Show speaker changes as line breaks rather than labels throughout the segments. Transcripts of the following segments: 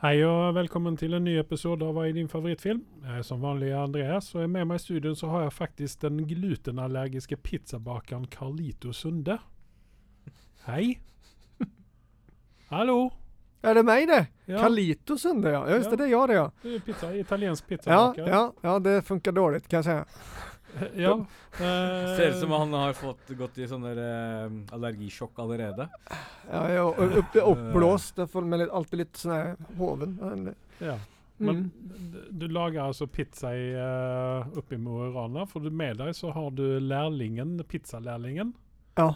Hei og velkommen til en ny episode av Hva er din favorittfilm? Jeg er som vanlig Andreas, og jeg med meg i studio så har jeg faktisk den glutenallergiske pizzabakeren Carlito Sunde. Hei. Hallo.
Ja, det er meg, det.
Ja,
Carlito Sunde, ja. Just
Ja.
det, det är jag det, ja.
du er pizza, italiensk
Ja,
pizzabaker.
ja, ja, det funkar dårligt kan jag säga.
Eh, ja. eh,
Ser ut som han har fått gått i sånn der eh, allergisjokk allerede.
Ja, jag är upp, uppblåst, därför men alltid lite sån här hoven. Men,
ja. Men
Mm.
d- du lager altså pizza i, eh, oppe i Mo i Rana, for du- med deg så har du lærlingen, pizzalærlingen.
Ja.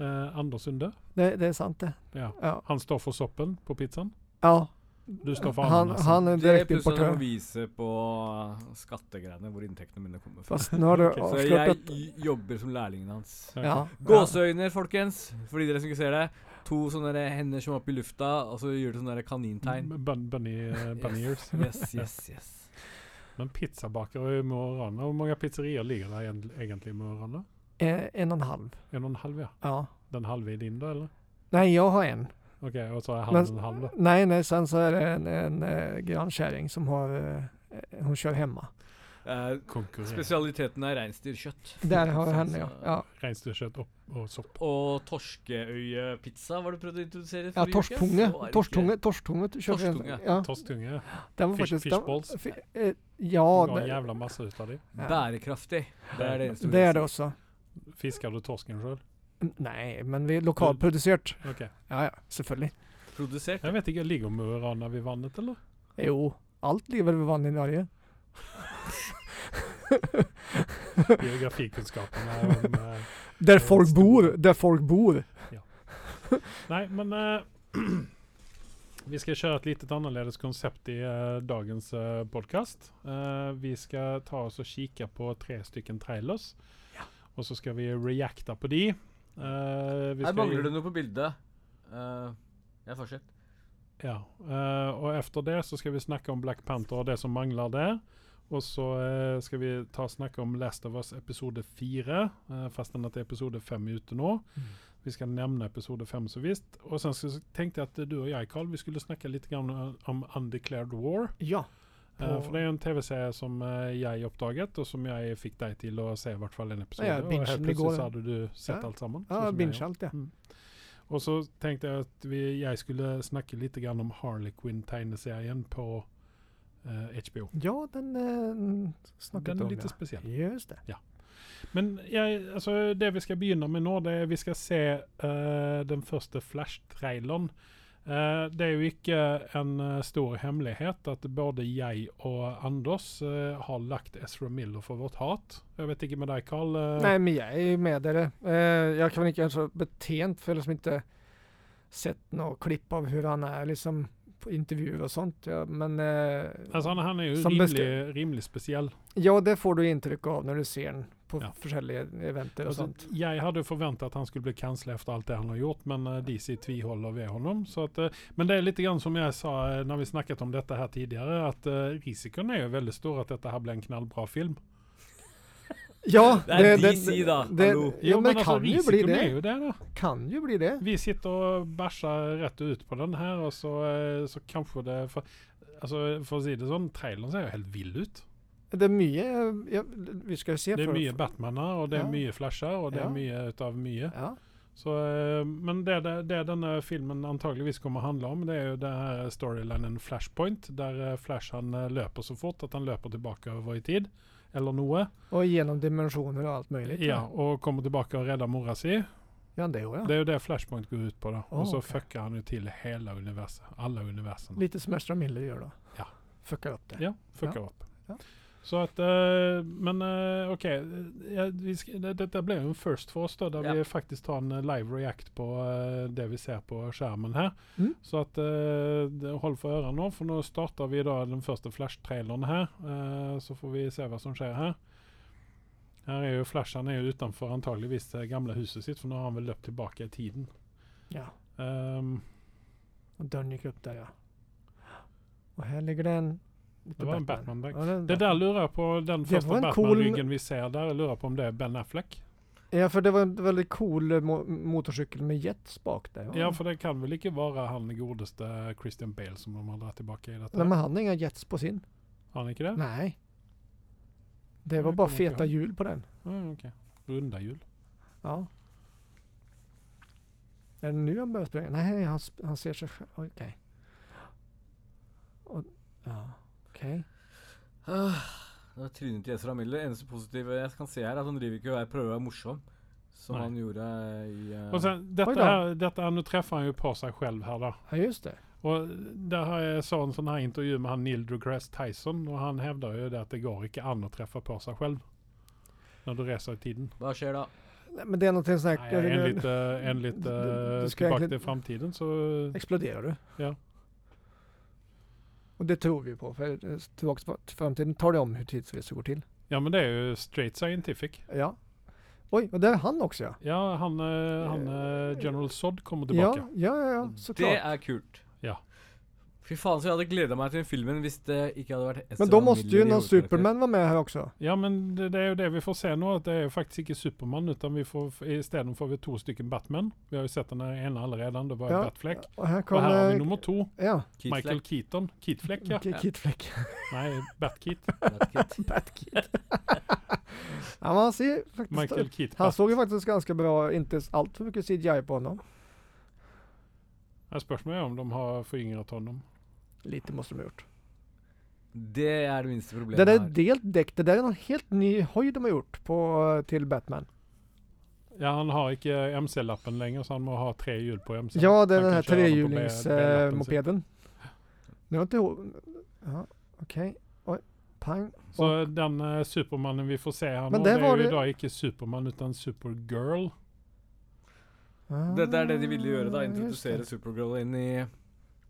Eh, Anders Sunde.
Det, det är sant det.
Ja.
Ja.
Han står for soppen på pizzaen.
ja.
Du står for
Han,
ananasen.
han är
Det er plutselig å
direktimportör.
vise på skattegreiene hvor inntektene mine kommer fra.
Fast nu har du
Okej,
Så jeg
avslöjat...
j- jobber som lærlingen hans.
Ja.
Gåseøyne, folkens. For de dere som ikke ser det. To sånne der hender som er opp i lufta, og så gjør de sånne der kanintegn.
Mm, Bun, bunny, eh, bunny ears.
Yes, yes, yes.
Men pizzabaker i Mo i Rana, hvor mange pizzerier ligger der egent- egentlig i Mo i Rana?
Eh, en och en halv.
En og en halv, ja.
Ja.
Den halve i din, da, eller?
Nej, jag har en.
OK, og så er han
Men-
en halv, da.
Nej, nej, sen så är det en, en eh, grannkärring som har... Eh, eh, hon kör hemma.
Eh,
Konkurrent.
spesialiteten er reinsdyrkjøtt.
Där har jag henne, ja. ja.
Reinsdyrkjøtt og, og sopp.
Og torskeøyepizza var det du prøvde å introdusere?
Ja,
forrige uke?
Torstunge.
Så var det ikke-
Torstunge, torstunge kör vi.
Torstunge.
Ja,
Torstunge.
den var
Fish-
faktiskt... den-
fishballs.
fi- eh, ja,
Du har en
det-
jævla masse ut av dem.
Ja.
Bærekraftig. Det er det eneste
Det er det også.
Fisker du torsken sjøl?
Mm, Nei, men vi er lokalprodusert.
OK.
Ja, ja, selvfølgelig.
Produsert.
Jeg vet ikke, ligger Mo i Rana ved vannet, eller?
Jo, alt lever ved vann i Norge.
Geografikunnskapen er om eh,
Der folk bor, der folk bor.
Nei, men eh, vi skal kjøre et litt annerledes konsept i eh, dagens uh, podkast. vi skal ta oss og kikke på tre stykken trailers, og så skal vi reacta på de. Eh, vi
Her
skal
mangler
gi-
det noe på bildet. Eh, jeg fortsetter.
Ja. eh, og etter det så skal vi snakke om Black Panther og det som mangler der. Og så eh, skal vi ta og snakke om Last of Us episode fire, uh, fastän at det er episode fem ute
Mm.
nå. Vi skal nevne episode fem så visst. Og sen så tenkte jeg at du og jeg, Carl, vi skulle snakke litt grann om Undeclared War.
Ja.
Eh,
På-
for det er jo en TV-serie som eh, jeg oppdaget, og som jeg fikk deg til å se i hvert fall en episode.
Ja, jeg
og
binget
helt
den i
plutselig
går,
så
ja.
hadde du sett
Ja.
alt sammen. sånn
ja
som jeg gjorde.
binge alt, ja.
Og så tenkte jeg at vi, jeg skulle snakke litt grann om Harley Quinn-tegneserien på eh, HBO.
Ja, den eh, snakket
Den
vi
er
om,
litt
ja.
spesiell.
Just det.
Men jeg, altså, det vi skal begynne med nå, det er vi skal se eh, den første Flash-traileren. Eh, det er jo ikke en eh, stor hemmelighet at både jeg og Anders eh, har lagt Ezra Miller for vårt hat. Jeg vet ikke med deg, Carl. eh,
Nei, men jeg er jo med dere. Eh, jeg kan vel ikke være så betjent, for jeg har liksom ikke sett noe klipp av hvordan han er liksom på intervjuer og sånt. Ja, men eh,
Altså, alltså, han, han er jo
Som
rimelig,
beskrev-
rimelig spesiell.
ja, det får du inntrykk av når du ser den på
Ja.
forskjellige eventer og
Alltså,
sånt.
jag hade förväntat att han skulle bli kansler efter allt det han har gjort, men eh, DC tvihåller vid honom. Så att, eh, men det är lite grann som jag sa eh, när vi snackat om detta här tidigare, att eh, risken är ju väldigt stor att detta här blir en knallbra film.
Ja,
Det er DC da,
Det,
hallo.
ja, men det
alltså,
kan jo bli
risken
det.
är ju det då.
Kan jo bli det.
Vi sitter och bärsar rätt ut på den här och så, eh, så kanske det... För, alltså, för att säga det sånn, trailern ser ju helt vill ut.
Det er mye ja, Vi skal se.
Det är
for-
mycket Batmaner och det är
Ja.
mycket flashar och det är
Ja.
mycket utav mycket.
Ja.
Så, eh, men det, det, det denne filmen antageligvis kommer å handle om, det er jo det her storylinen Flashpoint, der eh, Flash han eh, løper så fort at han løper tilbake over i tid, eller noe,
Og gjennom dimensjoner og alt mulig.
ja, og kommer tilbake og redder mora si.
ja det òg, ja.
Det er jo det Flashpoint går ut på, da.
Ah. Å,
og så
ok.
fucker han jo til hele universet. Alle universene.
Lite som Estra Miller gjør, da.
Ja.
Fucker opp det.
Ja, fucker opp.
Ja.
Så at eh, Men eh, OK. eh, Ja, vi sk- det, dette blir jo en first for oss, da, der
Ja.
vi faktisk tar en eh, live react på eh, det vi ser på skjermen her.
Mm.
Så at eh, det- hold for ørene nå, for nå starter vi da den første Flash-traileren her. eh, så får vi se hva som skjer her. Her er jo Flash han er jo utenfor antageligvis det gamle eh, huset sitt, for nå har han vel løpt tilbake i tiden.
Ja.
Ehm,
Og døren gikk opp der, ja. Og her ligger det en
Det var en Batman-bag.
Ja, det er en
det der lurer jeg på, den
Det
første
var en cool-
Batman-ryggen vi ser der, jeg lurer på om det er Ben Affleck.
Ja, for det var en veldig cool eh, mo motorsykkel med jettspak der.
Ja, for det kan vel ikke være han godeste Christian Bale som de har dratt tilbake i dette?
Nei, men han har inga jets på sin.
Har han ikke det?
Nei. Det
Jeg
var bare
kommer ikke
feta
ihåg.
hjul på den.
Mm, ok. Runda hjul.
Ja. Er det nå han börjar springa? Nei, han, sp- han ser seg sjøl OK. Og, ja, OK.
Ah, Det var trynet til Ezra Miller. Eneste positive jeg kan se her, er at han driver ikke og er- prøver å være morsom, som
Nei.
han gjorde i eh,
Og sen, dette
Oj då.
här, detta här, nu träffar han ju på sig själv här då.
Ja, just det.
Och där har jag såg en sån här intervju med han Neil deGrasse Tyson och han hävdar ju det att det går inte an att träffa på sig själv. När du reser i tiden.
Hva skjer da?
Nei, men det er noe sånn
Nej, enligt eh, enligt
Du- du-
eh,
du ska
Tillbaka
egentligen-
till framtiden så...
Eksploderer du?
Ja.
Og det tror vi på, for eh, tilbake til til fremtiden tar det om hvordan tidsreise går til.
Ja men det är ju straight scientific.
Ja. Oi, og det er han også, ja.
Ja, han, eh, han eh, General Sod kommer
Ja,
tillbaka. Mm.
ja, ja, ja så
Det
klart.
er kult.
Ja.
Fy faen, så jeg hadde gleda meg til den filmen hvis det ikke hadde vært Ezra
Men da måtte
Miller
jo
i
når
hovedkarakter.
Superman var med her også.
Ja men det, det är ju det vi får se nu att det är ju faktiskt inte Superman utan vi får, istället får vi två stycken Batman. Vi har ju sett den här ena alla redan, det var ju
Ja.
Batfleck.
Og her
Och
kom
här har vi
eh,
nummer två.
Ja.
Keith
Michael Keaton. Keatfleck ja.
K- Kit Fleck.
Nej, Bat-Keat.
Black, Black Kid.
Ja, men han ser faktiskt...
Michael Keat.
Han
Bat.
såg ju faktiskt ganska bra, inte allt för mycket CGI på honom.
Ja, Spørsmålet er om de har foryngret honom.
Lite måste de ha gjort.
det er det minste problemet
Det där är
her.
delt däck, det där är en helt ny höjd de har gjort på, eh, till Batman.
Ja, han har eh, ikke MC-lappen lenger, så han må ha tre hjul på MC.
Ja, det är
Han
den
kan
här eh,
köra dem på B- B-lappen sin.
trehjulingsmopeden. Nu har inte ihåg... Ja, okej. Oj, pang.
Så den eh, Supermannen vi får se her nå,
Men
det
det
er
var
jo
det-
i dag ikke Supermann, utan Supergirl.
Dette er det de ville gjøre, da.
Ah,
Introdusere
just
Supergirl inn i
det.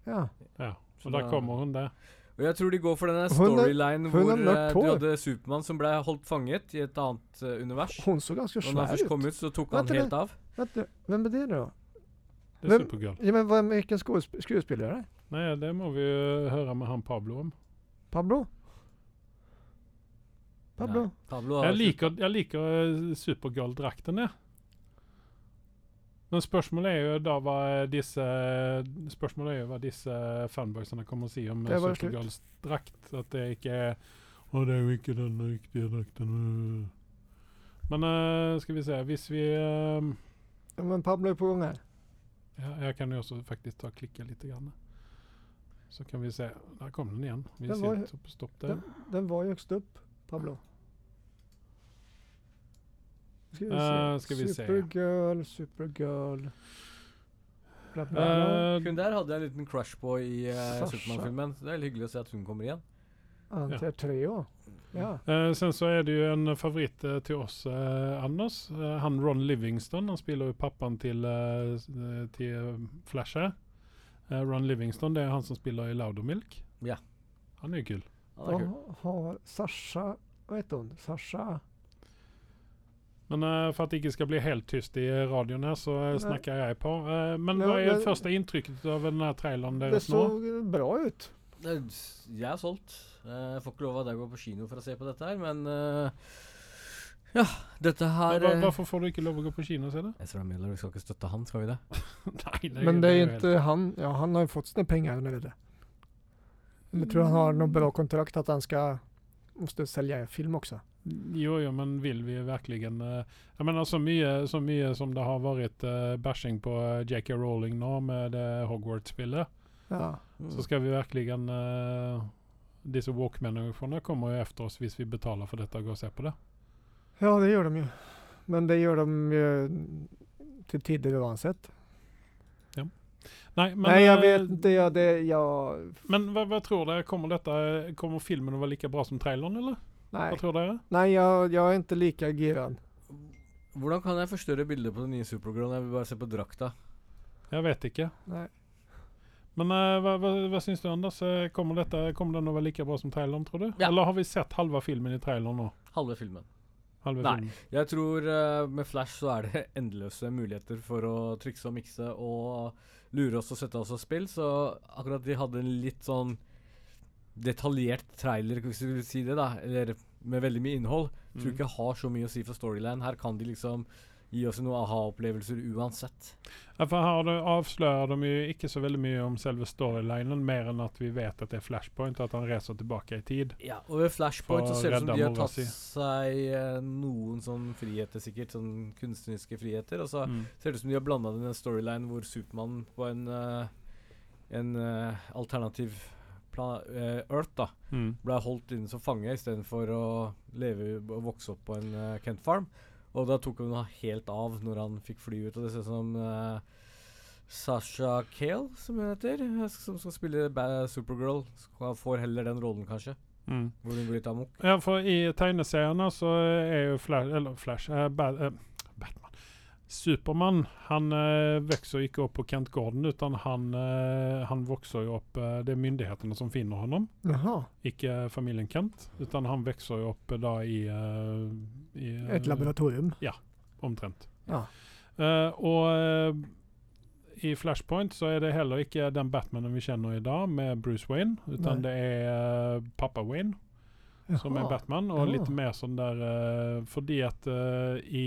Ja.
Ja,
Så
og da
da-
kommer hun der.
Og jeg tror de går for denne
Hun er- hun
storylinen hvor
er mørkt
eh,
hår.
du hadde Supermann som ble holdt fanget i et annet eh, univers.
Hon såg ganska
Og når han
svär
først
ut.
kom ut, så tok han
Vent litt.
helt av.
Vänta, Vem är det då?
Det er
Hvem-
Supergirl.
Ja, men vem, vilken skådesp- skådespelare?
Nei, det må vi jo høre med han Pablo om.
Pablo? Pablo?
Nei, Pablo har
Jeg liker, jeg liker eh, Supergirl-drakten, jeg. Men spørsmålet er jo da hva eh, disse eh, Spørsmålet er jo hva disse fanboysene kommer å si om eh,
Det var slutt.
Supergirls drakt. At det eh, ikke er Å, det er jo ikke den riktige drakten. øh». Men eh, skal vi se Hvis vi eh,
Ja, men Pablo är på gång här.
ja, Jeg kan jo også faktisk ta og klikke litt. Grann. Så kan vi se. Der kom den igjen. Vi
Den var
sier
jo-
stopp- stopp der.
Den var ju högst upp, Pablo. Ska vi
Eh, ska vi se.
Supergirl, Supergirl. Bla, bla, bla.
Eh,
Hun der hadde jeg en liten crush på i eh,
Sasha.
Supermann-filmen. Så det er litt hyggelig å se at hun kommer igjen.
Ante är tre år. Ja.
Eh, sen så är det ju en favorit eh, till oss, eh, Anders. Eh, han Ron Livingston, han spelar ju pappan till, eh, s- eh, till eh, Flash här. Eh, Ron Livingston, det är han som spelar i Loudermilk.
Ja.
Han är ju kul.
Ja, det er
De
kult.
har Sasha, vad heter hon? Sasha.
Men eh, för att det inte ska bli helt tyst i radion här så eh,
Nej.
snackar jag på. Eh, men
Nej,
vad är
men-
första intrycket av den här trailern
Det
deras nå?
såg bra ut.
Det er- Jeg er solgt. Eh, Jeg får ikke lov av deg å gå på kino for å se på dette her, men eh, Ja, dette her
Var,
eh,
varför får du inte lov att gå på kino sen?
Ezra Miller, vi skal ikke støtte han, skal vi det?
Nej,
Men det
ju
är
helt-
inte han. Ja, han har ju fått sina pengar nu. Eller jag tror han har
Mm.
något bra kontrakt att han ska måste sälja en film också.
Jo, jo, men vill vi verkligen... eh, jag menar så mycket, så mycket som det har varit eh, bashing på eh, J.K. Rowling nu med eh, Hogwarts-spelet.
Ja.
Så ska vi verkligen... eh, dessa walkmänniskorna kommer ju efter oss hvis vi betalar för detta och går och ser på det.
Ja, det gör de ju. Men det gör de ju till tider oavsett.
Nej, men,
Nej, jag
eh,
vet inte. Jag, det, jag,
men vad, vad tror du? Kommer, detta, eh, kommer filmen att vara lika bra som trailern eller?
nej,
Vad tror du?
nej jag, jag är inte lika girad.
Hvordan kan jeg forstørre bildet på den nye Supergirl? Jeg vil bare se på drakta.
Jag vet inte.
Nej.
Men eh, vad, vad, vad syns du Anders? Eh, Kommer, detta, kommer den att vara lika bra som trailern tror du?
Ja.
Eller har vi sett halva filmen i trailern nu?
Halve filmen.
Halva
Nej.
filmen.
Jeg tror eh, med Flash så er det endeløse muligheter for å trikse og mikse og lure oss og sette oss av spill, så akkurat de hadde en litt sånn detaljert trailer, hvis du vil si det, da. Eller med veldig mye innhold, tror
Mm.
ikke jeg har så mye å si for storyline. Her kan de liksom gi oss noen aha-opplevelser uansett.
Ja, for her det- avslører de jo ikke så veldig mye om selve storylinen, mer enn at vi vet at det er flashpoint, og at han reiser tilbake i tid.
Ja, og ved Flashpoint
For
så ser det ut som de har
Reddam, må
tatt
vi si.
seg eh, noen sånn friheter, sikkert. Sånn kunstneriske friheter. Og så
Mm.
ser det ut som de har blanda det i en storyline hvor Supermann på en, eh, en eh, alternativ plan eh, Earth da
Mm.
ble holdt inne som fange istedenfor å leve og vokse opp på en eh, Kent farm. Og da tok hun helt av når han fikk fly ut. Og det ser ut som eh, Sasha Kale, som hun heter, eh, som skal spille Ba- Supergirl, skal, får heller den rollen, kanskje.
Mm.
Hvor hun blir litt amok.
Ja, for i tegneseriene så er jo Flash, eller Flash eh, Bat, eh, Batman Supermann, han eh, vokser jo ikke opp på Kent Gordon, utan han, eh, han vokser jo opp eh, Det er myndighetene som finner honom,
Jaha.
ikke familien Kent. Utan han vokser jo opp eh, da i, eh, i eh,
Et laboratorium.
Omtrent.
Ja.
Eh, og eh, i Flashpoint så er det heller ikke den Batmanen vi kjenner i dag, med Bruce Wayne, utan
Nei.
det er eh, pappa Wayne som er
Jaha.
Batman, og litt
Ja.
mer sånn der eh, Fordi at eh, i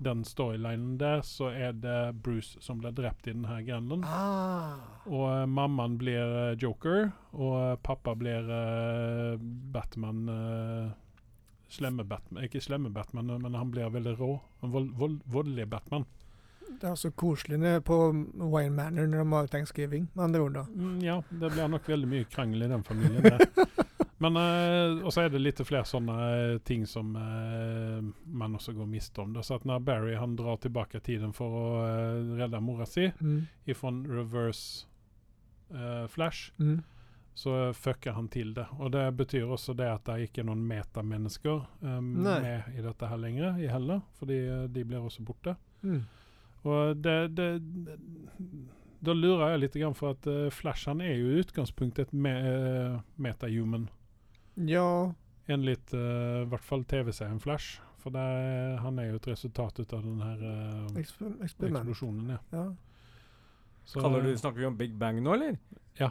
den storylinen der, så er det Bruce som blir drept i denne grenden.
Ah.
Og eh, mammaen blir eh, Joker, og eh, pappa blir eh, Batman eh, Slemme Batman Ikke slemme Batman, men han blir veldig rå. En vold, vold, voldelig Batman.
Det er så koselig nede på Wayne Manor når de har thanksgiving, med andre ord. da.
Mm, ja, det blir nok veldig mye krangel i den familien der. Men, eh, og så er det litt flere sånne eh, ting som eh, man også går miste om. Da. Så at når Barry han drar tilbake i tiden for å eh, redde mora si
Mm.
ifra reverse eh, flash,
Mm.
så fucker han til det. Og det betyr også det at det ikke er noen metamennesker eh,
Nei.
med i dette her lenger, i heller, fordi eh, de blir også borte.
Mm.
Og det, det, det Da lurer jeg litt grann for at eh, Flash han er jo i utgangspunktet et me, eh, metahuman.
Ja
Enligt eh, i hvert fall TV-serien Flash. For det, er- han er jo et resultat ut av den her eh,
eksper Eksperiment.
eksplosjonen. Ja.
Ja.
Så, eh,
Kaller du, snakker vi om Big Bang nå, eller?
Ja.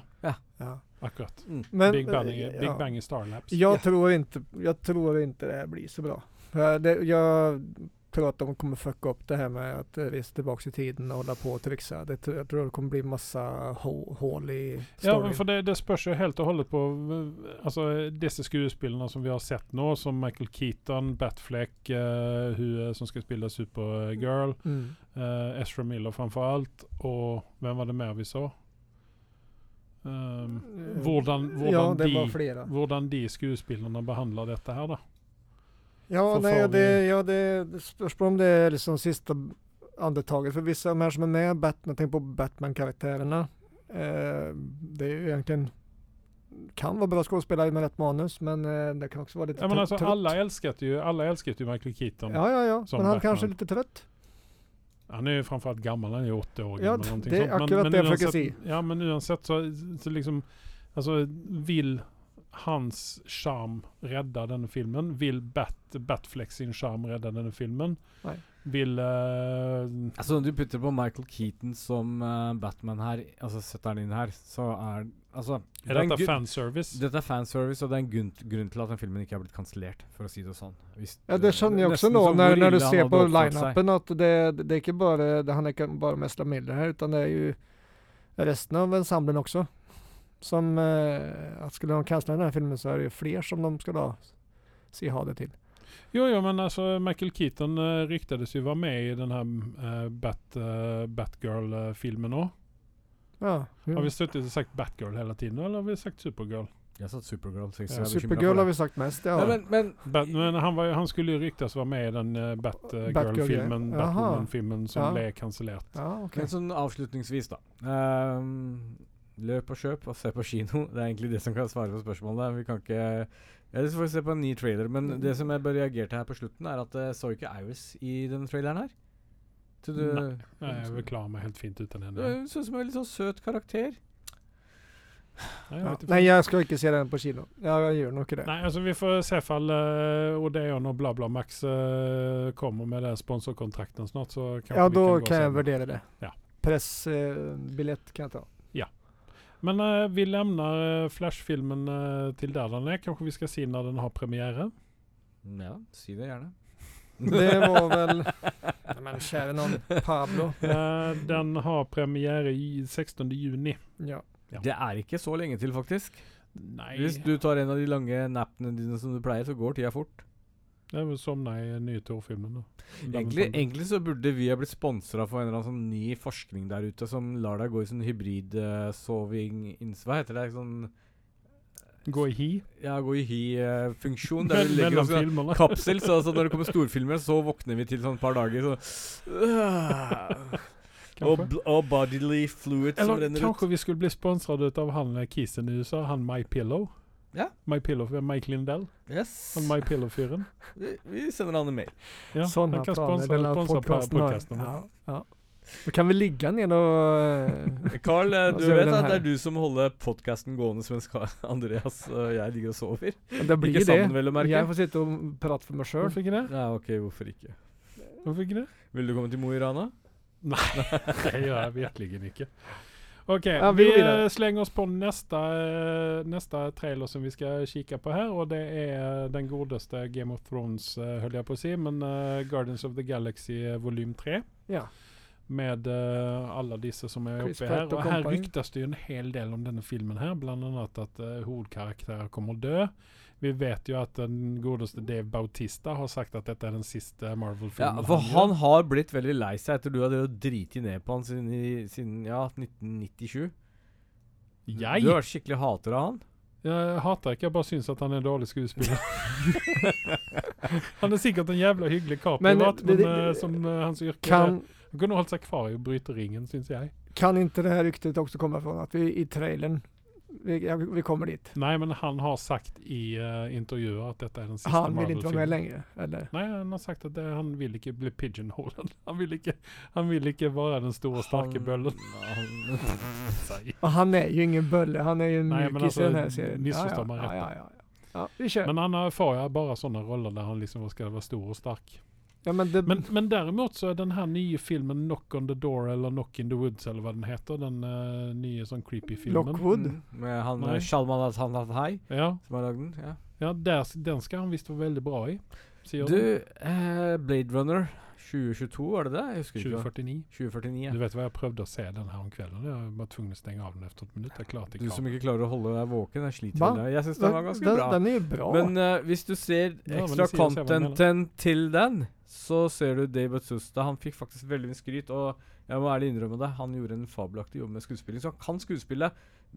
Akkurat.
Mm.
Men, eh,
Big Bang, i-
ja.
Big Bang i Star Labs.
Jag, tror inte, jag tror inte det här blir så bra. Eh, Det, jag tror att de kommer fucka upp det här med att eh, resa tillbaka i tiden och hålla på och trixa. Det, tror- jeg tror det kommer bli massa hå- hål i
Ja,
storyn.
men for det, det spørs jo helt og holdent på eh, altså, disse skuespillene som vi har sett nå, som Michael Keaton, Batfleck, eh, hun eh, som skal spille Supergirl,
mm.
Eh, Ezra Miller framfor alt, og hvem var det mer vi så? Um,
Eh,
hvordan, hvordan,
ja, det var
de,
flera.
hvordan de skuespillerne behandler dette her, da.
Ja,
For
nej,
fan,
det, ja, det, det spörsmål om det är liksom sista andetaget för vissa av de här som är med, Batman, tänk på Batman-karaktärerna. Eh, det är ju egentligen, kan vara bra skådespelare med rätt manus, men eh, det kan också vara lite
Ja, men alltså
trött-
altså,
trött.
alle elsket jo, alle elsket jo Michael Keaton.
Ja, ja, ja.
som
Men han
Batman.
kanskje er litt trøtt.
Han er jo framfor alt gammel, han er jo 80 år
Ja,
gammel. någonting
det er
sånt.
akkurat det jeg
uansett-
försöker
Ja, men uansett så, så liksom Altså, vil hans sjarm redde denne filmen? Vil Bat, Batfleck sin sjarm redde denne filmen?
Nei.
Vil eh,
Altså, Alltså, du putter på Michael Keaton som eh, Batman her, altså setter han inn her, så alltså, er Altså det
Er
en
dette
grunn-
fanservice?
Dette er fanservice, og det er en grunn, grunn til at den filmen ikke er blitt kansellert, for å si det sånn. Hvis-
Ja, det skjønner jeg også
nesten
nå
som
når,
hvor
når du
ille han
ser
hadde
på
oppført seg.
lineupen at det, det er ikke bare det, han er ikke bare Mesla Miller her, utan det er jo resten av ensemblen også. Som eh, at skulle de kansla denne filmen, så er det jo flere som de skulle ha, si ha det til.
Jo, jo, men alltså Michael Keaton eh, ryktades ju vara med i den här eh, Bat, eh, Batgirl-filmen då.
Ja.
Har vi suttit och sagt Batgirl hela tiden eller har vi sagt Supergirl?
Jeg sa Supergirl. Så jeg
Ja,
er bekymret
Supergirl
for
har
det.
vi sagt mest, ja.
Ja, men, men
Bat, men han, var, ju- han skulle ju ryktas vara med i den eh, Batgirl-filmen,
Batgirl, ja. Jaha.
Batwoman-filmen som
Ja.
blev kancellerad.
ja, ok.
Men sånn avslutningsvis, da. Ehm, løp og kjøp og se på kino. Det er egentlig det som kan svare på spørsmålet. Vi kan ikke Ellers får vi se på en ny trailer. Men det som jeg bare reagerte her på slutten, er at jeg så ikke eh, Iris i denne traileren her. Så du,
Nei. Nej, jag vill klara mig helt fint utan
du
henne.
Mm.
er- så ut som en litt sånn søt karakter.
Nej, jag
Ja.
vet inte.
Nei, jeg skal ikke se den på kino. Ja, jeg gjør nok ikke det.
Nej, alltså vi får se fall eh, Odeon och BlaBlaMax eh, kommer med den sponsorkontrakten snart så kanske
Ja,
vi
da
gå
kan
sen.
jeg vurdere det.
Ja.
Pressbillett kan jeg ta.
Men eh, vi lämnar eh, Flash-filmen eh, till där den är. Kanske vi ska se när den har premiär.
Ja, si det gjerne.
Det var väl... Nej, men käre någon, Pablo.
Eh, den har premiär i 16 juni.
Ja.
Ja.
Det er ikke så lenge til, faktisk. Hvis
Nej,
du tar en av de lange nappene dine som du pleier, så går tida fort.
det är väl somna i eh, nya Tor-filmen då.
Egentlig, egentlig så burde vi ha blitt sponsa for en eller annen sånn ny forskning der ute som lar deg gå i sånn hybridsoving-ins... Hva heter det? Sånn
Gå i hi
ja, gå i hi-funksjon. Der du legger
mellan
oss i en
filmerna.
kapsel, så, så når det kommer storfilmer, så våkner vi til sånn et par dager, så øh, og,
Kanske.
bl- og bodily fluid som
Eller
renner ut.
kanske vi skulle bli sponsrade av han eh, kissen i USA, han My Pillow.
Ja.
My Pillow, eh, Mike Lindell.
Yes.
Han My Pillow-fyren.
Vi, vi sender han en mail.
Ja,
Sådana
han kan
planer
sponsra,
den här
sponsra podcasten.
podcasten har.
podcasten.
Ja, ja. Då kan vi ligga ner och... eh,
Carl, eh,
Da
du
ser vi
vet
den
at det
her.
er du som holder podkasten gående mens Ka- Andreas og jeg ligger og sover?
Det blir
Ikke
ju
sammen,
det.
vel å merke.
Jag får sitta och prata för mig själv.
Hvorfor ikke det?
Ja, ok, hvorfor ikke?
Hvorfor ikke det?
Vil du komme til Mo i Rana?
Det gjør jeg virkelig ikke. OK,
Ja, vi
vi,
går videre.
eh, slenger oss på neste, eh, neste trailer som vi skal kikke på her. Og det er den godeste Game of Thrones, eh, holdt jeg på å si, men eh, Guardians of the Galaxy eh, volym 3.
Ja.
Med eh, alle disse som er
Chris
oppe
Pratt
her.
og
Og her
company.
ryktes det jo en hel del om denne filmen her, bl.a. at uh, hovedkarakterer kommer å dø. Vi vet jo at den godeste Dave Bautista har sagt at dette er den siste
Ja,
Marvel-filmen.
for
gjør.
han har blitt veldig lei seg etter du har drevet og driti ned på han siden, i, siden ja, 1997.
Jeg?
Du har vært skikkelig hater av han.
Jeg hater ikke, jeg bare syns at han er en dårlig skuespiller. han er sikkert en jævla hyggelig kar
Men,
privat, men,
det- det-
eh, som eh, hans yrke
Kan,
Han kunne holdt seg kvar i å bryte ringen, syns jeg.
kan inte det här ryktet också komma från att vi i trailern, vi, ja, vi kommer dit.
Nei, men han har sagt i eh, intervjuer at dette er den siste
Han vill inte vara med
Marvel-filmen.
längre, eller?
Nei, han har sagt at det, han vil ikke bli pigeonholed. Han vil ikke, han vil ikke være den store, sterke bøllen.
Han- han-
Och han är ju ingen bölle, han är ju en
Nej, men
mjukis
alltså,
i den här serien.
missförstå
ja,
mig
ja,
rätt.
ja, ja, ja. ja, vi kör.
Men han har- får jo bare sånne roller der han liksom skal være stor og sterk.
ja, men det,
Men, men däremot så är den här nya filmen Knock on the Door eller Knock in the Woods eller vad den heter. Den uh, nya sån creepy filmen.
Lockwood?
Med han
Nei.
eh, Shalman Al-Hanhai
Ja,
som har lagd den. Ja.
ja där, s- den ska han visst vara väldigt bra i. Säger den.
Du, eh, Blade Runner 2022, var det det? Jeg husker ikke. hva-
2049.
2049, ja.
Du vet vad jag prövde att se den här om kvällen. Jag var tvungen att stänga av den efter ett minut. Jag klart det
Du som
kan.
ikke klarer å holde deg våken, jeg sliter
Hva?
med det. Jeg syns den var
Den,
ganske
den,
bra.
den är ju bra.
Men eh, hvis du ser
Ja, men
ekstra
det sier jo seg hva den
contenten til den, så ser du David Susta. Han fikk faktisk veldig mye skryt, og jeg må ærlig innrømme det, han gjorde en fabelaktig jobb med skuespilling, så han kan skuespille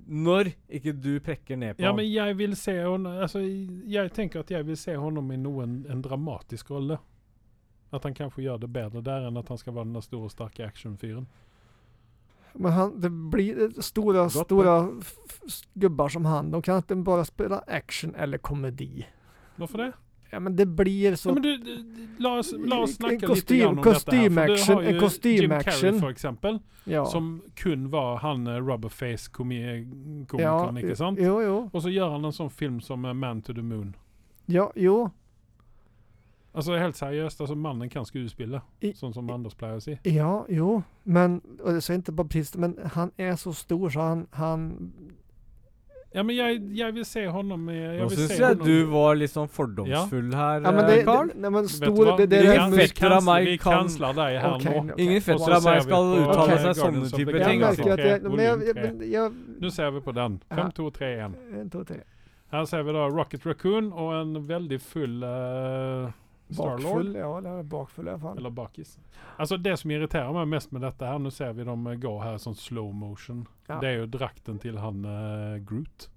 når ikke du prekker ned på
Ja,
ham.
men jag vill se honom. Alltså, jag tänker att jag vill se honom i någon en dramatisk roll. Att han kanske gör det bättre där än att han ska vara den där stora starka actionfyren.
Men han, det blir eh, stora,
Gott,
stora f- f- gubbar som han. De kan inte bara spela action eller komedi.
Varför det?
Ja men det blir så...
Ja, men du, du, du, la oss, la oss
En
snakke
kostym-
litt grann om dette her. For du
kostymaction,
har jo
en kostymaction.
Jim Carrey, for eksempel,
ja.
som kun var han eh, Rubberface-komikeren, ikke sant?
Jo, jo.
Og så gjør han en sånn film som eh, Man to the Moon.
Ja, jo.
Altså Helt seriøst, altså mannen kan skuespille,
I-
sånn som Anders pleier å si.
Ja, jo. Men, och jag säger inte bara precis men han är så stor så han, han
Ja, men jeg, jeg vil se honom i- jeg
Nå
vil
syns
se
jeg
honom-
du var litt sånn fordomsfull her,
Ja men
eh,
det,
Carl.
det, nej, men
Vet du
stor,
hva?
det, det,
vi,
det
Ingen
är
kans- vi,
fett-
musik.
fetter av
kans-
meg
vi
kan-
kansler deg her
Okej,
nå.
okej.
Ingen
Og så
fetter av meg
ser vi
skal
på-
uttale
Ok.
seg sånne
Guardians of the
typer
Jag
ting.
Galaxy.
märker
Altså.
att jag... Men jag,
Volym
jag,
tre.
men jag
Nå ser vi på den.
Ja.
5, 2, 3, 1.
en, två, tre.
Her ser vi da Rocket Raccoon og en veldig full eh, Starlord.
Bakfull, ja. Eller bakfull i alla fall.
Eller bakis. Alltså det som irriterar mig mest med detta här, nu ser vi dem eh, gå här som slow motion.
Ja.
Det är ju drakten till han eh, Groot.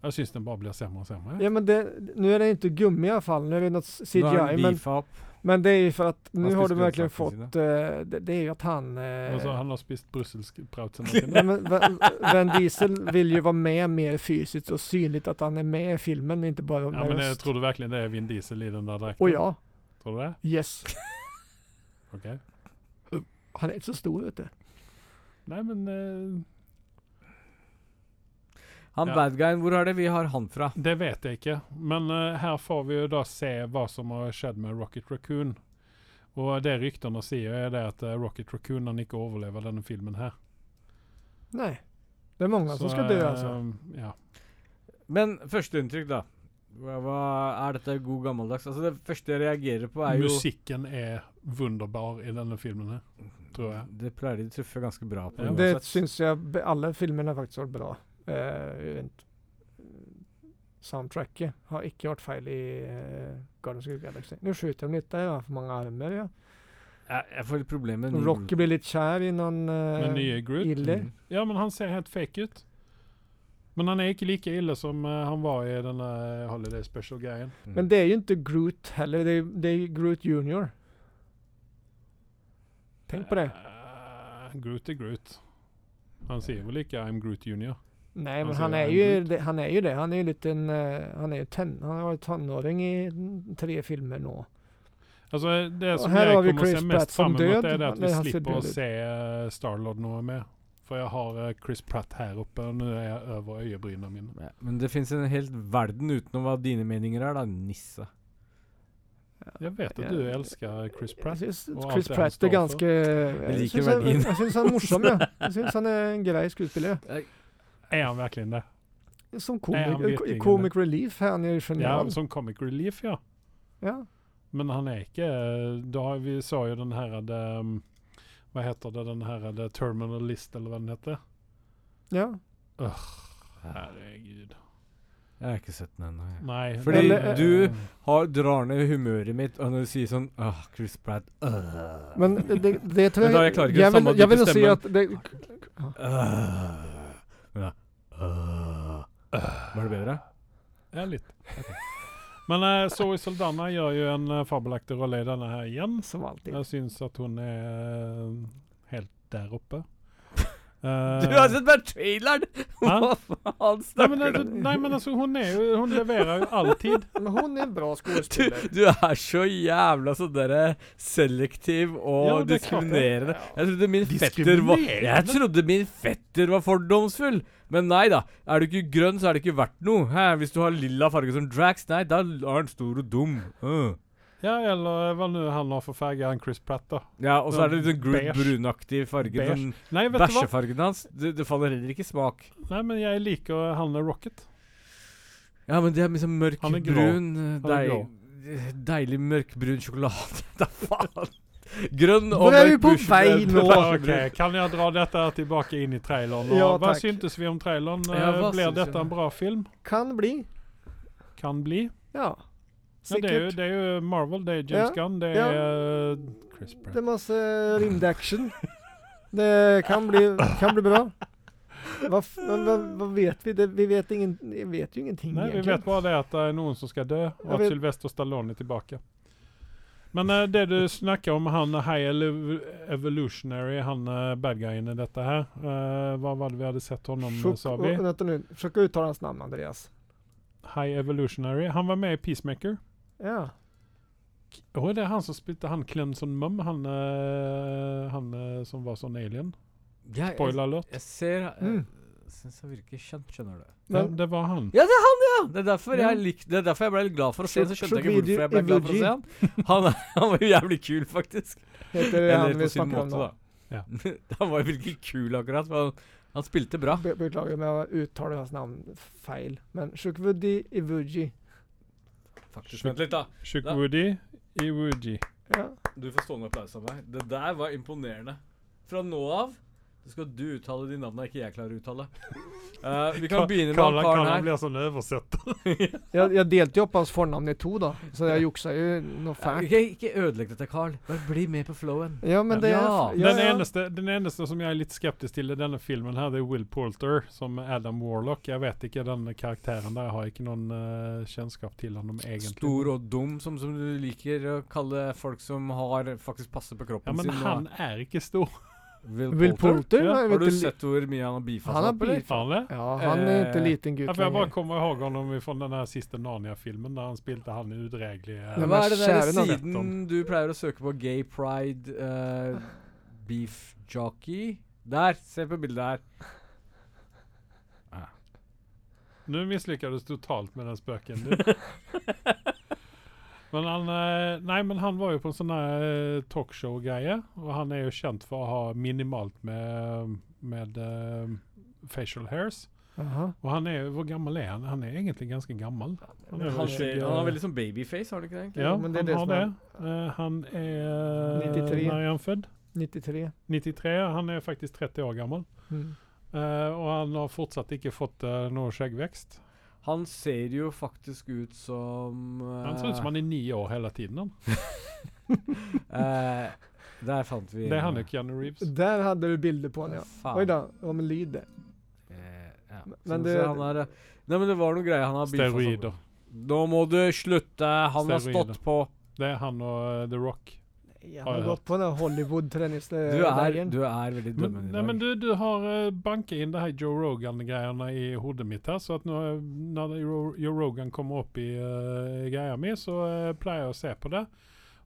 Jag syns den bara blir sämre och sämre.
Ja men det, nu är det inte gummi i alla fall, nu är det något CGI.
Nå er han
men,
beefa opp.
men det är ju för att nu har
skulle
du
kunna
verkligen
sagt det
fått, eh, det, det är ju att han... eh,
Alltså, han har spist brusselsprouts
Nej, men Van- Van Diesel vill ju vara med mer fysiskt och synligt att han är med i filmen, inte bara
Ja
med
men eh,
röst.
tror du verkligen det är Vin Diesel i den där drakten?
Och ja,
Tror du det?
yes.
Okej.
Han är inte så stor vet du.
Nej men eh,
Han
Ja.
badguyen, hvor er det vi har han fra?
det vet jag inte. Men eh, här får vi ju då se vad som har skett med Rocket Raccoon. Och det ryktena säger är det att eh, Rocket Raccoon han inte överlever den filmen här.
Nej. Det är många som ska dö alltså.
eh, Ja.
Men førsteinntrykk, da. Hva, hva- er dette god gammeldags? Altså Det første jeg reagerer på, er jo
Musikken er wunderbar i denne filmen her, tror jeg.
Det pleier de å treffe ganske bra på.
Ja.
det
uansett.
syns jag, be- alla filmerna faktiskt varit bra. Eh, rent, eh, soundtracket har icke varit fel i eh, Guardians of the Galaxy. Nu skjuter de lite, jag har för många armar. Ja.
jeg, jeg får litt problemer med
Rocky blir lite kär i någon
Men
eh,
nye Groot
ille.
Mm.
Ja, men han ser helt fake ut. Men han er ikke like ille som eh, han var i denne Holiday Special-greien.
Mm.
Men det är ju inte Groot heller, det är, det är ju Groot Junior. Tänk på det.
Eh, Groot er Groot. Han sier vel ikke 'I'm Groot junior'.
Nej, men
Alltså,
han är,
en
ju
Groot.
det, han är ju det. Han är ju en liten, eh, han är ju ten, han har varit tonåring i mm, tre filmer nå.
Altså, Alltså, det som
her
jeg
har vi
kommer å se
Chris Pratt
mest
som
fram mot, er
død,
det at vi
men han ser
slipper å
død ut.
se eh, Starlord noe med. For jeg har eh, Chris Pratt her oppe, og nå er jeg over øyebrynene mine.
Ja, Men det fins en hel verden utenom hva dine meninger er, da, nisse.
Jeg vet at
Ja.
du elsker Chris
Jag
Pratt.
syns
Och allt
Chris
det han
Pratt
står
är
för.
ganska... Jag
liker
syns han,
värdin.
jag syns han är morsom ja. Jag syns han är en grej skuespelare.
Er han virkelig det?
Som
Nej, han vet
komik, i
ingen
comic relief här, han är ju
Ja,
genial.
som comic relief, ja.
Ja.
Men han er ikke da har Vi så jo den her det, um, Hva heter det, den her det, Terminal List, eller hva den heter?
ja.
Herregud.
Jeg har ikke sett den ennå. jeg.
Nei.
Fordi
det-
du- Har, drar ned humøret mitt og når du sier sånn Åh, Chris Pratt øh,
Men det, det tror
Men då
jag...
jag klarar inte
jag
samma
vill, jag vill
typ av
se
stämma.
att det,
øh. Ja. øh. Var det bedre?
Ja, litt. Men uh, Zoe Saldana gjør jo en eh, fabelaktig rolle i denne her igjen.
som alltid.
Jeg syns at hun er eh, helt Eh, der oppe.
Du har sett bare traileren! Hva faen
Nei men,
snakker du
altså,
om?
nei, men alltså, altså, hun er jo Hun leverer jo alltid.
Men hon är en bra
Du,
skådespelare.
du er så jævla sånn derre selektiv
Ja,
og
det er klart
diskriminerende. Jeg trodde min fetter var
Diskriminerende?
Jeg trodde min fetter var fordomsfull, men nei da. Er du ikke grønn, så er det ikke verdt noe. Hæ, hvis du har lilla farge som Drax, nei, da er han stor og dum. Øh.
Ja, eller hva nå han har for farge, han Chris Pratt, da.
Ja, og så er det litt sånn
Beige.
Groot brunaktig farge.
Beige.
Sånn
Nei, vet du hva?
bæsjefargen hans. Det, det faller heller ikke i smak.
Nei, men jeg liker eh, han er Rocket.
Ja, men det er liksom
Han er grå.
mørkbrun
Han er
deil, Deilig mørkbrun sjokolade. Da faen! Grønn
Hvor
og
er vi på
sjokolade-
vei nå?
Ja,
mørkbrun.
ok, Kan jeg dra dette tilbake inn i traileren? Og
Ja,
hva
takk.
syntes vi om traileren?
Ja,
Eh,
hva
Blir
syns jeg?
dette en bra film?
Kan bli.
Kan bli.
Ja.
Ja, det, er jo,
Sikkert.
det er jo Marvel, det er James Gunn, det
ja.
er eh, Chris
Det
Pratt.
er masse rymdaction. Det kan bli, kan bli bra. Hva, f- men hva, hva vet vi? Det, vi, vet ingen, vi vet jo ingenting.
Nei, vi
egentlig.
vet bare det at det er noen som skal dø, og
Jeg
at
vet-
Sylvester Stallone er tilbake. Men eh, det du snakker om, han High Elev- Evolutionary, han uh, badguyen i dette her eh, Hva var det vi hadde sett honom, eh,
Försök-
sa vi?
och- vänta nu, försök uttala hans namn Andreas.
High Evolutionary. Han var med i Peacemaker.
Ja.
Å, det er han som spilte han Clemson Mum, han, eh, han eh, som var sånn alien.
Jeg, jeg,
Spoiler alert.
jeg ser eh, Jeg
Mm.
syns han virker kjent, skjønner du.
Ja,
Men
det var han.
Ja, det er han, ja! Det er derfor
Ja.
jeg, lik, det er derfor jeg ble litt glad for å se ham. Så skjønte jeg ikke
Should we
hvorfor jeg ble
do
glad for å se ham. Han, er- han var jo jævlig kul, faktisk.
heter det
Eller
han
på
vi
sin
snakker om
måte,
nå?
da.
Ja.
han var jo virkelig kul, akkurat. for Han, han spilte bra.
Be beklager om jeg uttaler hans navn feil. Men Shukvudi Ivuji.
Faktisk. Vent litt, da.
Shook
Da-
Woody i Woody.
Ja.
Du får stående applaus av meg. Det der var imponerende. Fra nå av så skal du uttale de navnene ikke jeg klarer å uttale. Eh, vi kan begynne med han karen her.
blir sånn oversett.
Jeg, jeg delte jo opp hans fornavn i to, da, så jeg juksa jo noe
Ja,
fælt.
Ikke, ikke ødelegg dette, Carl. Bare bli med på flowen.
Ja, men det
Ja.
er
Den,
ja, ja.
eneste, den eneste som jeg er litt skeptisk til i denne filmen, her, det er Will Poulter som Adam Warlock. Jeg vet ikke den karakteren der. Jeg har ikke noen eh, kjennskap til han om egentlig.
Stor og dum, som, som du liker å kalle folk som har faktisk passer på
ja,
kroppen
men
sin. og-
han er ikke stor.
Will,
Will
Poulter.
Poulter?
Ja,
Ja,
Har du sett hvor mye han har
Han
bifasta
har
opp, eller?
Er han det?
Ja, han er ikke
Eh,
liten gutt
Ja, for jeg bare
lenger.
kommer ihåg ham fra den her siste Narnia-filmen, der han spilte han udregelige
Ja, men
Hva er det der
kjære navn.
siden du pleier å søke på gay pride eh, beef jockey? Der! Se på bildet her.
Nu misslyckades totalt med den spöken. Du. men han, eh, nej, men han var ju på en sån här eh, talkshow-greie, och han är ju känd för att ha minimalt med, med eh, facial hairs.
Jaha.
Og han er, hvor gammel er han? Han er egentlig ganske gammel. Han er
Han,
vel
ser,
20
han har veldig sånn babyface, har han ikke det? egentlig?
Ja,
men det er
han
det
har
som
det.
er-
Eh, han er
93.
Når er han født?
93.
93. Han er faktisk 30 år gammel.
Mm.
Eh, og han har fortsatt ikke fått eh, noe skjeggvekst.
Han ser jo faktisk ut som
Han ser ut som
Ah.
han er ni år hele tiden. Han.
eh, Der fant vi
Det er han jo, Keanu Reeves.
Där hade du bilder på honom ja.
Faen.
Oj då, ja men lyd det.
Eh, ja.
Men
Men det
det-
han er, eh, Nei, men det var noen greier han har beefa sammen.
Steroider.
Nå må du slutte! Han har
Steroider.
stått på.
Det er han og eh, The Rock.
Jag
Ja,
har
ja.
gått på den här Hollywood
Du er,
träningslägren.
du er veldig
Men,
dømmende
nei,
i dag.
men du, du har uh, banka inn det her Joe Rogan-greiene i hodet mitt her, så at nå, eh, når det Ro- Joe Rogan kommer opp i eh, greia mi, så eh, pleier jeg å se på det.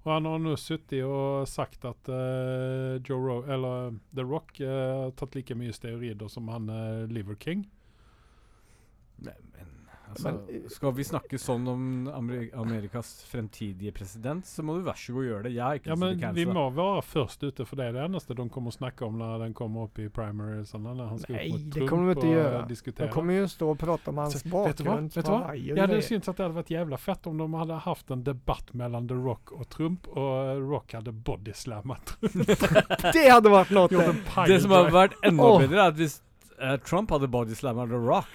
Og han har nå sittet og sagt at eh, Joe Ro eller eh, The Rock eh, har tatt like mye steroider som han eh, Liver King.
Nei, men, altså, skal Alltså, vi snakke sånn om Ameri- Amerikas fremtidige president, så må du vær så god gjøre det. Jeg har ikke
Ja,
lyst
men
til å
vi
bli cancela.
må være først ute, for det er det eneste de kommer å snakke om når den kommer opp i primary. Sånn, når han skal
Nei,
opp mot
det
Trump
kommer de ikke
og,
göra.
eh,
De
diskutere.
kommer ju stå och prata om hans
Så, vet du vad? Vet
bakgrund.
du
på
vad?
Hawaii och
Jag hade
grejer.
syntes att det hade varit jävla fett om de hade haft en debatt mellan The Rock och Trump och eh, Rock hade bodyslammat Trump.
Det hade varit något
Gjort
det.
en pile
Det som hadde
drive.
vært enda
Åh.
bedre, er at hvis eh, Trump hadde bodyslamma The Rock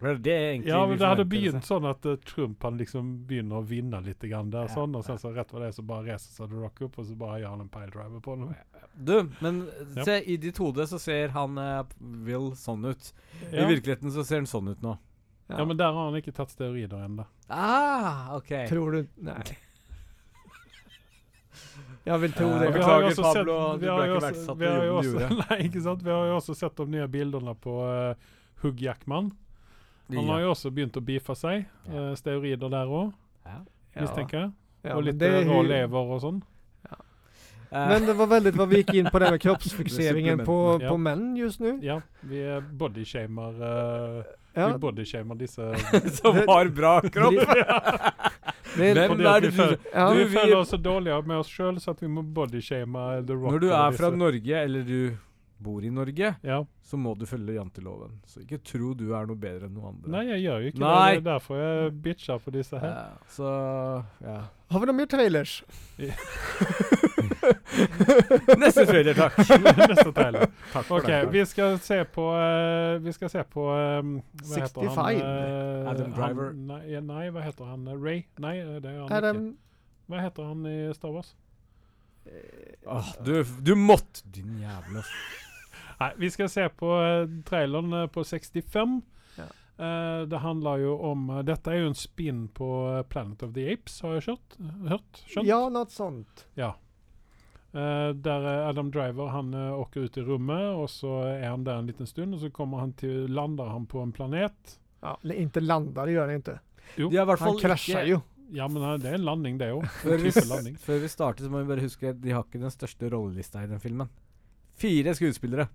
Det er det egentlig
Ja,
vi
men det hade
forventer,
begynt sånn att eh, Trump han liksom begynner å vinna lite grann där
Ja,
sånn, och sen så rätt vad det är så bara reser sig The Rock upp och så bara gör han en piledriver på honom.
liksom. Du, men
Ja.
se, i ditt hode så ser han eh, Will sånn ut. I
Ja.
virkeligheten så ser han sånn ut nå.
ja, men der har han ikke tatt steroider ennå.
Ah, OK.
Tror du? Nej. Jag vill tro
Vi
Eh,
det.
har jo
Beklager,
også
Pablo,
sett-
du
vi har
ble
jo også-
ikke verdsatt
vi
i
har jo
jorden du
også- Nei, ikke sant. Vi har jo også sett de nye bildene på eh, Hugh Jackman. Han har jo også begynt å beefe seg.
Ja.
eh, steroider der òg,
Ja.
mistenker jeg.
Ja,
og
men
litt
det är
eh, rå
ju-
lever og sånn.
Eh,
Men det var väldigt vad vi gick in på det här med kroppsfixeringen på,
Ja.
på män just nu.
Ja, vi er bodyshamer eh, Vi
Ja,
bodyshamer disse
som har bra kropp!
det är,
Hvem
Fordi
er
at
det
vi,
som
føler,
ja,
vi
vi-
føler oss så dårlige med oss sjøl, så at vi må bodyshame The Rock.
Når du
og
er fra
disse-
Norge, eller du bor i Norge,
ja.
så må du følge janteloven. Så ikke tro du er noe bedre enn noen andre.
Nei, jeg gjør jo ikke
Nei.
det. Det er derfor jeg bitcher på disse her.
Mm. Ja, så ja.
har vi några mer trailers?
Neste trailer, takk.
Neste trailer.
takk for
OK,
det.
vi skal se på eh, Vi skal se på eh, Hva heter han?
65.
eh,
Adam Driver.
Han, nei, nei, hva heter han? Ray? Nei, det er han
Är
ikke.
den...
Hva heter han i Star Wars?
Åh, du, du måtte Din jævla s-
Nei, vi skal se på eh, traileren eh, på 65.
Ja.
Eh, det handler jo om eh, Dette er jo en spinn på eh, Planet of the Apes, har eh, jeg kjørt, hørt. Skjønt?
Ja, något sånt.
Eh, der eh, Adam Driver han eh, åker ut i rommet, og så er han der en liten stund. Og så kommer han til, lander han på en planet.
Ja, eller inte landar, det gör den inte.
Jo,
De er i hvert
Han
fall
kraschar
ikke
ju.
Ja, men eh, det er en landing, det òg.
før vi,
type landing.
før vi starter, så må vi bare huske at de har ikke den største rollelista i den filmen. Fire skuespillere.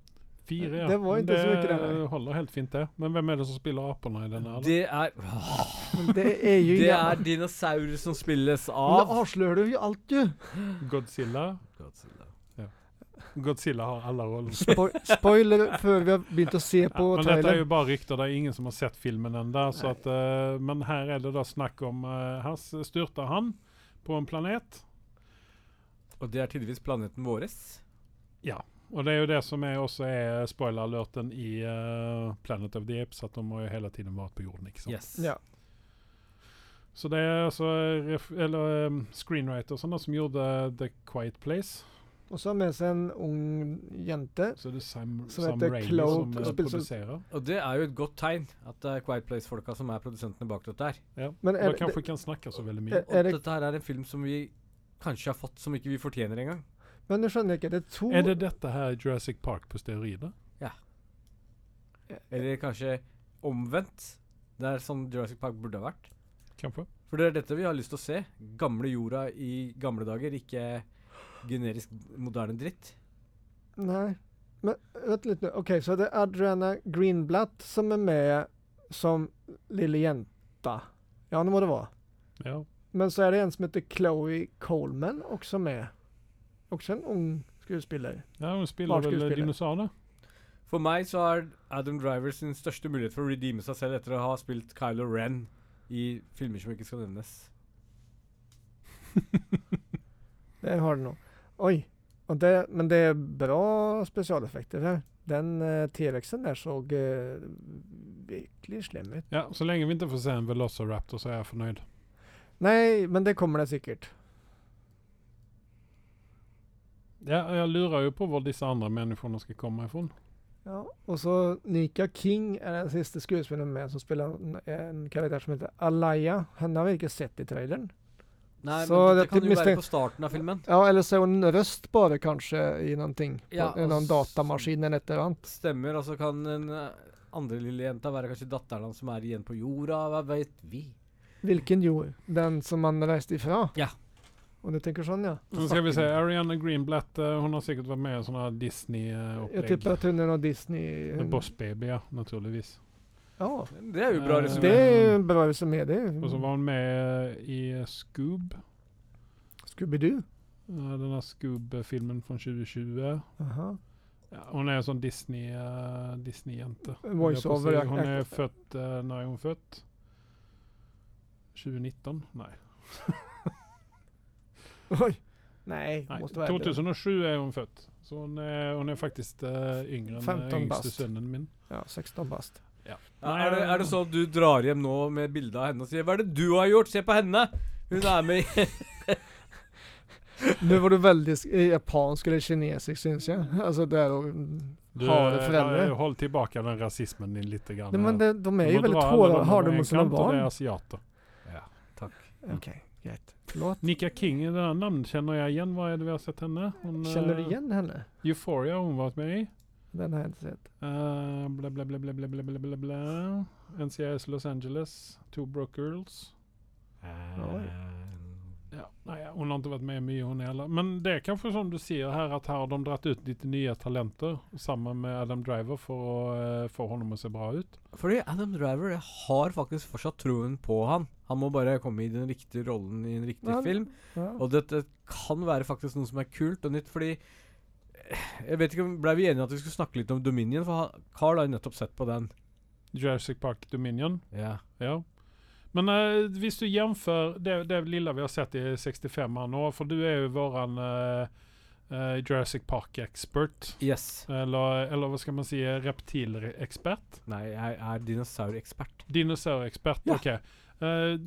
Fire, ja.
Det var
Men
ikke så mycket det, nei.
eh, holder helt fint, det. Men hvem er det som spiller apene i denne? her da?
Det er Åh,
Men det är ju
Det
inga...
er dinosaurer som spilles
Men
av
då avslører du ju allt ju.
Godzilla.
Godzilla.
Godzilla har alle roller.
Spo- spoiler för vi har begynt att se
Ja,
på
men dette er
trailern.
jo bare rykter, det er ingen som har sett filmen ennå. Uh, men her er det da snakk om eh, Her s- styrter han på en planet.
Og det er tydeligvis planeten vår.
Og det er jo det som er også er spoiler-alerten i eh, Planet of the Apes, at de har jo hele tiden vært på jorden. ikke sant?
Yes.
Ja.
Så det er altså ref eller, um, screenwriter og sånne som gjorde eh, The Quiet Place.
Och så har med sig en ung jente.
Så det er Sam,
Som
Sam
heter
Raimi
Cloud,
som eh,
og spiller som-
produserer.
Og det er jo et godt tegn at det er Quiet Place-folka som er produsentene bak dette her.
Ja.
Men
Man
är,
kanskje ikke kan snakke så veldig mye.
det-
Og
er det,
dette her er en film som vi kanskje har fått som ikke vi fortjener engang.
men nu skjønner jeg ikke, det er to...
Er det dette her Jurassic Park på steroider?
Eller kanskje omvendt. Det er sånn Jurassic Park burde ha vært.
Kanskje?
For det er dette vi har lyst til å se. Gamle jorda i gamle dager, ikke generisk moderne dritt.
Nei. Men vent litt nå. OK, så det er Adriana Greenblatt som er med som lille jenta. Ja, det må det være.
Ja.
Men så er det en som heter Chloé Coleman også med. Også en ung skuespiller.
ja, hun spiller vel
Barnskuespiller.
dinosaurer.
For meg så er Adam Driver sin største mulighet for å redeeme seg selv etter å ha spilt Kylo Ren i filmer som ikke skal nevnes.
Det har du nå. Oi. Og det, men det er bra spesialeffekter her. Den eh, T-rexen der så eh, virkelig slem ut.
Ja, så länge vi inte får se en Velociraptor så är jag förnöjd.
Nei, men det kommer det sikkert.
Ja, jag lurar ju på var dessa andra människorna ska komma ifrån.
Ja, og så Nika King er den siste skuespilleren med som spiller en, en karakter som heter Alaya. Henne har vi ikke sett i traileren.
Nei,
Så
men det
dette
kan jo
mistenk-
være på starten av filmen.
Ja, eller så er hun en røst bare, kanskje, i noen ting. På,
Ja,
i noen
og s-
datamaskin eller et eller annet.
Stemmer. Og så kan den eh, andre lille jenta være kanskje datteren hans som er igjen på jorda. Hva vet vi?
Hvilken jord? Den som han reiste ifra?
Ja.
Og du tenker sånn, ja?
Sen ska vi se, Ariana Greenblatt, eh, hon har säkert varit med i sådana här
Jeg
Disney-upplägg.
tipper at hun er noe Disney...
En Boss Baby, ja, naturligvis.
Ja.
Det er jo bra
Eh,
resumé.
Det er jo en bra resumé, det.
Och så var hon med eh, i Scoob,
Scooby-Doo.
eh, den här Scoob-filmen från 2020.
Aha.
Ja, hon är en sån Disney, eh, Disney-jente.
Voiceover,
Ja, precis.
ja,
Hon är
ja.
född, eh, när är hon född? 2019? Nej.
Oi. Nej,
Nej,
måste vara
2007 är hon född. Så hon är, hon är faktiskt eh, yngre än
15
eh, yngste
bast.
sönnen min.
Ja, 16 bast.
Ja, er, det, er det sånn at du drar hjem nå med bilde av henne og sier 'Hva er det du har gjort? Se på henne!' Hun er med i
Nu var du väldigt sk- japansk eller kinesisk syns jag. Alltså där och... mm,
Du,
har det
eh,
föräldrar.
eh, håll tillbaka den rasismen din lite grann.
Nej, men det, de är
Du
ju
må
väldigt
dra
hårda.
alla de
Har
över
de
en
hos sina
kant, och Det är
barn?
asiater.
Ja, takk.
Okej, grejt. Förlåt.
Nika King, det där namnet känner jag igen. Vad är det vi har sett henne? Hon,
Känner du
eh,
igen henne?
Euphoria har hon varit med i.
Den har jag inte sett.
Uh, bla, bla, bla, bla, bla, bla, bla, bla, bla. NCIS Los Angeles, Two Broke Girls.
Oj.
Ja, nej, hon har inte varit med mycket hon heller. Men det är kanske som du ser här att här har de dragit ut lite nya talenter. Samma med Adam Driver för att eh, få honom att se bra ut.
Fordi Adam Driver jeg har faktisk fortsatt troen på han. Han må bare komme i den riktige rollen i en riktig
Ja, han-
film.
Ja.
Og dette kan være faktisk noe som er kult og nytt, fordi eh, jeg vet ikke, om- Blei vi enige om at vi skulle snakke litt om Dominion? For han- Carl har jo nettopp sett på den.
Jurassic Park Dominion.
Ja.
Ja. Men eh, hvis du jämför det, det lilla vi har sett i 65 an år, för du är ju våran eh, eh, Jurassic Park-expert.
Yes.
Eller, eller vad ska man säga, reptilexpert?
Nei, jeg er dinosaurekspert.
Dinosaurexpert,
Ja.
okej. Eh,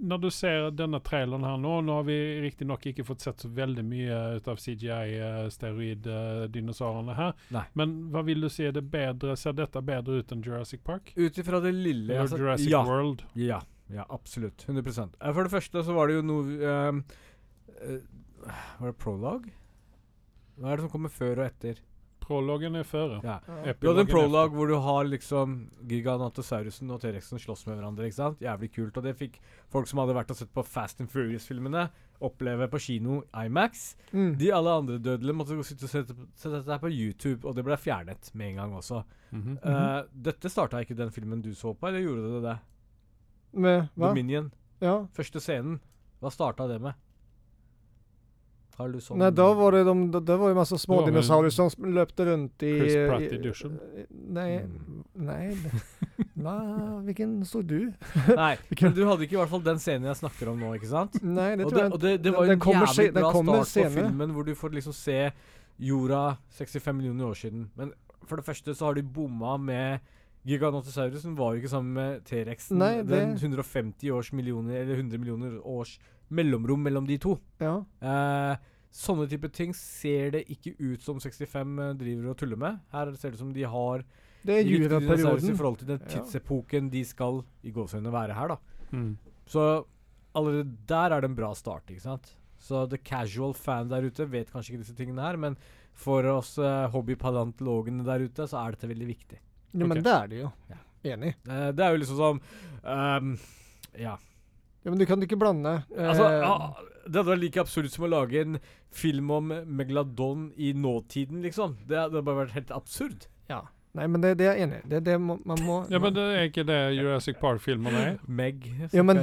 när du ser denna trailern här nu, nu har vi riktigt nog inte fått sett så väldigt mycket utav CGI eh, steroid eh, dinosaurierna här.
Nej.
Men vad vill du se det bättre? Ser detta bättre ut än Jurassic Park?
Ut ifra det lille
Eller
jeg har sett-
Jurassic
alltså, ja.
World?
Ja, ja, absolutt. 100 Eh, For det første så var det jo noe ehm, eh, Var det prolog? Hva er det som kommer før og etter?
Prologen är före.
Ja.
Ja.
Epilogen
Du hadde en
efter.
prolog hvor du har liksom Giganatosaurusen og T-rexen slåss med hverandre. ikke sant? Jævlig kult. Og det fikk folk som hadde vært og sett på Fast and Furious-filmene, oppleve på kino Imax.
Mm.
De alle andre dødelige måtte gå og sitte og sette, sette dette her på YouTube, og det ble fjernet med en gang også.
Mhm.
Mm.
Eh, dette starta ikke den filmen du så på, eller gjorde det det?
Med, va?
Dominion.
Ja.
Første scenen, hva starta det med? Har du sånn
Nej, då var det de, då, då var det en massa
Det
små
var väl
dinosaurier som sp- löpte runt i...
Chris Pratt i
i-
duschen.
Nej,
Mm.
nej. Va, vilken såg du?
Nei, men du hadde ikke i hvert fall den scenen jeg snakker om nå, ikke sant?
Nej, det
Og
tror
det,
jag
og
inte.
det, det var
Den-
jo
den
en
kommer se-
jævlig
den
bra
kommer
start på
senere.
filmen, hvor du får liksom se jorda 65 millioner år siden. Men for det første så har de bomma med Giganotosaurus, den var jo ikke sammen med T-rexen.
Nei, det-
Den 150 års millioner, eller 100 millioner års mellomrom mellom de to.
Ja.
Eh, sånne type ting ser det ikke ut som 65 driver og tuller med. Her ser det ut som de har
Det är
riktig dinosaurus i
juraperioden.
forhold til den
Ja.
tidsepoken de skal i gåsehudene være her, da.
Mm.
Så allerede der er det en bra start, ikke sant. Så the casual fan der ute vet kanskje ikke disse tingene her, men for oss eh, hobbypalantologene der ute, så er dette veldig viktig.
Ja, men
Okej.
det är det ju.
Ja.
Enig.
Eh, det er jo liksom som ehm, Ja.
Ja, men du kan ikke blande. eh,
Alltså,
Altså, ah, det hadde vært like absurd som å lage en film om Megladon i nåtiden, liksom. Det hadde bare vært helt absurd.
ja. Nei, men det, det er jeg enig i. Det er det må, man må
Ja, men det er ikke det Jurassic Park-filmen er.
Meg.
Ja, men de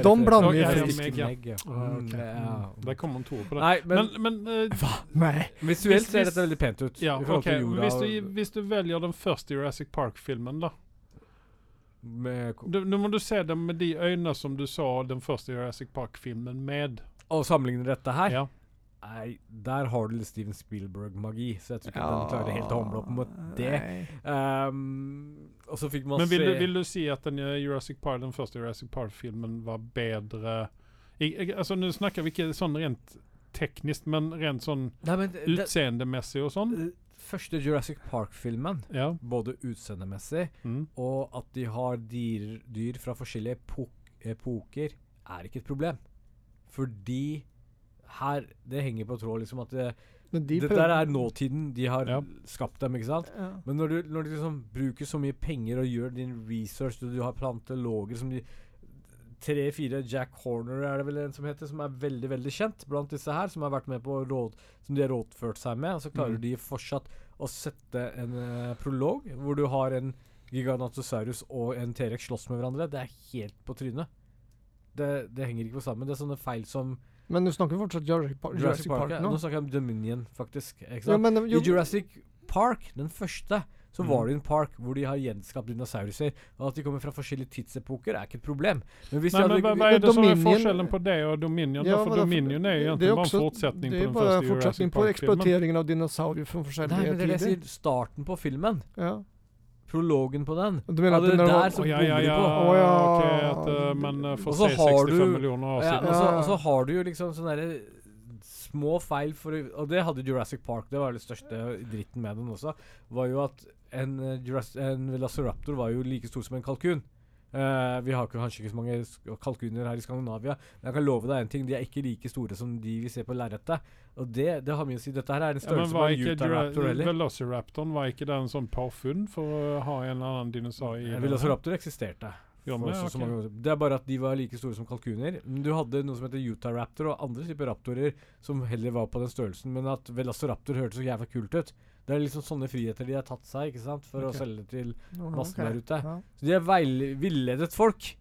jo
blander
ja,
fisk.
Meg, ja.
Meg,
Ah,
Mm,
ok.
ja.
Der kom han to på det.
Nei, men,
Men, men eh,
Nei.
visuelt
hvis-
ser
hvis-
dette veldig pent ut.
ja,
i forhold
ok.
til jorda
Men Hvis
og-
du, hvis du velger den første Jurassic Park-filmen, da
med, ko-
Du- Nå må du se den med de øynene som du så den første Jurassic Park-filmen med.
Og sammenligner dette her
Ja.
Nei, der har du litt Steven Spielberg-magi, så jeg tror ikke den klarer helt å hamle opp mot det.
Nei.
Ehm, og så fikk man
Men vil
se
du, vil du si at den, eh, Jurassic Park, den første Jurassic Park-filmen var bedre I, jeg, Altså, nå snakker vi ikke sånn rent teknisk, men rent sånn
Nei, men det- det-
utseendemessig og sånn.
eh, første Jurassic Park-filmen,
Ja.
både utseendemessig
Mm.
og at de har dyr, dyr fra forskjellige epok epoker, er ikke et problem. Fordi her Det henger på tråd, liksom, at det,
Men de
det
prøv-
der er nåtiden. De har
Ja.
skapt dem, ikke sant?
Ja.
Men når du, når du liksom bruker så mye penger og gjør din research, og du har planteologer som de Tre-fire Jack Horner er det vel en som heter, som er veldig veldig kjent blant disse her, som har vært med på råd, som de har rådført seg med. Og så
Mm.
klarer
Mhm.
de fortsatt å sette en eh, prolog hvor du har en Gigantosaurus og en T-rex slåss med hverandre. Det er helt på trynet. Det, det henger ikke på sammen. Det er sånne feil som
Men du snakker fortsatt Jurassic Park, Jurassic Park
ja.
nå?
Nå snakker jeg om Dominion, faktisk. Ikke sant?
Ja, men, jo,
I Jurassic Park, den første, så var
Mhm.
det en park hvor de har gjenskapt dinosauruser. Og at de kommer fra forskjellige tidsepoker, er ikke et problem. Men hvis
Nei,
de
men hva,
hadde,
hva er det som er
Dominion-
forskjellen på det og Dominion?
Ja,
da?
men
for
det-
Dominion er jo
det er
egentlig bare en
også-
fortsetning
det er
på den
bare en
første
fortsetning
Jurassic
på
Park-filmen.
eksploateringen av dinosaurer fra
Nei,
forskjellige
men det er det jeg
tider.
sier. Starten på filmen.
Ja.
Prologen på den.
Du mener at
Allerede
når det
der
var,
så
Å, ja, ja,
bommer de
ja,
på.
Å, ja.
ok, at, eh, men eh,
Og
for
så
C65
har du-
millioner år
Ja,
siden.
og, så,
Ja.
og så har du jo liksom sånne derre små feil for Og det hadde Jurassic Park. Det var jo det største dritten med den også. Var jo at en, eh, Juras- en velociraptor var jo like stor som en kalkun. Eh, vi har ikke- kanskje ikke så mange sk- kalkuner her i Skandinavia, men jeg kan love deg en ting. De er ikke like store som de vi ser på lerretet. Og det, det har mye å si. Dette her er
Ja,
en
men
størrelse på
var
en
ikke
Utahraptor
Jura-
heller.
Velociraptoren var ikke det en sånn påfunn for å ha en eller annen dinosaur
Eh,
i
En
den?
Velociraptor eksisterte.
Ja,
for
men,
så-
ja,
så
ok.
mange år siden. Det er bare at de var like store som kalkuner. Men Du hadde noe som heter Utah-raptor og andre typer raptorer som heller var på den størrelsen, men at Velociraptor hørtes så jævla kult ut. Det er liksom sånne friheter de har tatt seg ikke sant, for
Ok.
å selge til
Ja,
massen
ok.
der ute.
Ja.
Så de har veil- villedet folk.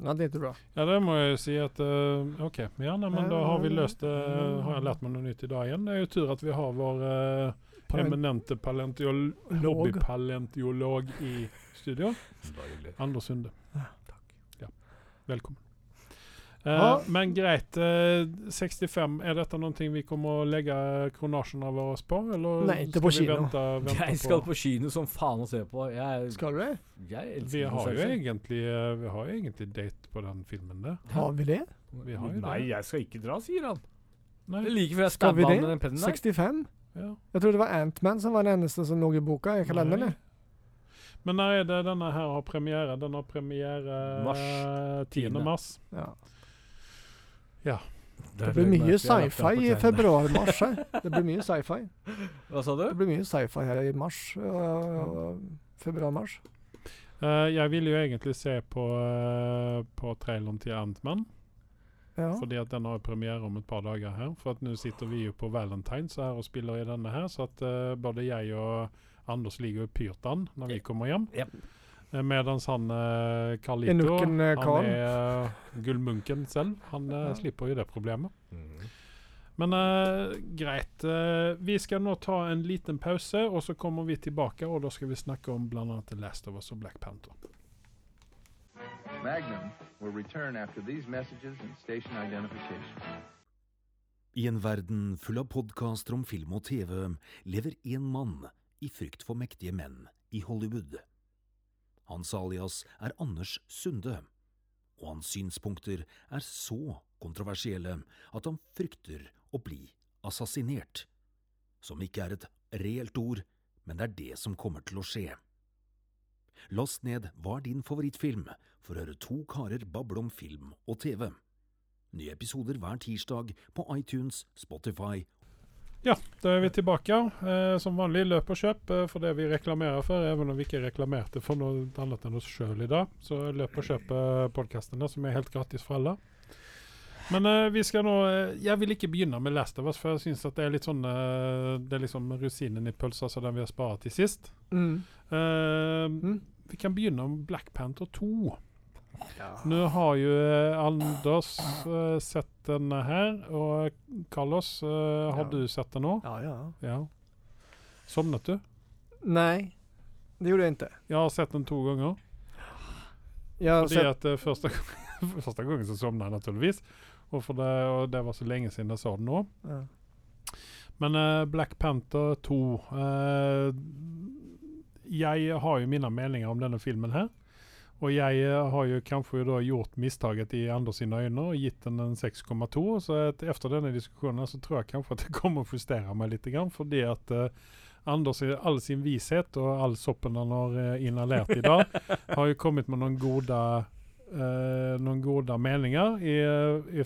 Nei, det er ikke bra.
Ja, det må jeg jo si at eh, OK. Ja, nei, men da har vi løst det.
mm.
har jeg lært meg noe nytt i dag igjen. Det er jo tur at vi har vår eh, eminente paleontiol-
Log.
hobbypaleontolog i studio. Anders Sunde.
Ah,
Ja. Velkommen. Eh,
Ja.
Men greit. eh, 65, er dette noe vi kommer å legge kronasjene våre på? Eller
Nei, ikke
skal
på
vi
kino.
Vente, vente
Jeg skal
på
på kino som faen å se på. Jeg,
Skal du det?
jeg elsker
vi har, jo
konserter.
egentlig, eh, vi har jo egentlig date på den filmen der.
Har vi det?
Vi har jo
Nei,
det.
jeg skal ikke dra, sier han. Det
Nei,
er like før jeg
Skal vi
stabba han
det?
med den pennen der.
65?
ja.
Jeg trodde det var Antman som var den eneste som lå i boka i kalenderen.
Nei. Men når er det denne her har premiere? Den har premiere
Mars.
10.
Tiende.
mars.
Ja.
Der
Det blir
legger jeg
mye
merke til at jeg har
sci-fi
lagt den
i
på kalenderen.
februar-mars her. Det blir mye sci-fi.
Hva sa du?
Det blir mye sci-fi her i mars. eh, øh, Februar-mars.
Eh, jeg ville jo egentlig se på, eh, på traileren til Ant-Man,
Ja.
fordi at den har premiere om et par dager her. For at nå sitter vi jo på Valentine's her og spiller i denne her, så at eh, både jeg og Anders ligger og pyrt an når vi kommer hjem.
Jep.
Eh, Mens han eh, Carlito,
Enukken, eh,
han
Carl.
er eh, gullmunken selv, han eh,
Ja.
slipper jo det problemet. Men eh, greit. Eh, vi skal nå ta en liten pause, og så kommer vi tilbake. Og da skal vi snakke om bl.a. Last of Us og Black Panther.
Magnum will return after these messages and station identification.
I en verden full av podkaster om film og TV lever én mann i frykt for mektige menn i Hollywood. Hans alias er Anders Sunde, og hans synspunkter er så kontroversielle at han frykter å bli assassinert. Som ikke er et reelt ord, men det er det som kommer til å skje. Last ned Hva er din favorittfilm? for å høre to karer bable om film og TV. Nye episoder hver tirsdag på iTunes, Spotify
Ja, da er vi tilbake. Eh, som vanlig, løp og kjøp eh, for det vi reklamerer for. Even om vi ikke reklamerte for noe annet enn oss sjøl i dag, så løp og kjøp eh, podkastene, som er helt gratis for alle. Men eh, vi skal nå eh, Jeg vil ikke begynne med Last of Us, for jeg syns det er litt sånn eh, Det er liksom rosinen i pølsa, så den vi har sparet til sist.
Mm.
Eh,
Mm.
Vi kan begynne med Black Panther 2. Nå har jo eh, Anders eh, sett denne her, og Carlos, eh, har
Ja.
du sett den nå?
Ja, ja.
Ja. Sovnet du?
Nej, det gjorde jag inte.
Jeg har sett den to ganger.
Jag har
Fordi
sett,
at eh, første, gang- første gangen så sovna jeg naturligvis. Og, for det, og det var så lenge siden jeg så den nå.
ja.
Men eh, Black Panther 2 eh, Jeg har jo mine meninger om denne filmen her. Og jeg eh, har jo kanskje da gjort mistaket i Anders sine øyne og gitt den en 6,2. Så et, efter denne diskusjonen så tror jeg kanskje at jeg kommer å justere meg litt. Grann, fordi at eh, Anders i all sin vishet og all soppen han har eh, inhalert i dag, har jo kommet med noen gode, eh, noen gode meninger i, eh, i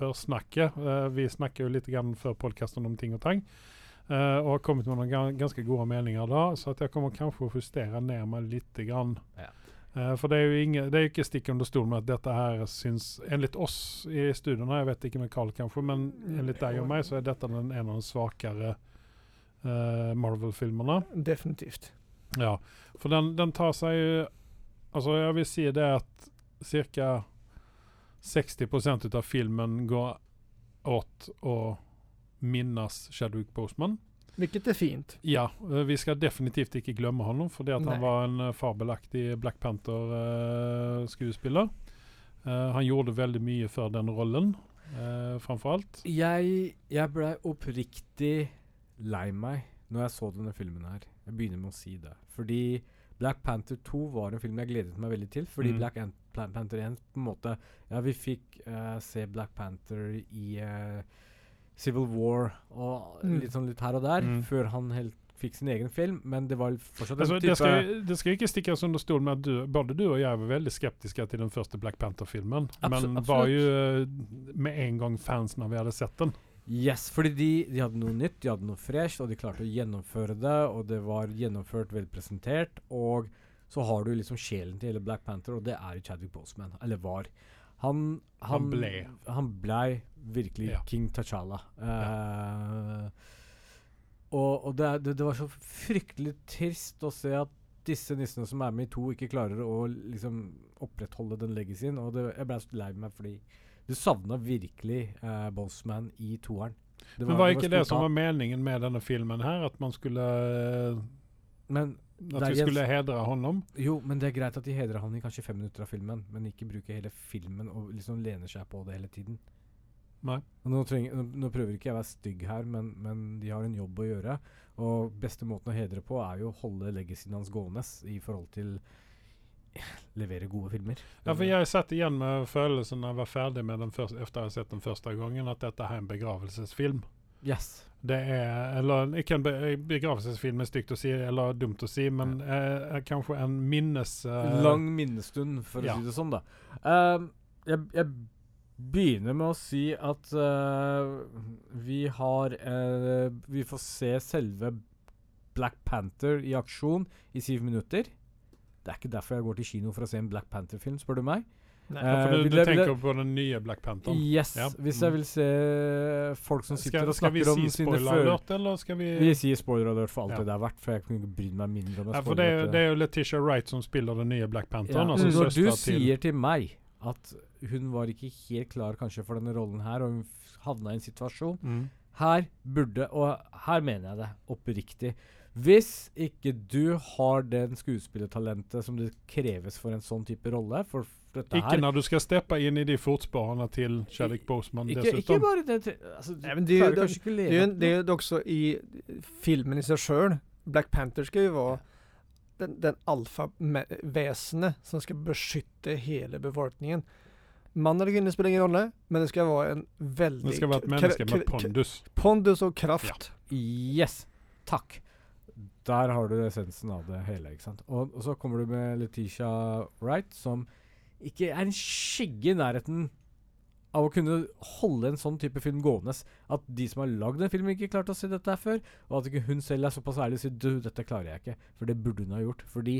forsnakket. Eh, vi snakker jo litt grann før podkasten om ting og tang. eh, og har kommet med noen gan- ganske gode meninger da, så at jeg kommer kanskje å justere ned meg litt. Grann.
Ja.
Eh, for det er jo ingen, det er jo ikke stikk under stol med at dette her syns Enligt oss i studioene, jeg vet ikke med Carl kanskje, men enligt deg og meg så er dette den en av de svakere eh, Marvel-filmerna.
definitivt.
Ja, for den, den tar alltså seg jo Altså, jeg vil si det at ca. 60 av filmen går åt å minnes Chadwick Boseman.
Vilket är fint.
Ja, eh, vi skal definitivt ikke glemme ham, fordi at
Nei.
han var en eh, fabelaktig Black Panther-skuespiller. Eh, han gjorde veldig mye for den rollen, eh, framfor alt.
Jeg, jeg blei oppriktig lei meg når jeg så denne filmen her. Jeg begynner med å si det. Fordi Black Panther 2 var en film jeg gledet meg veldig til. Fordi
Mm.
Black Ant Plan- Panther 1 på en måte Ja, vi fikk eh, se Black Panther i eh, Civil War og
Mm.
litt sånn litt her og der,
Mm.
før han helt fikk sin egen film. Men typ det var fortsatt en
Altså,
type
det, skal, det skal ikke stikkes under stol med at du, både du og jeg var veldig skeptiske til den første Black Panther-filmen,
Absolutt,
men var
absolutt.
jo eh, med en gang fans når vi hadde sett den.
Yes, fordi de, de hadde noe nytt, de hadde noe fresh, og de klarte å gjennomføre det, og det var gjennomført, vel presentert, og så har du liksom sjelen til hele Black Panther, og det er jo Chadwick Boseman, eller var. Han,
Han ble.
Han blei virkelig
Ja.
King T'Challa. Eh, Og, og det, er- det, det var så fryktelig trist å se at disse nissene som er med i to, ikke klarer å liksom opprettholde den legacyen, og det, jeg blei så lei meg fordi du savna virkelig eh, Boseman i toeren. Det
Men var
var
ikke det
stort
som
tap,
var meningen med denne filmen her, at man skulle eh,
Men
at
Nei,
vi
Jens-
skulle hedre honom?
Jo, men det er greit at de hedrer han i kanskje fem minutter av filmen, men ikke bruker hele filmen og liksom lener seg på det hele tiden.
Nei.
Og Nå, trenger, nå, nå prøver ikke jeg å være stygg her, men, men de har en jobb å gjøre. Og beste måten å hedre på er jo å holde legacyen hans gående i forhold til levere gode filmer.
Ja, for jeg satt igjen med følelsen når jeg var ferdig med den første, efter jeg hadde sett den første gangen, at dette her er en begravelsesfilm.
Yes.
Det er Eller ikke en be- begravelsesfilm, er stygt å si, eller dumt å si, men eh, kanskje en minnes... eh,
Lang minnestund, for å
ja.
si det sånn, da. Ehm, jeg, jeg begynner med å si at eh, vi har eh, Vi får se selve Black Panther i aksjon i syv minutter. Det er ikke derfor jeg går til kino for å se en Black Panther-film, spør du
Nei.
meg.
Ja,
Eh,
for du, du
vil jeg- vil jeg-
tenker på den nye Black Panther?
Yes.
Ja.
Hvis
Mm.
jeg vil se folk som sitter
Skal,
og
skal vi
snakker
si
om sine
spoiler
før...
alert, eller skal vi,
Vi sier spoiler alert for alt
Ja.
det det er verdt, for jeg kunne ikke bry meg mindre om
ja,
jeg
For det er, jo-
spoiler
det er jo Letitia Wright som spiller den nye Black Pantheren. Altså
Mm.
Når du
søstera til
sier til meg at hun var ikke helt klar kanskje for denne rollen her, og hun f- havna i en situasjon
mm.
Her burde, og her mener jeg det oppriktig Hvis ikke du har den skuespillertalentet som det kreves for en sånn type rolle For f- dette
Ikke
her
når du skal steppe inn i de fotsporene til Chadwick Boseman,
ikke, ikke
dessutom.
bare det til- altså, Du
Nei, men det er jo-
klarer kanskje ikke
Det
å leve
är ju en- det är ju också i filmen i sig själv. Black Panther ska ju vara den, den alfaväsende som ska beskytta hela befolkningen. Man eller kvinna spelar ingen roll, men det ska vara en väldigt...
Det skal være et
kra-
menneske med
kra- kra-
pondus.
Pondus og kraft.
Yes! Takk. Der har du essensen av det hele. ikke sant? Og, og så kommer du med Letitia Wright, som ikke er en skygge i nærheten av å kunne holde en sånn type film gående. At de som har lagd den filmen, ikke klarte å se dette her før. Og at ikke hun selv er såpass ærlig og sier 'du, dette klarer jeg ikke'. For det burde hun ha gjort. Fordi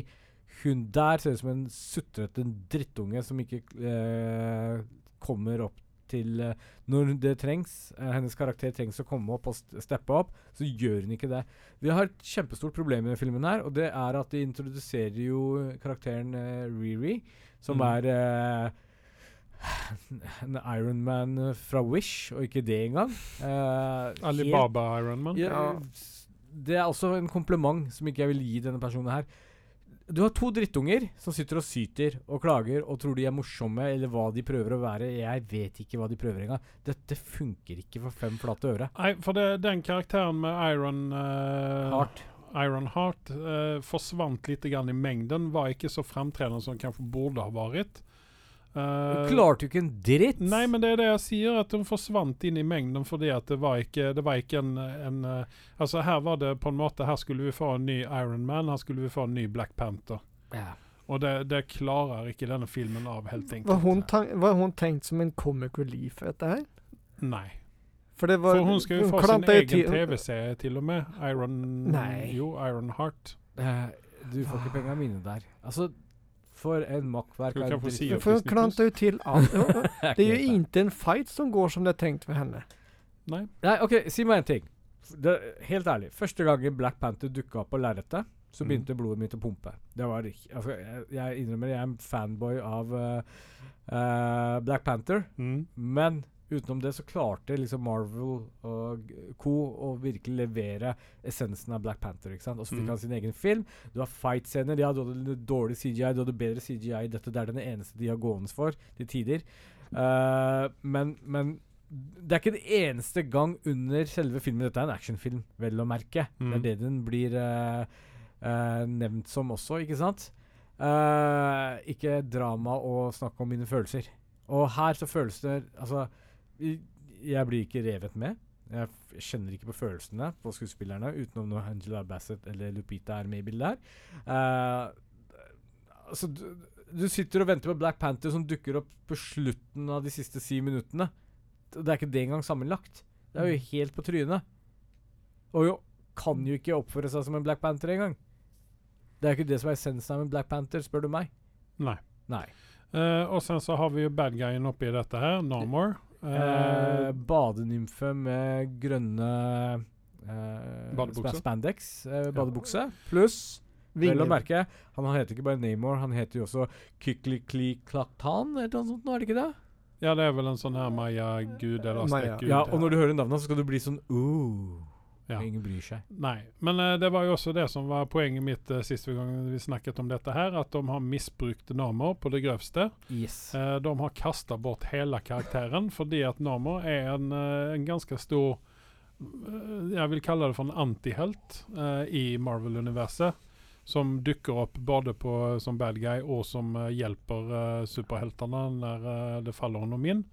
hun der ser ut som en sutrete drittunge som ikke eh, kommer opp til eh, Når det trengs, eh, hennes karakter trengs å komme opp og st- steppe opp, så gjør hun ikke det. Vi har et kjempestort problem i denne filmen her, og det er at de introduserer jo karakteren eh, Riri, som
Mm.
er eh, en Ironman fra Wish, og ikke det engang. Eh, helt-
Alibaba Ironman.
ja,
Ja.
s- Det er også en kompliment som ikke jeg vil gi denne personen her. Du har to drittunger som sitter og syter og klager og tror de er morsomme eller hva de prøver å være. Jeg vet ikke hva de prøver engang. Dette funker ikke for fem flate øre.
Nei, for det, den karakteren med Iron eh,
Hardt.
Iron Heart eh, forsvant lite grann i mängden, var ikke så framträdande som kanske borde ha varit.
Du
Eh,
klarte jo ikke en dritt!
Nej men det är det jag säger, att de försvant in i mängden för det att det var inte, det var inte en, en eh, Alltså här var det på en måte, här skulle vi få en ny Iron Man, här skulle vi få en ny Black Panther.
Ja.
Och det, det klarar inte den här filmen av helt enkelt.
Var hun, tan- var hun tenkt som en comic relief dette her?
Nej.
For det var
För hon ska ju få sin
klantet i
egen
ti-
tv-serie till och med. Iron...
Nej.
Jo, Iron Heart.
Eh, Du får ikke penga mine der. Altså, for en makkverk
Skal vi
av en
ikke få si
dritt.
opp
For hun
Disney+.
klantar ju till allt. Det är ju
Helt ærlig.
inte en fight som går som det är tänkt för henne.
Nej.
Nei, ok, si meg en ting. F- Det, helt ærlig. Første gangen Black Panther dukka opp på lerretet, så
Mm.
begynte blodet mitt å pumpe. Det var alltså, ikke- altså, jeg, jeg innrømmer jeg er en fanboy av eh, eh, Black Panther,
Mm.
men utenom det så klarte liksom Marvel og co. å virkelig levere essensen av Black Panther. ikke sant? Og så fikk
Mm.
han sin egen film. Du har fight-scener. Ja, du hadde litt dårlig CGI, du hadde bedre CGI. Dette det er den eneste de har gående for til tider. Eh, men, men det er ikke den eneste gang under selve filmen. Dette er en actionfilm, vel å merke. Det
Mm.
er det den blir eh, eh, nevnt som også, ikke sant? Eh, ikke drama og snakk om mine følelser. Og her så føles det Altså, i- jeg blir ikke revet med. Jeg f- kjenner ikke på følelsene på skuespillerne, utenom når Angela Bassett eller Lupita er med i bildet her. Eh, altså, du, du sitter og venter på Black Panther som dukker opp på slutten av de siste si minuttene. Det det er ikke det engang sammenlagt. Det er jo helt på trynet. Og jo, kan jo ikke oppføre seg som en Black Panther engang. Det er jo ikke det som er essensen av en Black Panther, spør du meg.
Nej.
Nei.
Eh, och sen så har vi ju bad guyen uppe i detta här, Namor.
Eh, badenymfe med grønne eh,
Badebukse.
spa- Spandex. Eh, badebukse. Pluss, vel å
Vinger.
merke, han heter ikke bare Namor, han heter jo også Kyklikliklatan, eller noe sånt, nå er det ikke det?
ja, det är väl en sån här Maya-gud eller
Maya.
skräckgud.
Ja, og når du hører navnet, så skal du bli sånn uh.
Ja.
Ingen bryr seg.
Nej, men eh, det var ju också det som var poängen mitt eh, sist vi gången vi snackat om detta här, att de har missbrukt Namor på det grövsta.
Yes.
Eh, de har kastat bort hela karaktären för det att Namor är en, eh, en ganska stor, eh, jag vill kalla det för en antihelt eh, i Marvel-universet. Som dyker upp både på, eh, som bad guy och som eh, hjälper eh, superhjältarna när eh, det faller honom in.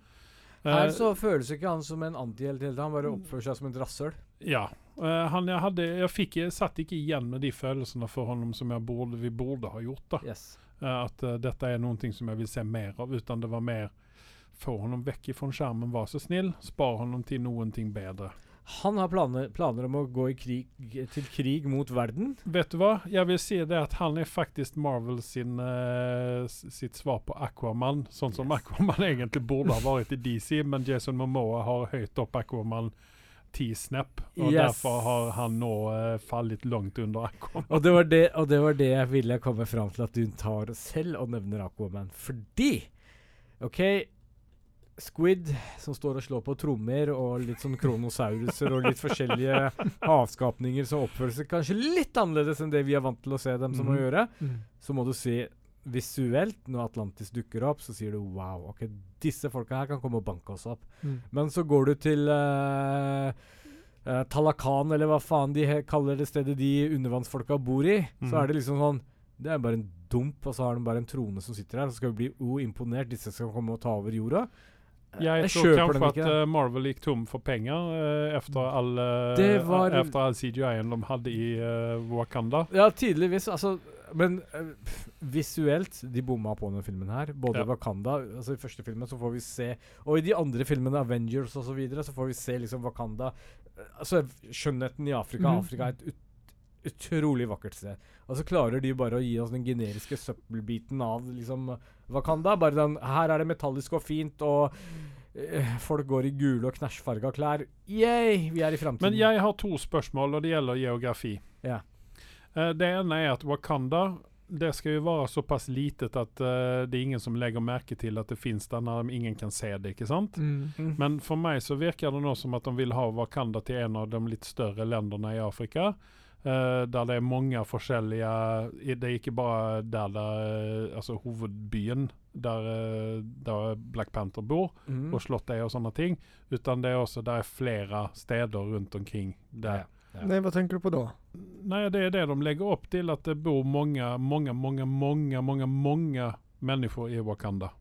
Eh,
Her så føles ikke han som en antihelt hele tiden, han bare oppfører seg som et rasshøl.
Ja. Eh, han, jeg, hadde, jeg, fikk, jeg satt ikke igjen med de følelsene for ham som jeg borde, vi burde ha gjort. Da.
Yes.
Eh, at eh, dette er noe som jeg vil se mer av. Utan det var mer Få ham vekk fra skjermen, vær så snill. Spar ham til noe bedre.
Han har planer, planer om å gå i krig, til krig mot verden.
Vet du hva? Jeg vil si det at han er faktisk Marvel sin, eh, s- sitt svar på Aquaman. Sånn som
Yes.
Aquaman egentlig burde ha vært i DC, men Jason Momoa har høyt opp Aquaman ti snap. Og
Yes.
derfor har han nå eh, fallit langt under Aquaman.
Og det, var det, og det var det jeg ville komme fram til at du tar selv og nevner Aquaman. Fordi OK, Squid som står og slår på trommer, og litt sånn kronosauruser og litt forskjellige avskapninger som oppfører seg kanskje litt annerledes enn det vi er vant til å se dem som å
Mhm.
gjøre,
Mm.
så må du se visuelt, når Atlantis dukker opp, så sier du wow, OK, disse folka her kan komme og banke oss opp.
Mm.
Men så går du til eh, eh, Talakan, eller hva faen de he kaller det stedet de undervannsfolka bor i. Så
Mhm.
er det liksom sånn Det er bare en dump, og så har de bare en trone som sitter her. Så skal vi bli oh, imponert. Disse skal komme og ta over jorda.
Jeg, tror kanskje at eh, Marvel gikk tom for penger eh, efter all, eh,
Mm. Det var-
efter all CGI-en de hadde i eh, Wakanda.
Ja, tydeligvis. Altså Men eh, pff, visuelt, de bomma på denne filmen her.
Ja.
Både Wakanda Altså I første filmen så får vi se Og i de andre filmene, Avengers og så videre, så får vi se liksom Wakanda eh, Altså skjønnheten i Afrika.
Mhm.
Afrika er et ut utrolig vakkert sted. Og så klarer de bare å gi oss den generiske søppelbiten av liksom Wakanda. Bare den Her er det metallisk og fint, og eh, folk går i gule og knæsjfarga klær. Yay, vi er i framtiden.
Men jeg har to spørsmål, og det gjelder geografi.
Mm. Ja.
Eh, Det ene er at Wakanda det skal jo være såpass litet at eh, det er ingen som legger merke til at det finnes der når ingen kan se det. ikke sant?
Mm.
Mhm.
Men for meg så virker det nå som at de vil ha Wakanda til en av de litt større landene i Afrika. eh, der det er mange forskjellige i- Det er ikke bare der, der eh, altså hovedbyen der, eh, der Black Panther bor,
Mm.
og slottet er og sånne ting, utan det er også der er flere steder rundt omkring der.
Ja. Ja.
Nej, vad tänker du på då?
Nej, det är det de lägger upp till att det bor många, många, många, många, många, många människor i Wakanda.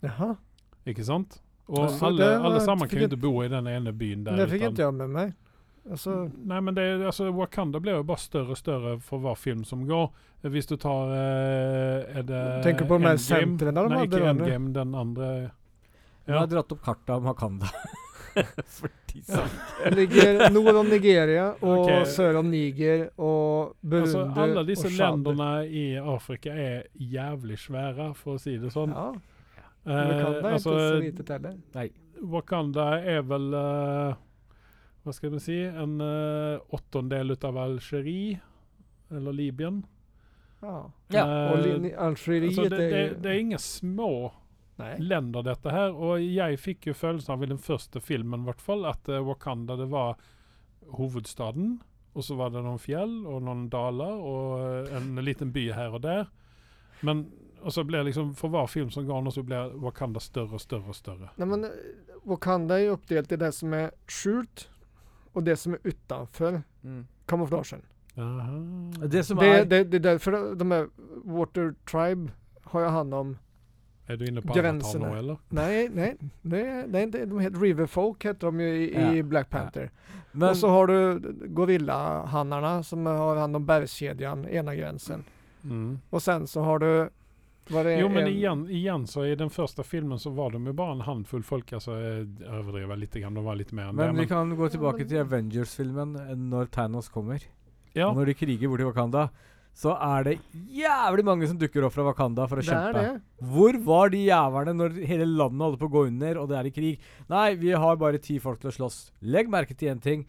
Jaha,
Ikke sant? Och
Alltså, det
alla,
var-
alla samman
fick
kan ju
inte-
inte bo i den ene byn där.
det fick
utan-
inte jag med mig. Alltså,
Nej men det är, alltså Wakanda blir ju bara större och större för var film som går. Eh, Visst du tar... Eh, är det
Tänker på de här
Endgame?
centren där de
Nej,
hade
inte
den, eller?
Endgame, den andra.
Jeg
Ja.
har dratt opp karta om Hakanda. Fordi så-
det ligger norr om Nigeria och
Okej.
söder om Niger och Burundi
Alltså, alla dessa
och Chad.
länderna i Afrika är jävligt svära för att säga det sånt.
Ja, Wakanda
eh,
är inte så
alltså,
litet heller.
Nei.
Wakanda er vel eh, Hva skal vi si En eh, åttendel ut av Algerie, eller Libyen.
Ja.
Ja.
Och Lin- Algeriet
Altså, eh, alltså, det,
är
det,
ju...
det er ingen små
Nej.
länder, dette her. Og jeg fikk jo følelsen av i den første filmen i hvert fall, at eh, Wakanda det var hovedstaden. Og så var det noen fjell og noen daler og eh, en liten by her og der. Men og så ble liksom, For hver film som går nå, så ble Wakanda større og større og større.
Nej, men eh, Wakanda är ju uppdelat i det som är skjult och det som är utanför kamouflagen.
Aha.
Det som
Det,
er
det, det är därför de här Water Tribe har ju hand om
Er du inne på Avatar nå,
Grensene.
eller?
Nej, nej, nej, nej det- de heter River Folk heter de ju i, i
Ja.
Black Panther.
Men
Och så har du gorillahannarna som har hand om bergskedjan, ena gränsen.
Mm.
Och sen så har du vad det är,
Jo, men
en-
igen, igen så i den första filmen så var de ju bara en handfull folk. Alltså jag överdriver lite grann, de var lite mer än det.
Men vi
Men,
kan gå
Ja,
tilbake
men-
til Avengers-filmen eh, når Thanos kommer.
ja,
Når de kriger borti Wakanda, så er det jævlig mange som dukker opp fra Wakanda for å
det är
kjempe.
det.
Hvor var de jævlene når hele landet holdt på å gå under, og det er i krig? Nei, vi har bare ti folk til å slåss. Legg merke til én ting.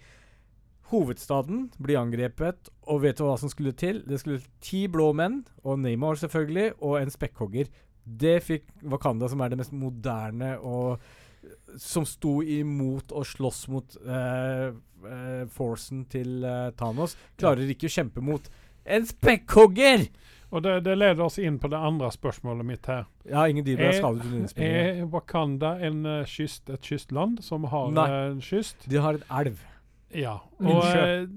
Hovedstaden blir angrepet, og vet du hva som skulle til? Det skulle ti blå menn, og Neymar selvfølgelig, og en spekkhogger. Det fikk Wakanda, som er det mest moderne og eh, Som sto imot og slåss mot eh, eh, forcen til eh, Thanos. Klarer ikke å kjempe mot en spekkhogger!
och det, det leder oss in på det andra spørsmålet mitt här.
Jeg har ingen dyr, men jeg
Eh,
er skadet under innspillingen.
Är Wakanda en eh, kyst, ett kystland som har
Nej.
eh, en kyst?
De har et elv.
Ja.
Min
Och
sjö.
eh,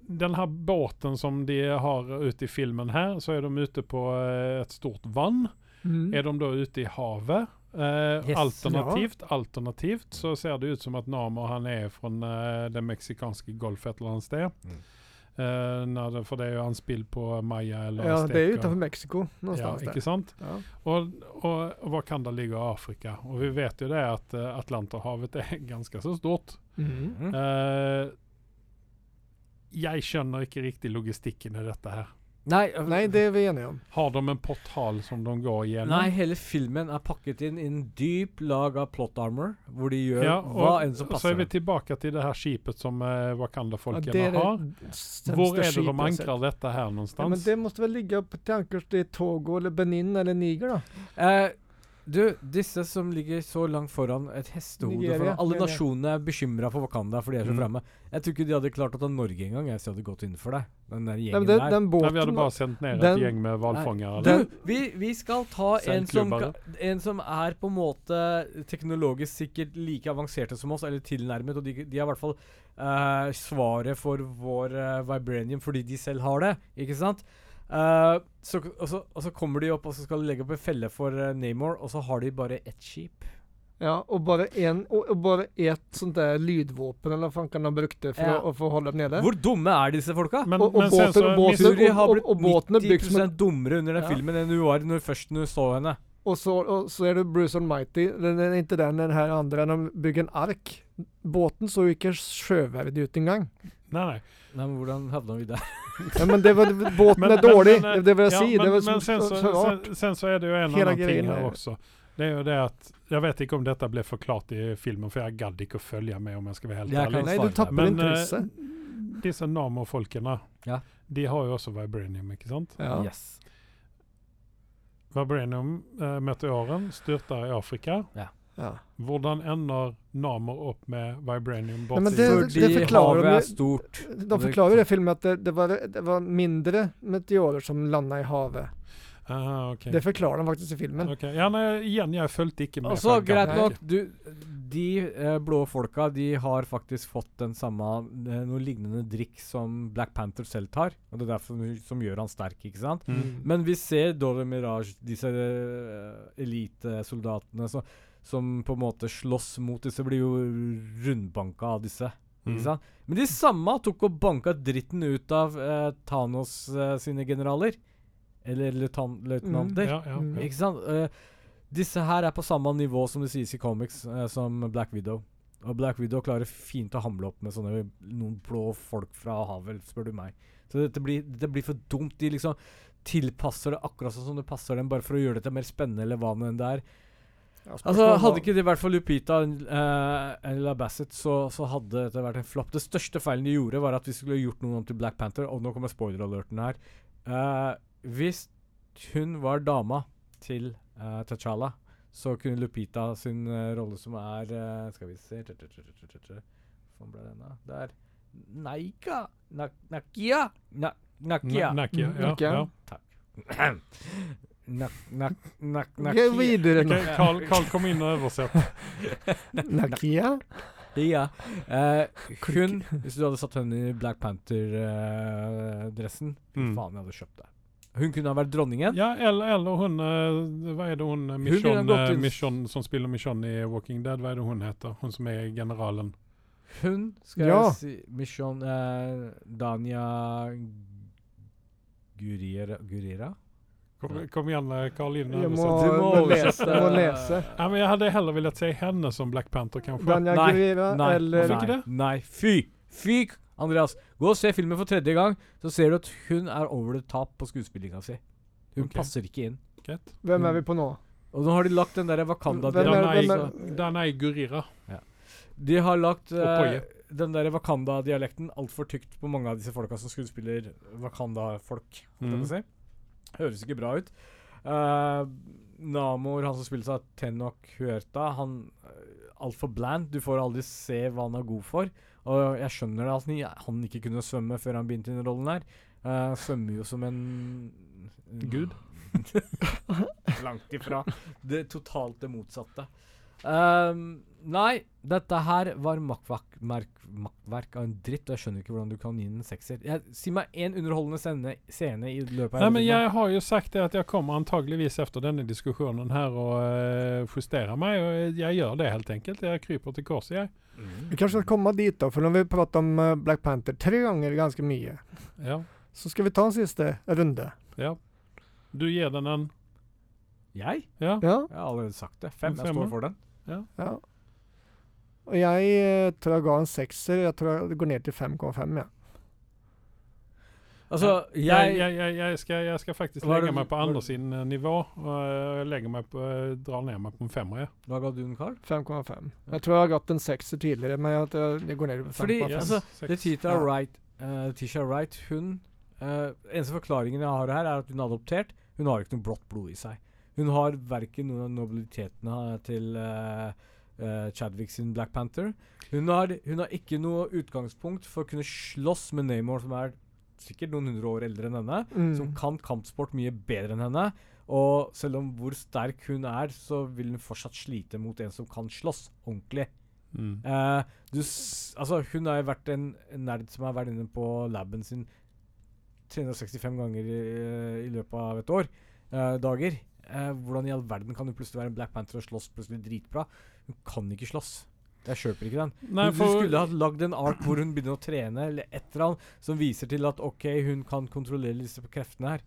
den här båten som de har ute i filmen här så är de ute på eh, ett stort vann.
Mm.
Är de då ute i havet? Eh,
Yes.
alternativt, alternativt så ser det ut som att Namo han är från eh, den mexikanske golf ett eller annat sted.
Mm.
Eh, när det, för det är ju anspill på Maya eller
Ja, det är
Azteca.
utanför Mexiko
Ja,
någonstans
ikke
där.
sant?
Ja.
Och, och, och vad kan det ligga i Afrika? Och vi vet ju det att eh, Atlanterhavet är ganska så stort.
Mm.
Eh, jag känner inte riktigt logistiken i detta här.
Nei, øh,
Nej, det är vi eniga om.
Har de en portal som de går igenom?
nei, hele filmen er pakket inn i en dyp lag av plot armor, hvor de gjør
Ja,
hva
och
enn som
så är
passer.
vi
dem.
tillbaka till det här skipet som eh,
Ja,
Wakanda-folken
det är
har.
det sämsta
Var är det
skit jag
de
har sett.
ankrar detta här
Ja, men
någonstans?
det måste väl ligga på till ankars i Togo eller Benin eller Niger då?
Eh, du, disse som ligger så langt foran et hestehode
Nigeria,
foran Alle
mener jeg.
nasjonene er bekymra for Wakanda, for de er så
Mm.
fremme. Jeg tror ikke de hadde klart å ta Norge engang, jeg, hvis de hadde gått inn for det. Den der
Nej, men
gjengen
den,
der.
den båten.
Nej, vi hade bara sänt ner
den-
ett gäng med valfångare.
Du,
eller?
vi, vi skal ta en som,
Seilklubber.
ka- en som er på en måte teknologisk sikkert like avanserte som oss, eller tilnærmet, og de, de er i hvert fall eh, svaret for vår eh, vibranium fordi de selv har det, ikke sant? Eh, så, og, så, og så kommer de opp og så skal de legge opp en felle for uh, Namor, og så har de bare ett skip.
Ja, och bara, en, och, och bara ett sånt där lydvapen eller vad fan kan de brukt det för
Ja.
att, att få hålla dem nere?
Hvor dumme er disse folka?
Men,
och- och
men sen
båten-
så...
båten-
miss-
Suri har
og-
blitt
og båten er bygd
90
som en-
dummere under den
Ja.
filmen enn hun var når først når du så henne.
Och, så, och så är det Bruce Almighty, den är inte den, den här andra, de bygger en ark. Båten såg ju inte sjövärdig ut en gång.
Nej, nej.
Nei, men hvordan havna vi der?
Ja, men det var, båten
Men-
är
men-
dålig,
men, eh,
det vill jag
Ja,
säga. Det
men,
var
men
så,
sen,
så,
så,
så,
sen, sen så är det ju en
Hela
annan ting
grejen
här
är-
också. Det er jo det at Jeg vet ikke om dette ble forklart i filmen, for jeg gadd ikke å følge med, om jeg skal være helt
Jeg kan
ærlig.
Nei,
svare
du
deg.
tapper
Men,
interesse.
eh, disse Namo-folkene,
Ja.
de har jo også vibranium, ikke sant?
Ja.
Yes.
Vibranium-meteoren styrta eh, i Afrika.
Ja.
Hvordan ender Namo opp med vibranium
Nei,
bort
men
i
det-
jorden?
Fordi
det forklarer
havet
de-
er stort.
De forklarer jo i filmen at det, det, var, det var mindre meteorer som landa i havet.
Ah, ok.
Det forklarer de faktisk i filmen.
Ok. Ja, nei, igjen, jeg fulgte ikke med.
Og så
for jeg
greit
gadd
nok,
ikke.
du, de eh, blå folka de har faktisk fått den samme eh, noe lignende drikk som Black Panther selv tar. Og det er derfor som- som gjør han sterk, ikke sant?
Mm.
Men vi ser Dora Mirage, disse eh, elitesoldatene som, som på en måte slåss mot disse, blir jo rundbanka av disse.
Mm.
Ikke sant? Men de samme tok og banka dritten ut av eh, Thanos eh, sine generaler. Eller løytan- løytnanter.
Ja, ja,
Mm.
ja.
Ikke sant? Eh, disse her er på samme nivå som det sies i comics, eh, som Black Widow. Og Black Widow klarer fint å hamle opp med sånne noen blå folk fra havet, spør du meg. Så dette blir, dette blir for dumt. De liksom tilpasser det akkurat sånn som det passer dem, bare for å gjøre dette mer spennende eller hva det enn det er.
Ja, spørsmålet
Altså,
var-
hadde ikke Alltså, det vært for Lupita eh, eller Bassett, så, så hadde dette vært en flopp. Det største feilen de gjorde, var at vi skulle gjort noe om til Black Panther, og nå kommer spoiler-alerten her. Eh, hvis hun var dama til uh, T'Challa, så kunne Lupita sin eh, rolle som er eh, Skal vi se Hvor ble den av? Der. Naika Na- Nakia Na- Nakia.
Na- Nakia, ja, ja.
Nakia.
Nak, nak, nak,
Gå videre nå.
Ok, Carl, Carl kom inn og oversett.
Nakia?
Ja. Eh, hun, hvis du hadde satt henne i Black eh, Panther-dressen
Mm.
Faen, jeg hadde kjøpt det. Hun kunne ha vært dronningen.
Ja, eller, eller hun eh, Hva er det hun eh,
Hun ville
Michonne,
gått
eh,
inn-
Michonne som spiller Michonne i Walking Dead, hva er det hun heter? Hun som er generalen.
Hun skal
Ja.
jeg si Michonne eh, Dania Gurira, Gurira?
Kom, kom igjen, eh, Carl inn og
Jeg må,
oversett.
Du må
lese.
oversette.
Jeg må lese.
Ja, men jeg hadde heller villet se henne som Black Panther, kanskje.
Danja
Nei,
Gurira
Nei,
eller
Hvorfor ikke
nei,
det?
nei, fy! Fy! Andreas, gå og se filmen for tredje gang, så ser du at hun er over the top på skuespillinga si. Hun
Ok.
passer ikke inn.
Greit.
Hvem er vi på nå?
Og nå har de lagt den der Wakanda
Hvem er-
Danai-
hvem er-
Danai Gurira.
De har lagt
Okoye.
eh, den der Wakanda-dialekten altfor tykt på mange av disse folka som skuespiller Wakanda-folk. holdt jeg på å Si. Høres ikke bra ut. Eh, Namor, han som spilles av Tenok Huerta, han eh, altfor bland. Du får aldri se hva han er god for. Og jeg skjønner det at han, han ikke kunne svømme før han begynte i den rollen her. Eh, svømmer jo som en
Gud.
Langt ifra. Det totalt det motsatte. Ehm, nei, dette her var makkverk, merk, makkverk av en dritt, og jeg skjønner ikke hvordan du kan gi den en sekser. Jeg, si meg én underholdende scene, scene i løpet
Nei,
av
men
hele filmen.
jeg har jo sagt det at jeg kommer antageligvis efter denne diskusjonen her og eh, justerer meg, og jeg gjør det helt enkelt. Jeg kryper til korset, jeg.
Mm.
Vi kanskje skal komme dit da, for nå har vi pratet om eh, Black Panther tre ganger ganske mye.
Ja.
Så skal vi ta en siste runde.
ja. Du gir den en
Jeg?
Ja.
Ja,
Jeg har allerede sagt det. Fem.
En
Jeg
femmer.
står for den.
ja. Og jeg eh, tror jeg ga en sekser. Jeg tror jeg det går ned til 5,5, ja.
Altså,
Jeg,
jeg,
jeg, jeg, jeg, skal, jeg skal faktisk
Var
legge
det-
meg på
var-
Anders sin eh, nivå. Og jeg legger meg på, eh, drar ned meg på en femmer. jeg.
Hva ga du den, Carl?
5,5. Jeg tror jeg har gått en sekser tidligere, men jeg, tror jeg- det går ned til 5,5.
Fordi, Ja,
Alltså,
altså,
seks.
Letitia
Ja.
Wright, eh, Letitia Wright hun eh, Eneste forklaringen jeg har her, er at hun er adoptert. Hun har ikke noe blått blod i seg. Hun har verken noen av nobilitetene til eh, eh, Chadwick sin Black Panther. Hun har, hun har ikke noe utgangspunkt for å kunne slåss med Namor, som er sikkert noen hundre år eldre enn henne
Mm.
som kan kampsport mye bedre enn henne. Og selv om hvor sterk hun er, så vil hun fortsatt slite mot en som kan slåss ordentlig.
Mm.
Eh, du, s- altså, hun har jo vært en en nerd som har vært inne på laben sin 365 ganger i, i løpet av et år. eh, dager. Eh, hvordan i all verden kan hun plutselig være en Black Panther og slåss plutselig dritbra? Hun kan ikke slåss. Jeg kjøper ikke den.
Nei,
Hun-
for,
Hun skulle ha lagd en ark hvor hun begynner å trene, eller et eller annet, som viser til at OK, hun kan kontrollere disse kreftene her.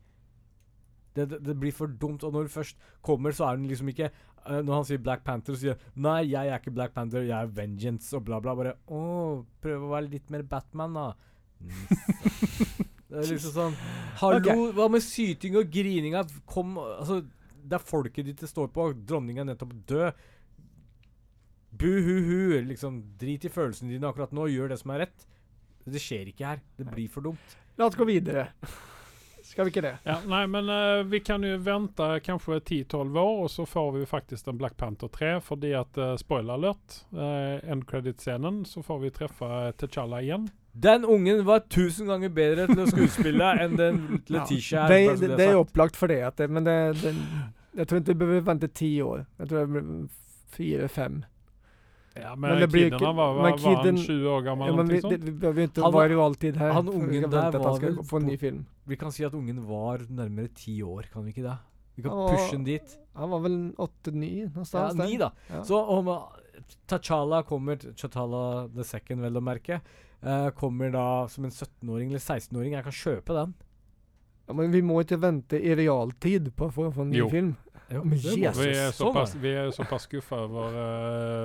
Det, det, det blir for dumt. Og når hun først kommer, så er hun liksom ikke eh, Når han sier Black Panther, så sier hun Nei, jeg er ikke Black Panther, jeg er Vengeance, og bla, bla. Bare Å, prøv å være litt mer Batman, da. det er liksom sånn Hallo, hva med syting og grininga? Kom Altså, det er folket ditt det står på. Dronninga er nettopp død. Buhuhu. Liksom, drit i følelsene dine akkurat nå. Gjør det som er rett. Det skjer ikke her. Det blir for dumt.
La oss gå videre. Ska vi ikke det?
Ja, nej, men eh, vi kan ju vänta kanske 10-12 år och så får vi faktiskt en Black Panther 3. För det att, eh, spoiler alert, eh, end credit-scenen så får vi träffa eh, T'Challa igen.
Den ungen var tusen ganger bedre til å skuespille enn den Letitia her.
det,
bare så
det,
er
det är
sagt.
upplagt för det, att det men det, det, jag tror inte vi behöver vänta tio år. Jag tror det blir fyra, fem.
Ja, men,
Men det blir
kidden
ju-
han var, var,
men
var han
kidden-
20 år gammal?
Ja, men vi,
någonting
det,
sånt?
vi behöver ju inte
Han
vara
var-
i realtid här.
han
för vi ska
ungen
vänta
där
att han
var
ska
väl
få en ny
på-
film.
Vi kan si at ungen var nærmere ti år, kan vi ikke det? Vi kan
Ja,
pushe den dit.
Han var väl 89
Ja,
någonstans där.
ni da.
Ja.
Så om uh, T'Challa kommer T'Challa the second, vel å merke. eh, kommer da som en 17-åring eller 16-åring. Jeg kan kjøpe den.
Ja, men vi må inte vänta i realtid på att få få en ny
Jo.
film.
Jo,
Men
det må
Jesus,
Vi är, så
sånn var
pass,
det.
vi är så pass skuffa över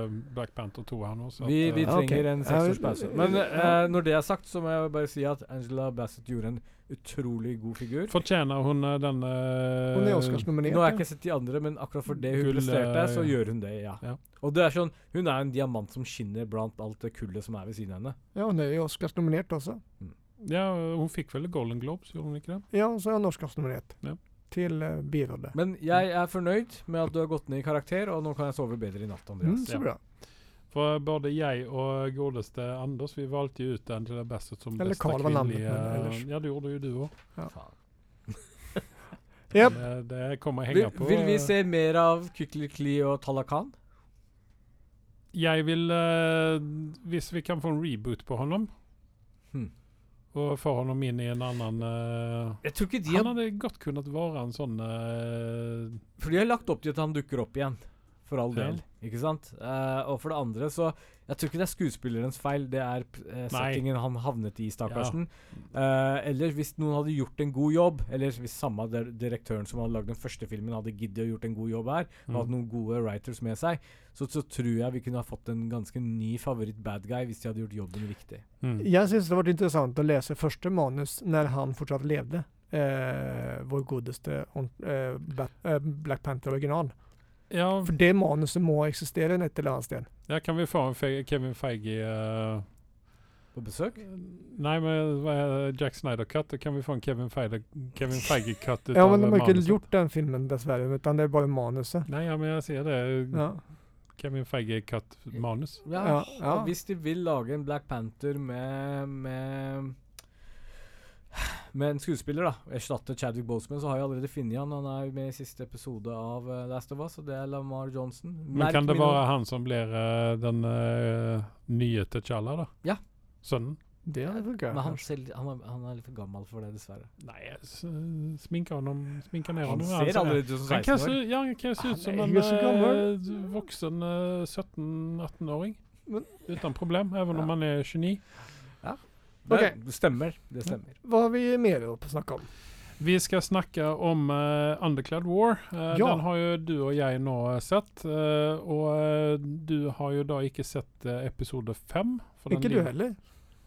eh, Black Panther 2 här nu. Så
Vi,
att,
vi
eh,
Ja, ok.
trenger en
Ja,
seksårs
vi-
pause.
vi-
Men
ja.
eh, når det er sagt, så må jeg bare si at Angela Bassett gjorde en utrolig god figur.
Fortjänar hon eh, den... eh,
Hon är
Nå har jeg
Oscarsnominerad.
ikke sett de andre, men akkurat for det hun
Gull,
presterte, så
eh,
gjør hun det, ja.
ja.
Og det er sånn, hun er en diamant som skinner blant alt det kullet som er ved siden av henne.
Ja, hon är ju Oscarsnominerad också.
Ja, hon fick väl Golden Globes, gjorde hon inte det?
Ja, så är hon Oscarsnominerad.
Ja.
Till uh, biroller.
Men jeg er fornøyd med at du har gått ned i karakter, og nå kan jeg sove bedre i natt,
Mm,
Andreas.
så
ja.
bra.
For både jeg og godeste Anders, vi valgte jo ut Angela Bassett som
Eller
beste
Carl var navnet,
kvinnelige
men ellers.
Ja, det gjorde jo du òg.
Faen.
Japp.
Det, eh, det kommer henge
Vil,
på. eh,
vil vi se mer av Kyklikli og Talakan?
Jeg vil eh, Hvis vi kan få en reboot på honom
Hmm.
Og få honom inn i en annen eh,
Jeg tror ikke de
Han
har,
hadde godt kunnet være en sånn eh,
For de har lagt opp til at han dukker opp igjen. For all
Ja.
del, ikke sant? Eh, og for det andre, så Jeg tror ikke det er skuespillerens feil, det er p- eh,
Nei.
settingen han havnet i, stakkarsen. Eh, eller hvis noen hadde gjort en god jobb, eller hvis samme der- direktøren som hadde lagd den første filmen, hadde giddet å gjort en god jobb her, og hatt
mm.
noen gode writers med seg, så, så tror jeg vi kunne ha fått en ganske ny favoritt-bad guy hvis de hadde gjort jobben riktig.
Mm.
Jeg syns det har vært interessant å lese første manus når han fortsatt levde. Eh, vår godeste on, eh, Bat, eh, Black Panther original.
Ja,
For det manuset må eksistere et eller annet sted.
ja, kan vi få en Fe Kevin Feige eh,
På besøk?
Nei, Eh, men hva er det? Jack Snyder-cut? Kan vi få en Kevin Feige- Kevin Feige-cut?
Ja, men de har ikke
manuset?
gjort den filmen, dessverre, utan det er bare manuset.
Nei, ja, men jeg sier det.
Ja.
Kevin Feige cut manus.
Ja,
Ja, ja.
og Hvis de vil lage en Black Panther med med, med en skuespiller, da, og erstatte Chadwick Boseman, så har jeg allerede funnet han. Han er jo med i siste episode av eh, Last of Us, og det er Lamar Johnson.
Men kan det
mine-
være han som blir eh, den eh, nye T'Challa, da?
Ja.
Sønnen?
Det hadde funka.
Men han, selv, han, er, han er litt for gammel for det, dessverre.
Nei, s- sminke honom, sminke ned
Han
honom. Alltså,
ser allerede ut som
han kan
16
se,
år.
ja, han kan se ut som
Han er
en
jo så gammel.
eh, voksen eh, 17-18-åring.
Men-
Uten problem, even
Ja.
om han er 29.
Ok.
Det stemmer. Det stemmer.
Hva har vi mer å snakke om?
Vi skal snakke om eh, Underclad War. Eh,
Ja.
Den har jo du og jeg nå eh, sett. eh, og eh, du har jo da ikke sett eh, episode fem. for den
Ikke du
ligger-
heller?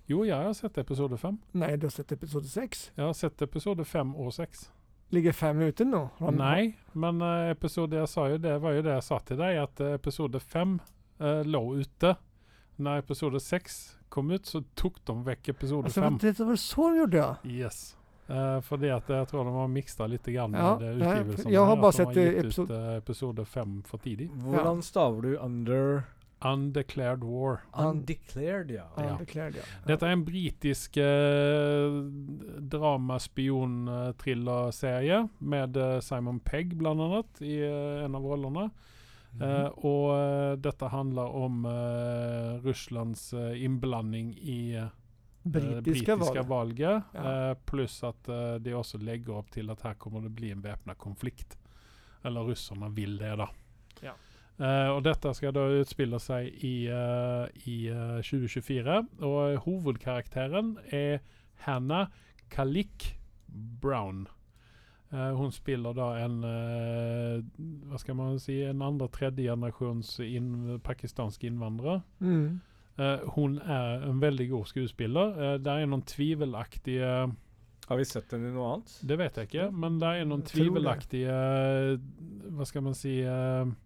Jo, jeg har sett episode fem.
Nei, du har sett episode seks?
Jeg har sett episode fem og seks.
Ligger fem ute nå? Har han-
Nei, men eh, episode jeg sa jo det var jo det jeg sa til deg, at eh, episode fem eh, lå ute. Når episode seks kom ut, så tok de vekk episode
Altså,
fem.
det Alltså, det var så de gjorde, ja.
Yes. Eh, fordi at jeg tror de har miksa litt grann med
Ja,
det
nei,
utgivelsen.
jeg har
her,
bare
at de
sett, eh,
gitt
episode-
ut eh, episode fem for tidlig.
Hvordan staver du under
Undeclared War.
Undeclared, ja.
Ja,
Ja.
det klær, ja.
Dette er en britisk eh, drama-spion-thriller-serie med eh, Simon Pegg blant annet i eh, en av rollene.
Mhm.
Mm.
Eh, og eh, dette handler om eh, Russlands eh, innblanding i eh,
Britiske,
britiske
valg.
valget.
Ja.
eh, pluss at eh, de også legger opp til at her kommer det bli en væpna konflikt. Eller russerne vil det, da.
Ja.
Eh, og dette skal da utspille seg i, eh, i eh, 2024. Og hovedkarakteren er Hannah Kalik Brown. Eh, hun spiller da en eh, Hva skal man si En andre tredje generasjons inn, pakistansk innvandrer.
Mm.
Eh, hun er en veldig god skuespiller. Eh, det er noen tvivelaktige
Har vi sett henne i noe annet?
Det vet jeg ikke, men det er noen
Jeg tror det.
tvivelaktige eh, Hva skal man si eh,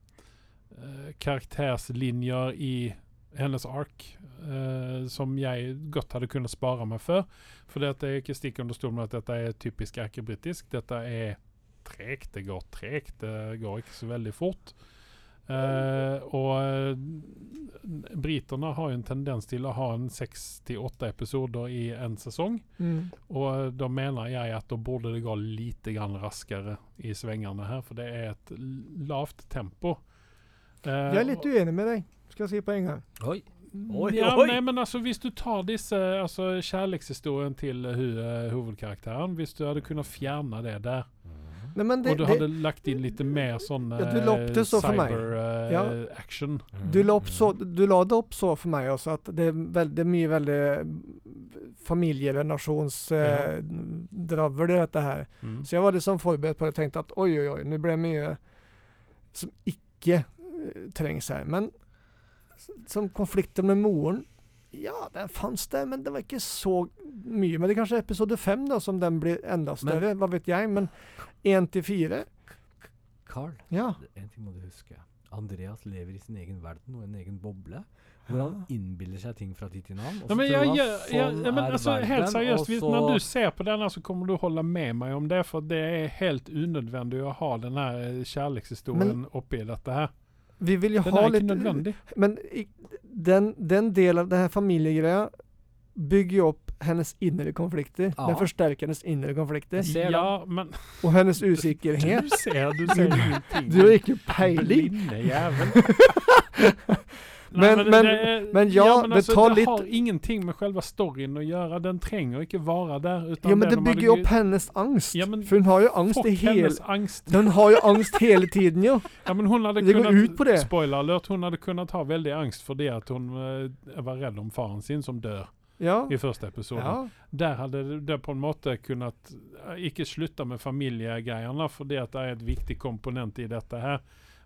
eh, Karakterslinjer i hennes ark eh, som jeg godt hadde kunnet spare meg for. For det at jeg ikke stikker under stolen med at dette er typisk erkebritisk. Dette er tregt. Det går tregt. Det går ikke så veldig fort. Eh, og eh, briterne har jo en tendens til å ha en seks til åtte episoder i en sesong.
Mm.
Og da mener jeg at da burde det gå lite grann raskere i svingene her, for det er et l- lavt tempo. Eh,
Jeg er litt uenig med deg, skal jeg si på en gang.
Oi.
og-
Oi,
ja,
oi!
Nei, men altså, hvis du tar disse altså, kjærlighetshistorien til hu eh, hovedkarakteren Hvis du hadde kunnet fjerne det der,
Nei, men Mm. det,
og du
det,
hadde lagt inn litt mer eh, sånn
Ja, du la opp det så for meg.
eh,
Ja.
cyber-action
Du la, opp så, du la det opp så for meg også, at det er veld, det er mye veldig familierelasjonsdraver, eh, draver det dette her.
mm.
Så jeg var liksom forberedt på det og tenkte at oi, oi, oi, nå ble det mye som ikke eh, trengs her. Men s- som konflikter med moren Ja, den fantes der, men det var ikke så mye. Men det er kanskje episode fem da, som den blir enda større, hva vet jeg. Men én til fire
Carl,
Ja.
en ting må du huske. Andreas lever i sin egen verden og en egen boble. Hvor han innbiller seg ting fra tid til annen. og
Ja,
så
men
tror
jeg,
han
jeg,
sånn
jeg, ja, men
er
altså, helt
verden,
seriøst,
og
hvis,
så-
når du ser på denne, så kommer du holde med meg om det, for det er helt unødvendig å ha eh, denne kjærlighetshistorien oppi dette her.
Vi vil jo
Den
ha
er ikke
litt
nødvendig.
Men i, den, den delen av det her familiegreia bygger jo opp hennes indre konflikter.
Ja.
Den forsterker hennes indre konflikter.
ser den.
Ja, men
Og hennes
du
usikkerhet.
ser, du ser ingenting.
Du har ikke peiling.
Blinde jævel. Nei,
Men- men-
det er-
men ja, men ta
det
litt-
har ingenting med selve storyen å gjøre. Den trenger ikke være der. utan
Ja, men
den
det
de
bygger
hadde
jo opp hennes angst.
Ja, men
For hun har jo angst i
Fuck
hele
hennes angst.
Den har jo angst hele tiden, jo.
Ja, men hun hadde
Det går
kunnat,
ut på det.
Spoiler alert, hun hadde kunnet ha veldig angst fordi at hun eh, var redd om faren sin som dør
Ja.
i første episode.
ja.
Der hadde det på en måte kunnet eh, ikke slutte med familiegreiene, fordi at det er et viktig komponent i dette her,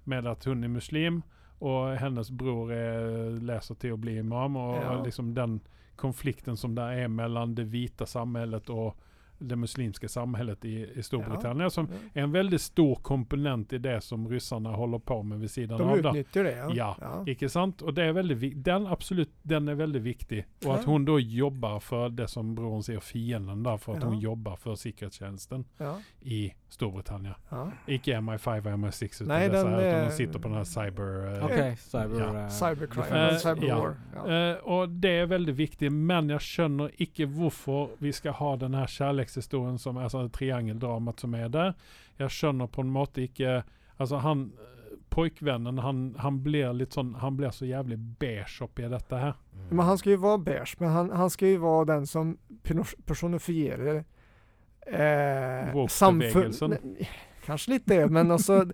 med at hun er muslim, og hennes bror er, leser til å bli imam, og
Ja.
liksom den konflikten som det er mellom det hvite samhället og det muslimske samhället i, i Storbritannia, som är en väldigt stor komponent i det som ryssarna håller på med vid sidan
De
av. det.
utnytter det, ja.
Ja. Ikke sant? Og det er veldig, vik- den, absolutt, den er veldig viktig. Og at
Ja.
hun da jobber for det som broren sier, fienden, da, for at
Ja.
hun jobber for sikkerhetstjenesten
ja.
i Storbritannia.
ja.
Ikke MI5 og MI6, utan
Nei,
disse
den
her,
er-
utan hun sitter på den her cyber... eh,
Ok, cyber...
Ja.
uh,
eh,
Cybercrime.
Eh,
cyberwar. Ja.
Eh, og det er veldig viktig, men jeg skjønner ikke hvorfor vi skal ha den her kjærlighetshistorien som er sånn triangeldramaet som er der. Jeg skjønner på en måte ikke Altså, han eh, Pojkvennen, han, han blir litt sånn Han blir så jævlig beige oppi dette her.
Men han ska ju vara beige, men han, han ska ju vara den som pino- personifierer eh,
Woke-bevegelsen.
Nej, Kanske lite det, men också,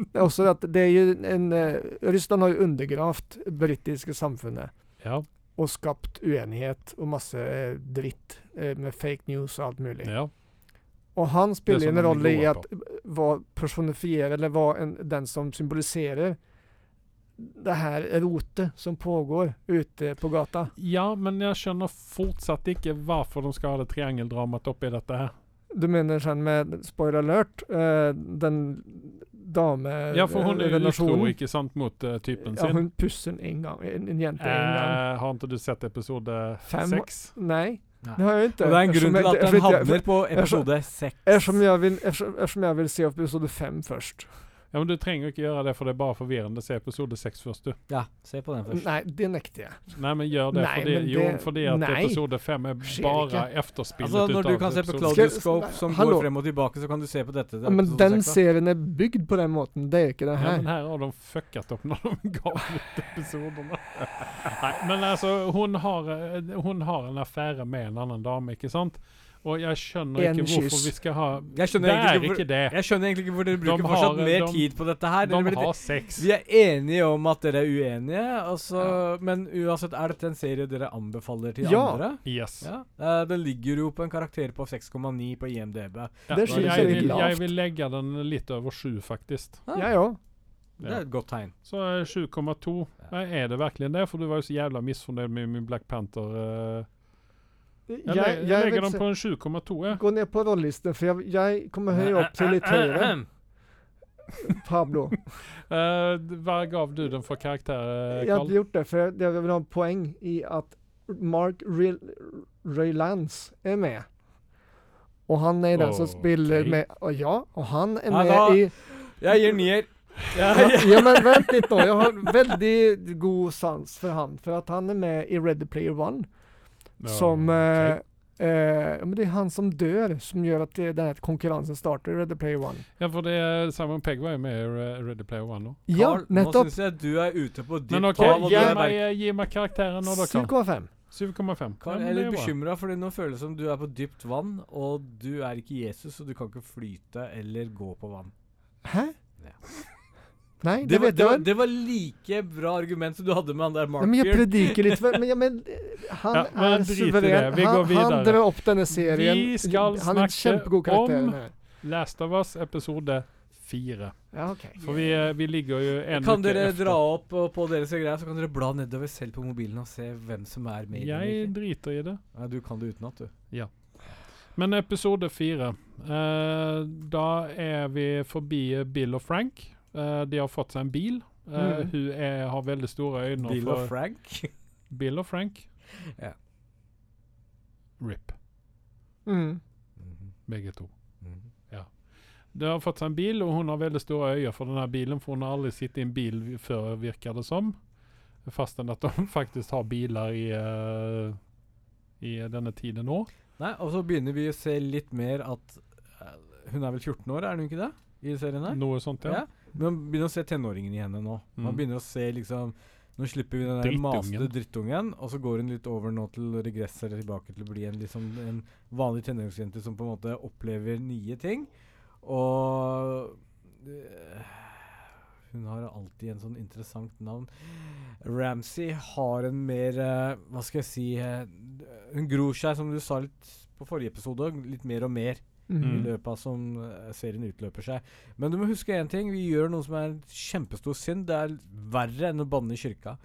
också att det är ju en, eh, Ryssland har ju undergravt brittiska samfundet
Ja.
och skapat oenighet och massa eh, dritt eh, med fake news och allt möjligt.
ja.
Och han spelar
Det
ju
som
en
de är
roll i
goa
att vara personifierad eller vara en, den som symboliserar det här rotet som pågår ute på gatan.
ja, men jeg skjønner fortsatt ikke hvorfor de skal ha det triangeldramaet oppi dette her.
Du mener sånn med spoiler alert, eh, den dame
Ja, for hun er jo utro,
relasjonen-
ikke sant, mot eh, typen
Eh, Ja,
sin.
hun pusser en en gang, en, en jente en gang.
Eh, har ikke du sett eh, episode
Fem-
seks?
Nej,
Nej.
det har jag inte.
Og det er en
Eftersom
grunn til
jag-
at den
eftersom jag-
havner på episode seks.
Eftersom jag vill, eftersom, eftersom jag vill se episode 5 först.
Ja, men Du trenger ikke gjøre det, for det er bare forvirrende. Se episode seks først, du.
Ja, se på den først.
Nej, det nekter jag.
Nei, men gjør det.
Nei,
fordi,
men
jo,
det-
fordi at
nei.
episode fem er
Skjer
bare
ikke.
efterspillet
Altså, når du kan se på
episode-
Claudia-
Claudioscope som
Hallo.
går frem og tilbake, så kan du se på dette. til
Ja, men
episode
den
seks, da.
serien är byggd på den måten, det är ju inte det
Ja,
här.
men her har de fucket opp når de ga ut episodene. Nei, men altså, hun har, eh, hun har en affære med en annen dame, ikke sant? Og jeg skjønner
En
ikke hvorfor
kyss.
vi skal ha
Jeg skjønner
Det
egentlig
er
ikke hvor-
ikke det.
Jeg skjønner egentlig ikke hvor dere bruker
De har-
fortsatt mer
de-
tid på dette her. Dere
De
blir-
har sex.
Vi er enige om at dere er uenige, og så, men uansett, er dette en serie dere anbefaler til
Ja.
andre?
Yes.
Ja. Eh, den ligger jo på en karakter på 6,9 på IMDb.
Ja,
Det
og
skiller
jeg,
seg
vil,
litt lavt.
jeg vil legge den litt over sju, faktisk.
Ja,
Ja, ja.
Det er et godt tegn.
Så eh, 7,2. Nei, Er det virkelig det? For du var jo så jævla misfornøyd med min Black Panther. eh, Jeg,
jeg,
le- jeg
jeg
legger
vil
den
se-
på en 7,2. jeg.
gå ned på rollelisten, for jeg, jeg kommer høyere opp
äh,
til litt høyere. Pablo.
Eh, d- hva gav du den for karakter, eh,
Jeg hadde
Carl?
gjort det, for jeg, jeg vil ha en poeng i at Mark Ril- Rylance er med. Og han er den som
Ok.
spiller med og Ja, og han er
Nei,
med
da-
i
Jeg gir nier.
ja, ja, men vent litt nå. Jeg har veldig god sans for han. For at han er med i Ready Player One.
Ja,
som eh,
ok.
eh, ja, men Det er han som dør, som gjør at det, den här konkurransen starter i Ready Player One.
Ja, for det er Simon Pegg var jo med i Re- Ready Player One nå.
Ja,
Carl, Nå
nettopp!
syns jeg du er ute på dypt
Men OK,
hav, og du
gi
er
meg,
verken-
gi meg karakteren nå, da, Carl.
7,5.
7,5. Ja, men
Carl, jeg er
det
litt
bra.
bekymra, for nå føles det som du er på dypt vann, og du er ikke Jesus, så du kan ikke flyte eller gå på vann.
Hæ?
Ja.
Nei, det,
Det var,
vet
det,
jeg
var,
vel.
det var like bra argument som du hadde med han der
Ja, men jeg
Mark-fyren.
prediker litt for Men, ja, men eh, han
Ja, men
er
drit i det.
suveren.
Vi går
Han,
videre.
han drar opp denne serien.
Vi skal
han er en
snakke
kjempegod karakter.
om-
den her.
Last of Us episode 4.
Ja, ok.
For vi, eh, vi ligger jo en
Kan
uke
dere
efter.
dra opp og på deres greier, så kan dere bla nedover selv på mobilen og se hvem som er med. i
Jeg
den.
driter i det.
Nei, du kan det utenat, du.
Men episode fire eh, Da er vi forbi eh, Bill og Frank. Eh, de har fått seg en bil. Eh,
Mm.
Hun er, har veldig store øyne
Bill
for
og Frank.
Bill og Frank.
Ja.
RIP,
Mm.
begge to. De har fått seg en bil, og hun har veldig store øyne for denne bilen, for hun har aldri sittet i en bil vi- før, virker det som. Fastän at de faktisk har biler i, eh, i denne tiden nå.
Nei, og så begynner vi å se litt mer at eh, Hun er vel 14 år, er hun ikke det? I serien her?
Noe sånt, ja.
Ja. Man begynner å se tenåringen i henne nå. Man
Mm.
begynner å se liksom Nå slipper vi den der
Drittungen.
masete drittungen, og så går hun litt over nå til regress eller tilbake til å bli en, liksom, en vanlig tenåringsjente som på en måte opplever nye ting. Og eh, hun har alltid en sånn interessant navn. Ramsey har en mer eh, Hva skal jeg si eh, Hun gror seg, som du sa litt på forrige episode, litt mer og mer i
Mm.
løpet av som eh, serien utløper seg. Men du må huske én ting. Vi gjør noe som er en kjempestor synd. Det er verre enn å banne i kirka.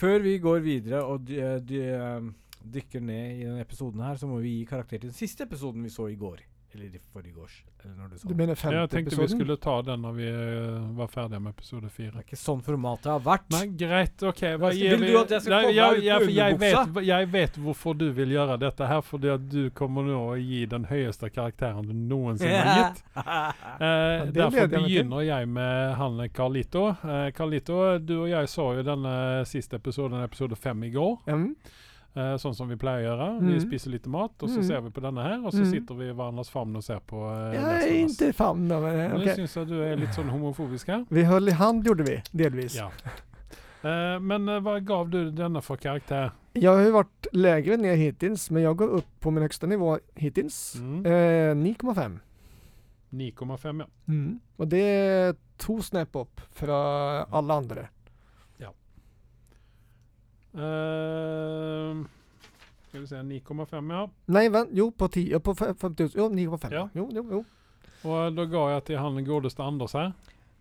Før vi går videre og dy, eh, dy, eh, dykker ned i denne episoden her, så må vi gi karakter til den siste episoden vi så i går. Eller i forgårs. Eller når du så
Du
den.
mener
Jeg
femte
tenkte vi
episoden?
skulle ta den når vi eh, var ferdige med episode
Det
fire.
er ikke sånn formatet har vært.
Nei, greit, OK. Hva
Vil
gir
du
vi
at jeg skal
Nei,
komme
jeg,
ut
jeg,
med
jeg,
underbuksa?
vet, jeg vet hvorfor du vil gjøre dette her, fordi at du kommer nå å gi den høyeste karakteren du noensinne har gitt. Eh, derfor
det gleder jeg meg til.
begynner jeg med han Carlito. Eh, Carlito, du og jeg så jo denne siste eh, episoden, episode fem, i går.
Mm.
Eh, sånn som vi pleier å gjøre. Vi
Mm.
spiser litt mat, og så
Mm.
ser vi på denne her. Og så
Mm.
sitter vi i hverandres favn og ser på. Eh,
Jeg er
Last of Us.
ikke fan av det.
Nå
Okay.
syns jeg du er litt sånn homofobisk her.
Vi höll i hand gjorde vi, delvis.
Ja. Eh, men eh, hva gav du denne for karakter?
Jag har ju varit lägre ner hittills, men jag går upp på min högsta nivå hittills.
Mm.
Eh, 9,5.
9,5, ja.
Mm. Och det är två snäpp upp från alla andra.
Eh, skal vi se 9,5, ja.
Nej, vänta, jo på 10, på fe- 50 jo 9,5.
Ja.
Jo, jo, jo.
Og da ga jeg til han godeste Anders her.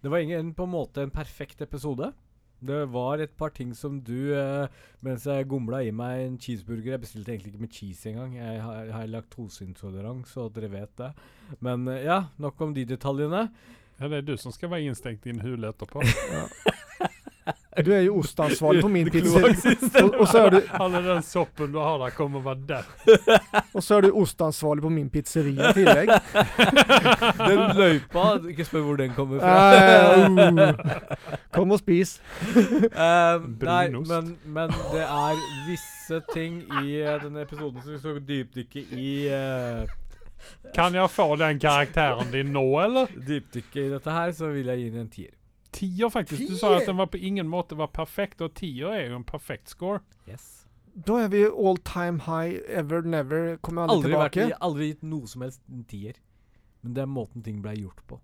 Det var ingen på en måte en perfekt episode. Det var et par ting som du, eh, mens jeg gomla i meg en cheeseburger Jeg bestilte egentlig ikke med cheese engang. Jeg har, jeg har laktoseintolerant, så dere vet det. Men eh, ja, nok om de detaljene.
Ja, det er du som skal være innstengt i en hule etterpå.
Du är ju ostansvarig på min pizza.
Kloakksystem.
Och, och, så är du,
All den soppen du har der, kommer å være der.
och så är du ostansvarig på min pizzeria tillägg.
Den løypa Ikke spør hvor den kommer fra.
Eh, oh. Kom och spis.
Eh, nei,
Brunost.
men, men det er visse ting i eh, denne episoden som vi skal dypdykke i. eh,
Kan jeg få den karakteren din nå, eller?
dypdykke i dette her, så vil jeg gi den en tier.
Tier, faktisk. Du sa at den var på ingen måte var perfekt, og tier er jo en perfekt score.
Yes.
Då är vi all time high, ever never, kommer aldrig,
aldri, vært,
tillbaka.
gi- aldri gitt noe som helst en tier. Men det er måten ting blei gjort på.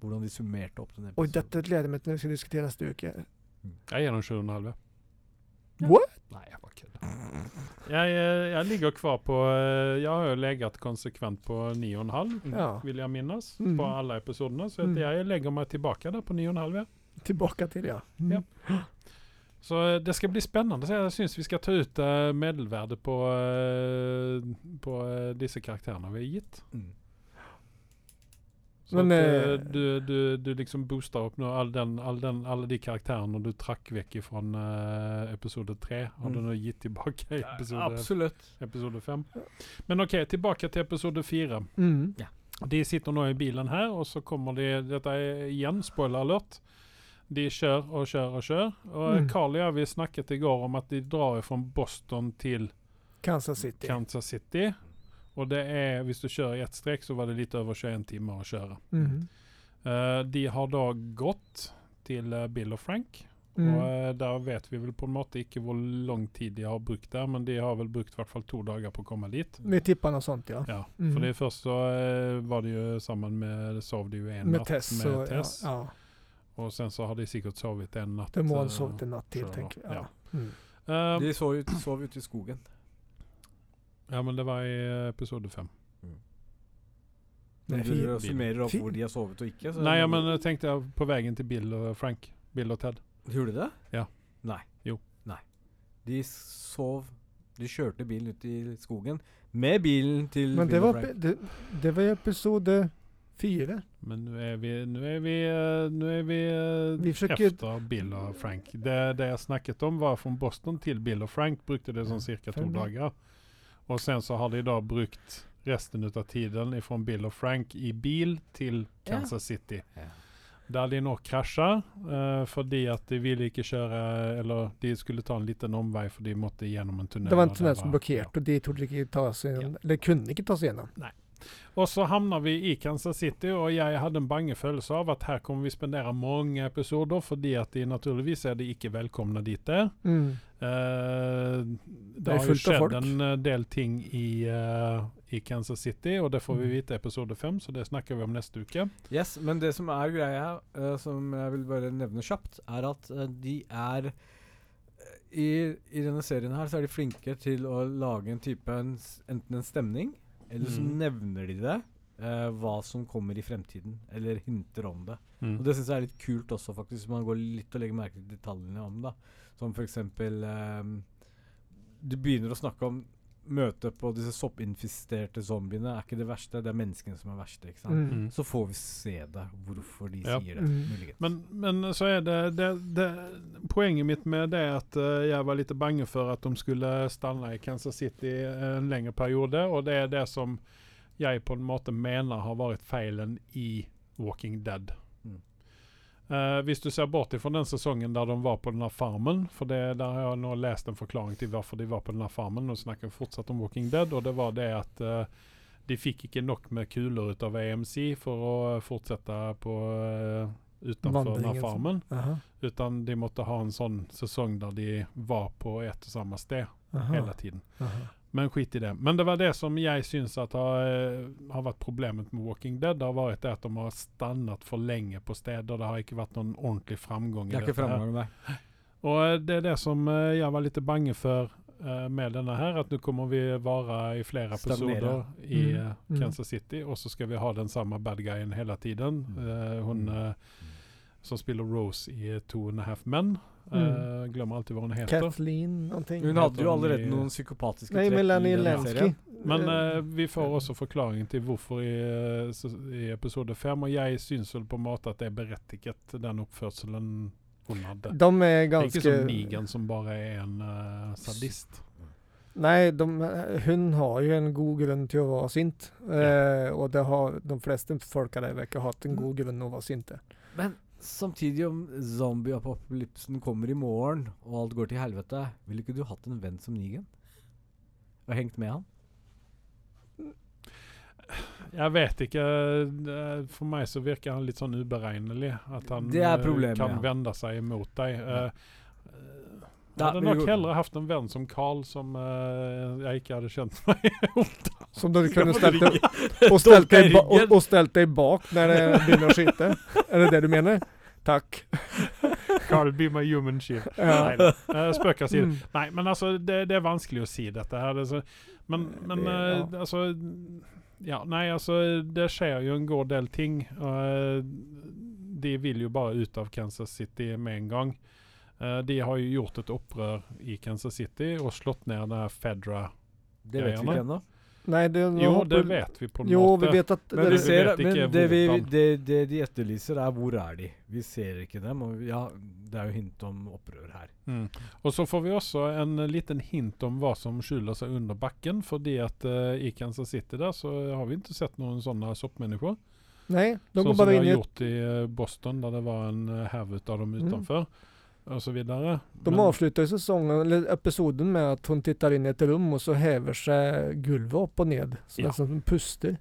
Hvordan de summerte opp den
Oj,
episoden.
detta gläder mig till när vi ska diskutera styrka.
Jeg gir den 7,5.
What?
Nei, jeg bare kødder. Jeg, eh, jeg ligger kvar på eh, Jeg har jo leget konsekvent på 9,5,
Ja.
vil jeg minnes,
Mm.
på alle episodene. Så at
Mm.
jeg legger meg tilbake der på 9,5. ja.
Tillbaka till det, ja.
Ja. Så eh, det skal bli spennende. Så jeg syns vi skal ta ut eh, medelverdet på, eh, på eh, disse karakterene vi har gitt.
Mm.
Så
Men,
at, eh,
eh,
du, du, du liksom booster opp nå all den, all den, alle de karakterene du trakk vekk fra eh, episode tre. Har du
Mm.
nå gitt tilbake i episode
Absolutt.
episode fem. Men OK, tilbake til episode fire.
Mm.
De sitter nå i bilen her, og så kommer de Dette er igjen spoiler alert. De kjører og kjører og kjører. Og
Mm.
Carl og jeg vi snakket i går om at de drar fra Boston til
Kansas City.
Kansas City. Og det er, hvis du kjører i ett strekk, så var det litt over 21 timer å kjøre.
Mm.
Eh, de har da gått til eh, Bill og Frank. Og
Mm.
eh, der vet vi vel på en måte ikke hvor lang tid de har brukt der, men de har vel brukt i hvert fall to dager på å komme dit.
Vi tippar något sånt ja.
Ja,
Mhm.
fordi først så eh, var det jo sammen med Sov de jo en
Med
natt
Tess.
med
och-
Tess.
Ja, ja.
Og sen så har de sikkert sovet en natt.
Det må han
eh,
sovit en natt till
tror jag
tänker
nog.
jag. Ja. Mm.
eh,
De sov ute sov ut i skogen.
ja, men det var i eh, episode fem.
Men
Det är
du
fint.
fin-
summerer opp
fin-
hvor de har sovet og ikke. så-
Nei, ja, men jeg tenkte jeg på veien til Bill og Frank. Bill og Ted.
Gjorde de det?
Ja.
Nei.
Jo.
Nei. De sov De kjørte bilen ut i skogen med bilen til
Men det
Bill og
var,
Frank.
det, det var episode fyra.
Men nå er vi Nå er vi, eh, nå er vi, eh,
Vi försöker-
efter Bill og Frank. Det, det jeg snakket om, var fra Boston til Bill og Frank. Brukte det sånn cirka to
Fem.
dager. Og sen så har de da brukt resten av tiden fra Bill og Frank i bil til
Ja.
Kansas City.
Ja.
Der de nå krasjer eh, fordi at de ville ikke kjøre Eller de skulle ta en liten omvei, for de måtte gjennom en tunnel.
Det var en
og
tunnel som
ja.
blockerat och dit tog de ta sig igenom, eller kunde inte ta sig igenom.
Og så havner vi i Kansas City, og jeg hadde en bange følelse av at her kommer vi spendere mange episoder, fordi at de naturligvis er de ikke velkomne dit der.
Mm.
Eh, det
er
har jo
fullt av folk.
skjedd en eh, del ting i, eh, i Kansas City, og det får vi
Mm.
vite i episode fem, så det snakker vi om neste uke.
Yes, men det som er greia, eh, som jeg vil bare nevne kjapt, er at eh, de er i, I denne serien her så er de flinke til å lage en type en, s- Enten en stemning, eller så
Mm.
nevner de det. eh, hva som kommer i fremtiden, eller hinter om det. Og
Mm.
Det syns jeg er litt kult også, faktisk, hvis man går litt og legger merke til detaljene om det. Som f.eks. Um, du begynner å snakke om møtet på disse soppinfiserte zombiene. Er ikke det verste, det er menneskene som er verste. ikke sant?
Mm.
Så får vi se det, hvorfor de
Ja.
sier det.
Mm.
muligens.
Men, men så er det, det, det Poenget mitt med det er at eh, jeg var litt bange for at de skulle stanne i Kansas City eh, en lengre periode, og det er det som jeg på en måte mener har vært feilen i Walking Dead.
Mm.
Eh, hvis du ser bort ifra den sesongen der de var på den her farmen For det, der har jeg nå lest en forklaring til hvorfor de var på den her farmen. Og snakker fortsatt om Walking Dead, og det var det at eh, de fikk ikke nok med kuler ut av AMC for å fortsette på eh, utenfor den
Vandringen,
her
så.
farmen.
Aha.
Utan de måtte ha en sånn sesong der de var på ett og samme sted hele
Aha.
tiden.
Aha.
Men skit i det. Men det var det som jeg syns at har, eh, har vært problemet med Walking Dead. Det har vært det at de har stannet for lenge på steder. Det har ikke vært noen ordentlig framgang. i
det er ikke
dette her.
framgang, nei.
Og eh, det er det som eh, jeg var litt bange for eh, med denne her, at nå kommer vi være i flere
Stagnere.
episoder i
Mm,
eh,
mm.
Kansas City, og så skal vi ha den samme bad guyen hele tiden. Eh, hun eh, som spiller Rose i eh, Two and a Half Men. Eh,
Mm.
Glemmer alltid hva hun heter.
Kathleen någonting.
Hun
heter
hadde jo
han i-
allerede noen psykopatiske
Nej,
trekk i
Melanie
den
Lansky.
serien.
Men eh, vi får også forklaringen til hvorfor i, eh, ses- i episode fem, og jeg syns vel på en måte at det er berettiget, den oppførselen hun hadde.
de är
Det er
ganska...
ikke som Negan, som bare er en eh, sadist.
Nej, de, hon har ju en god grund till att vara sint. Eh, och det har de flesta folk där verkar ha haft en god
Mm.
grund att vara sinte.
Men samtidig, om zombieapokalypsen kommer i morgen, og alt går til helvete, ville ikke du hatt en venn som Nigen? Og hengt med han?
Jeg vet ikke. eh, For meg så virker han litt sånn uberegnelig. At han
Det er
eh,
problemet,
kan
ja.
vende seg imot deg. Eh, Jeg
Nei,
hadde
vi
nok
går-
heller hatt en venn som Carl, som eh, jeg ikke hadde kjent meg.
Som du
Ska
kunde
man
ställt dig,
ligga?
och ställt dig, ba,
Dolka i ryggen.
och, och ställt dig bak när det brinner och skiter. Är det det du menar? Tack.
Carl, be my human shield.
Ja.
Nei, eh, spøk av side.
Mm.
Nei, men altså, det, det er vanskelig å si dette her. Det, er så- Alltså, men men
Det- ja.
eh, altså Ja, nei, altså Det skjer jo en god del ting. Og eh, de vil jo bare ut av Kansas City med en gang. Eh, de har jo gjort et opprør i Kansas City og slått ned det her Fedra.
Det vet vi
Greiene.
ikke ennå.
Nej, det, nå
Jo,
håper-
det vet vi på en
Jo,
måte.
vi vet at
Men,
det-
vi
vi
ser,
vet
men
ikke
det, vi,
hvordan.
det, det de etterlyser, er hvor er de? Vi ser ikke dem. Og vi- ja, det er jo hint om opprør her.
Mm. Og så får vi også en eh, liten hint om hva som skjuler seg under bakken, fordi at eh, i Kansas City der så har vi ikke sett noen sånne soppmänniskor.
Nej, de
Sånn
går
som
bara
vi
in
har
i ett...
gjort i eh, Boston, der det var en eh, haug ut av dem
Mm.
utenfor, og så videre.
De
Men-
avslutar ju säsongen, eller episoden med att hon tittar in i ett rum och så häver sig golvet upp och ned. Så
Ja.
ja. som puster.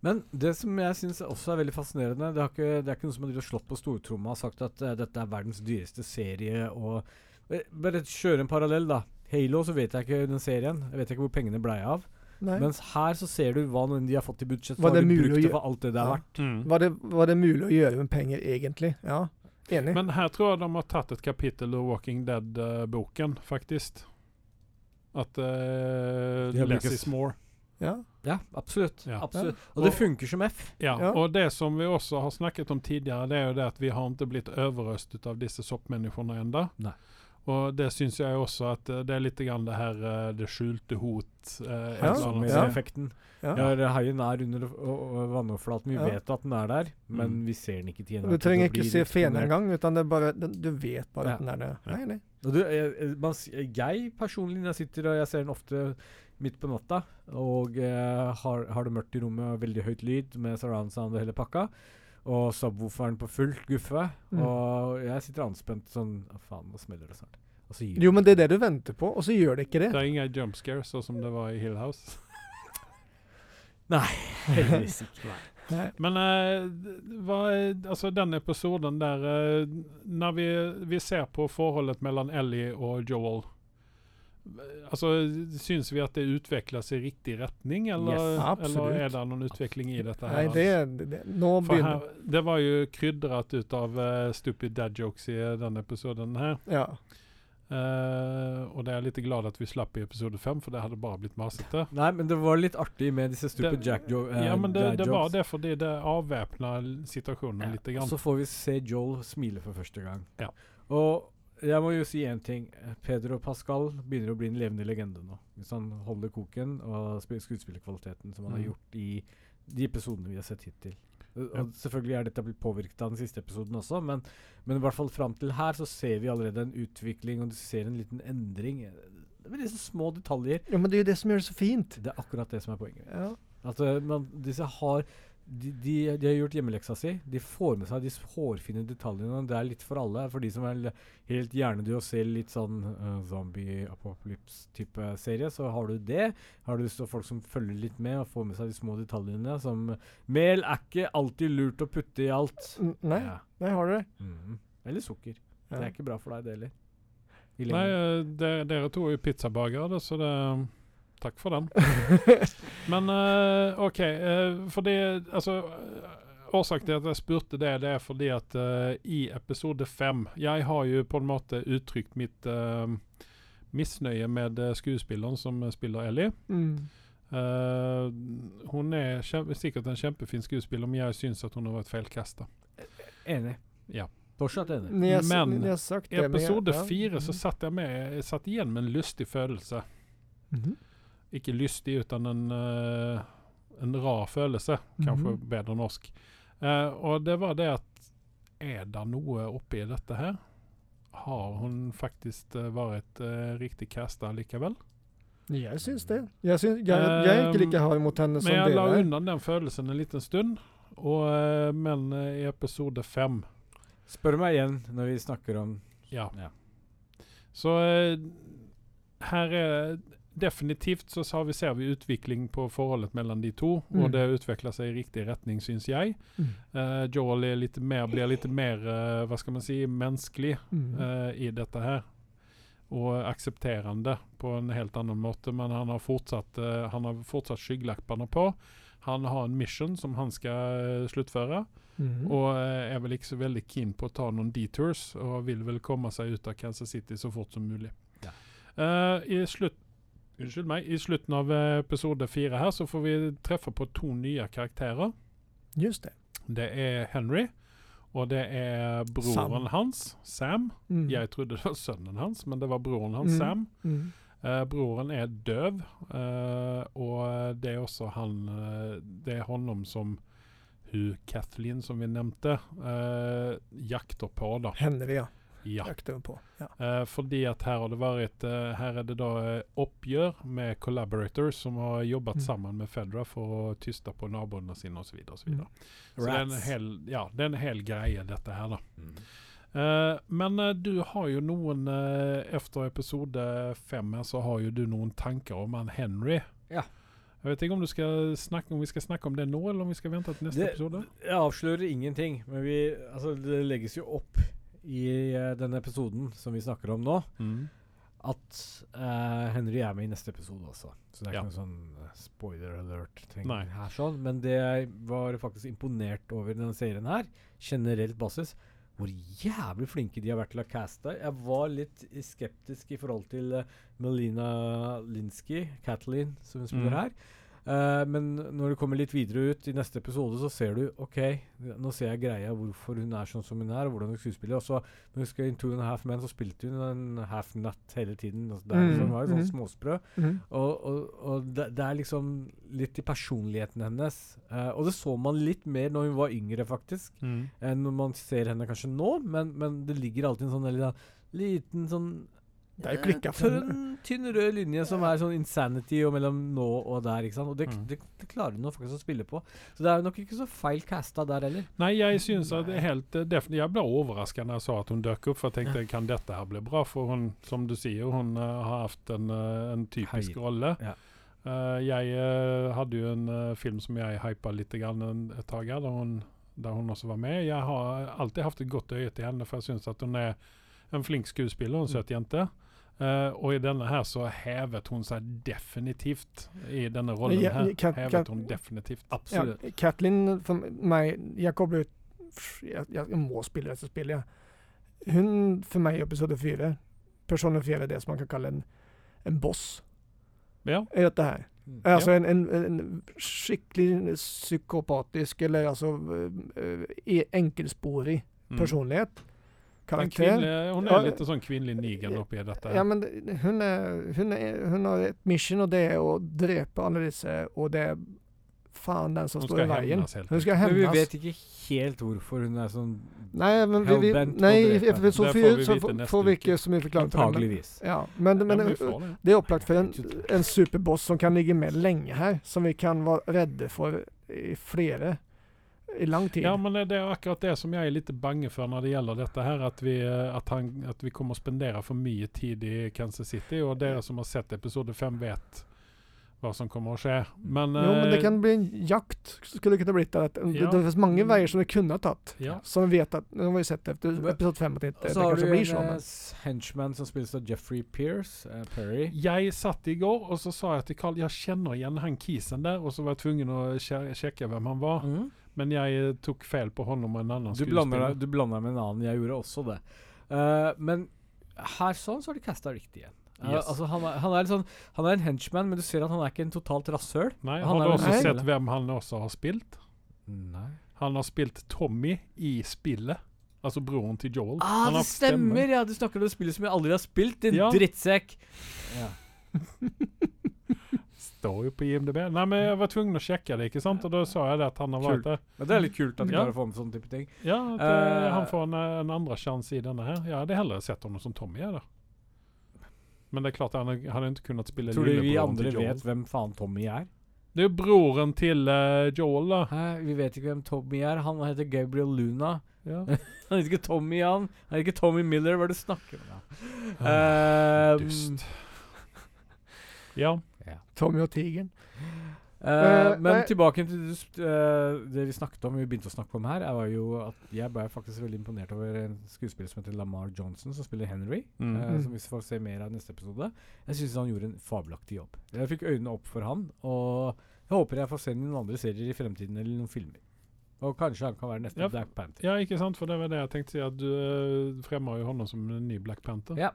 Men det som jeg syns også er veldig fascinerende Det, har ikke, det er ikke noen som har drevet og slått på stortromma og sagt at eh, dette er verdens dyreste serie og Eh, Bare kjøre en parallell, da. Halo, så vet jeg ikke den serien. Jeg vet ikke hvor pengene blei av.
Nej.
Mens her så ser du hva de har fått i budsjett.
Hva
Hva
det
de
er mulig å
brukt det
gjø-
for alt det det er
Ja.
verdt.
Mm.
Var, det, var det mulig å gjøre med penger egentlig? Ja, enig.
Men her tror jeg de har tatt et kapittel ur Walking eh, Dead-boken, faktisk. At eh,
Det har
Less
brukes.
is more.
ja.
Ja, absolutt.
Ja.
absolutt. Og,
Og-
det funker som F.
Ja,
Ja.
og det som vi også har snakket om tidligere, det er jo det at vi har ikke blitt overøst av disse soppmänniskorna enda.
Nei.
Og det syns jeg også at eh, det er litt grann det her eh, det skjulte hot eh, et
Ja,
eller annet
Med
sted.
effekten.
Ja.
Ja. Haien er under å- å- vannoverflaten. Vi
Ja.
vet at den er der, men
Mm.
vi ser den ikke til
Du
enhver tid
trenger
og
ikke
blir
se fena
eksponert.
engang, utan det er bare, den, du vet bare
Ja.
at den er der.
Ja.
Nei, nei.
Og du, jeg, jeg- man, s- jeg personlig, når jeg sitter og jeg ser den ofte midt på natta, og eh, har, har det mørkt i rommet og veldig høyt lyd med surround sound og hele pakka, og subwooferen på fullt guffe,
Mm.
og jeg sitter anspent sånn Å, faen, nå smeller det snart. Og så gir
Jo, men det er det du venter på, og så gjør det ikke det.
Det er ingen jump scare, sånn som det var i Hill House.
heldigvis ikke.
Nei.
Men eh, d- hva, er- altså den episoden der eh, Når vi, vi ser på forholdet mellom Ellie og Joel eh, Altså, Syns vi at det utvikler seg i riktig retning, eller,
Yes.
Absolutt.
eller er det noen utvikling i dette?
Nei,
her?
det, det, det. Nå
For
begynner
her, det var jo krydret ut av eh, stupid dad jokes i eh, denne episoden her.
Ja.
Eh, og det er jeg litt glad at vi slapp i episode fem, for det hadde bare blitt masete.
Nei, men det var litt artig med disse stupid
Det-
jack jo eh,
eh. ja, men det,
dad
det var
jokes.
det fordi det avvæpnet situasjonen
Ja,
litt.
og
Grann.
Så får vi se Joel smile for første gang.
Ja.
Og jeg må jo si én ting. Pedro Pascal begynner å bli en levende legende nå. Hvis han holder koken og sp- skuespillerkvaliteten som han har
Mhm.
gjort i de episodene vi har sett hittil. Og
Ja.
og Selvfølgelig er dette blitt påvirket av den siste episoden også, men, men i hvert fall fram til her så ser vi allerede en utvikling, og du ser en liten endring. Det er liksom små detaljer.
ja, men det er jo det som gjør det så fint.
Det er akkurat det som er poenget.
Ja.
At eh, man, disse har de, de, de har gjort hjemmeleksa si. De får med seg de hårfine detaljene. Det er litt for alle. For de som er l- helt hjernedøde og ser litt sånn eh, zombie-apocalypse-type serie, så har du det. Har du lyst til å folk som følger litt med og får med seg de små detaljene, som eh, Mel er ikke alltid lurt å putte i alt.
N- Nei,
Ja.
nei, Mm, har du det?
Mhm. Eller sukker.
Ja.
Det er ikke bra for deg, det heller. I
Nei,
lengden.
eh, de, dere to er jo pizzabakere, så det eh, Takk for den. Men eh, OK, eh, fordi Altså eh, Årsaken til at jeg spurte det, det er fordi at eh, i episode fem Jeg har jo på en måte uttrykt mitt eh, misnøye med eh, skuespilleren som eh, spiller Ellie.
Mm.
Eh, hun er kjem sikkert en kjempefin skuespiller, men jeg syns at hun har vært feilkasta.
Enig.
Ja.
Fortsatt enig.
Ni har,
Men,
men, ni har sagt
I
det, men jeg-
episode
ja. Mm.
fire så satt jeg, med, jeg satt igjen med en lystig følelse.
Mhm.
ikke lystig, utan en, eh, en rar følelse. Kanskje
Mhm.
bedre norsk. Eh, og det var det at Er det noe oppi dette her? Har hun faktisk eh, vært eh, riktig casta likevel?
Jeg syns det. Jeg, syns, jeg, jeg er ikke like hard mot henne som
Men jeg la
dere er.
unna den følelsen en liten stund. Og, eh, men eh, i episode fem
Spør meg igjen når vi snakker om
Ja.
Ja.
Så eh, her er Definitivt så har vi, ser vi utvikling på forholdet mellom de to,
Mm.
og det utvikler seg i riktig retning, syns jeg. Eh, Joel er litt mer, blir litt mer eh, hva skal man si, menneskelig
Mm.
eh, i dette her. Og aksepterende på en helt annen måte, men han har fortsatt, eh, han har fortsatt skygglappene på. Han har en mission som han skal eh, sluttføre,
Mhm.
og eh, er vel ikke så veldig keen på å ta noen detours, og vil vel komme seg ut av Kansas City så fort som mulig.
Ja.
Eh, I slutt Unnskyld meg. I slutten av eh, episode fire her så får vi treffe på to nye karakterer.
Just det.
Det er Henry Og det er broren
Sam.
hans, Sam.
Mm.
Jeg trodde det var sønnen hans, men det var broren hans,
Mm.
Sam.
Mm.
Eh, broren er døv, eh, og det er også han eh, Det er honom som hun Kathleen, som vi nevnte, eh, jakter på, da.
Henne vi ja.
Ja.
Jakte hun på. Ja.
Eh, fordi at her har det vært eh, Her er det da eh, oppgjør med collaborators som har jobbet
Mm.
sammen med Fedra for å tyste på naboene sine osv. Så, videre, og så, videre.
Mm.
så det, er en hel, ja, det er en hel greie, dette her, da. Eh, men eh, du har jo noen eh, Efter episode fem her så har jo du noen tanker om han Henry.
Ja.
Jeg vet ikke om, du skal snakke, om vi skal snakke om det nå, eller om vi skal vente til neste
Det-
episode.
Jeg avslører ingenting, men vi, altså, det legges jo opp i eh, denne episoden som vi snakker om nå,
Mm.
at eh, Henry er med i neste episode også. Så det er
Ja.
ikke noe sånn eh, spoiler alert-ting
Nei.
her, sånn. Men det jeg var faktisk imponert over i denne serien her, generelt basis, hvor jævlig flinke de har vært til å caste. Jeg var litt skeptisk i forhold til eh, Melina Linsky, Kathleen, som hun spiller
Mm.
her. Eh, men når du kommer litt videre ut i neste episode, så ser du OK, nå ser jeg greia hvorfor hun er sånn som hun er, og hvordan hun skuespiller. Og så når jeg husker i Two and a Half Men, så spilte hun en half nut hele tiden. Altså der,
Mm.
så hun var jo sånn
Mhm.
småsprø.
Mm.
Og, og, og det, det er liksom litt i personligheten hennes. Eh, og det så man litt mer når hun var yngre, faktisk
Mm.
enn når man ser henne kanskje nå, men, men det ligger alltid en sånn veldig sånn liten sånn
Det er jo klikka
eh,
for-
tynn- Tynn rød linje som er sånn insanity og mellom nå og der. ikke sant? Og det,
Mm.
det, det klarer hun nå faktisk å spille på. Så det er nok ikke så feil casta der heller.
Nei, jeg syns at det er helt eh, defin- Jeg ble overraska når jeg så at hun dukket opp, for jeg tenkte kan dette her bli bra? For hun, som du sier, hun eh, har hatt en, eh, en typisk
Hei.
rolle.
Ja.
Eh, jeg eh, hadde jo en eh, film som jeg hypa litt grann en, et tak her, der hun, der hun også var med. Jeg har alltid hatt et godt øye til henne, for jeg syns at hun er en flink skuespiller,
Mm.
en søt jente. Eh, og i denne her så hevet hun seg definitivt. I denne rollen
Ja,
her
kan- kan-
hevet hun definitivt.
Ja,
Absolutt.
Kathleen, for meg, jeg kobler ut jeg, jeg, jeg må spille dette spillet. Hun, for meg, i episode fire Personen fire er det som man kan kalle en, en boss
Ja.
i dette her.
Mm.
Altså Alltså en, en, en skikkelig psykopatisk, eller altså eh, eh, enkelsporig
Mm.
personlighet.
En
Karakter.
kvinne, hun er
Ja.
litt sånn kvinnelig Negan oppi dette.
Ja, men det- hun, er, hun, er, hun har et mission, og det er å drepe Annelise, og det er faen den som
Hun
står i
skal
veien.
hevnes helt
Hun skal
Men vi
hevnes.
vet ikke helt hvorfor hun er sånn
Nei, men vi, vi,
Hellbent på å
nei,
drepe
så,
henne.
Det får
får
vi
så
vite
får-
neste
får vi ikke
uke.
så mye forklaring på det. Men,
antageligvis.
ja, men, men,
Ja, vi får det.
det er opplagt for en, en superboss som kan ligge med lenge her, som vi kan være redde for i flere, i lang tid.
Ja, men det er akkurat det som jeg er litt bange for når det gjelder dette her, at vi, eh, at han, at vi kommer å spendere for mye tid i Kansas City, og dere som har sett episode 5 vet hva som kommer å skje. Men,
jo, men det
eh,
kan bli en jakt, skulle det kunne blitt. Det, det,
Ja. Mm.
det finns många vägar som vi kunde ha tagit.
Ja.
Som vi vet att, nu har vi sett efter
Men-
episod 5 att det inte
Og
det
så har
kanske
du
blir
en
så.
eh,
Men,
s- henchman som spilles av Jeffrey Pierce, eh, Perry.
Jeg satt i går, og så sa jeg til Carl jeg kjenner igjen han kisen der, og så var jeg tvungen å sje- sjekke hvem han var.
Mm.
Men jeg eh, tok feil på hånden om en annen
Du blander, deg- du blander deg med en annen. Jeg gjorde også det. Eh, men her sånn så har de casta riktig igjen. Eh,
Yes.
altså han, er, han, er litt sånn, han er en henchman, men du ser at han er ikke en totalt rasshøl.
Nei, har
Han er
du
vel-
også
Nei.
sett hvem han også har spilt?
Nei.
Han har spilt Tommy i spillet. Altså broren til Joel.
Ah,
Han har
det
stemme.
stemmer! Ja, Du snakker om det spillet som jeg aldri har spilt, din
Ja.
drittsekk! Ja.
Står jo på IMDb. Nei, men jeg var tvungen å sjekke det, ikke sant? Og da sa jeg det at han har vært der.
Men det er litt kult at de
Ja.
klarer å få med sånne type ting.
Ja, at,
Eh.
eh, han får en, eh, en andre sjanse i denne her. Jeg hadde heller sett honom som Tommy, jeg da. Men det er klart han har- hadde ikke kunnet spille
Tror du vi
lillebroren
andre
til Joel.
vet hvem faen Tommy er?
Det er jo broren til eh, Joel, da.
Hæ, vi vet ikke hvem Tommy er. Han heter Gabriel Luna.
Ja.
Han heter ikke Tommy, han. Han heter ikke Tommy Miller. Hva er det du snakker om? da? Eh,
Ah, Dust. Ja.
Tommy och tigern.
Eh,
Eh,
men
nei.
tilbake til det, du sp- eh, det vi snakket om, vi begynte å snakke om her, er var jo at jeg ble faktisk veldig imponert over en skuespiller som heter Lamar Johnson, som spiller Henry.
Mm.
eh, som vi får se mer av i neste episode. Jeg syns han gjorde en fabelaktig jobb. Jeg fikk øynene opp for han, og jeg håper jeg får se ham i noen andre serier i fremtiden, eller noen filmer. Og kanskje han kan være neste
Ja.
Black Panther.
ja, ikke sant? For det var det jeg tenkte å si, at du eh, fremmer jo honom som en ny Black Panther.
Ja.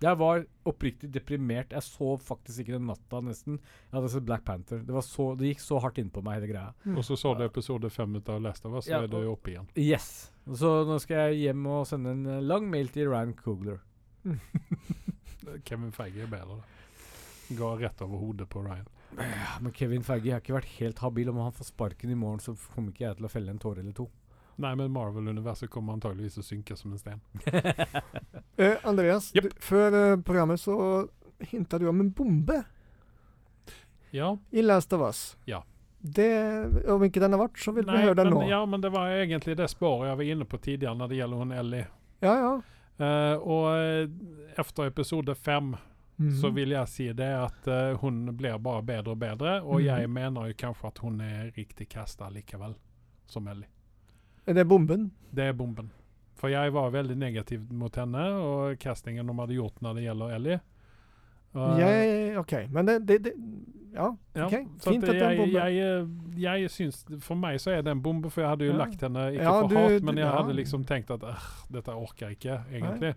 Jeg var oppriktig deprimert. Jeg sov faktisk ikke den natta, nesten. Jeg hadde sett Black Panther. Det, var så, det gikk så hardt innpå meg, hele greia.
Og så så du episode fem ut av Last of Us, så
Ja,
er du oppe igjen.
Yes. Så nå skal jeg hjem og sende en eh, lang mail til Ryan Coogler.
Kevin Feige er bedre, da. Ga rett over hodet på Ryan.
Ja, men Kevin Feige har ikke vært helt habil. Om han får sparken i morgen, så kommer ikke jeg til å felle en tåre eller to.
Nei, men Marvel-universet kommer antageligvis til å synke som en sten.
Eh, Andreas,
Japp.
du, før eh, programmet så hinta du om en bombe
Ja,
i Last of Us.
Ja.
Det, om ikke den har vært, så vil vi
nei,
høre den
men,
nå. Ja,
ja, men det var egentlig det sporet jeg var inne på tidligere når det gjelder hun Ellie.
ja.
Eh, og eh, efter episode fem
Mhm.
så vil jeg si det at eh, hun blir bare bedre og bedre, og
Mhm.
jeg mener jo kanskje at hun er riktig kasta likevel, som Ellie.
Er det bomben?
Det er bomben. For jeg var veldig negativ mot henne og castingen de hadde gjort når det gjelder Ellie. Og,
Jeg, OK. Men det, det, det Ja.
ja,
ok,
så
fint
at
at det er en
jeg,
bombe.
jeg, eh, jeg syns, For meg så er det en bombe, for jeg hadde jo
Ja.
lagt henne ikke
Ja,
for
du-
hardt,
du-
men jeg
ja.
hadde liksom tenkt at «Åh, dette orker jeg ikke, egentlig.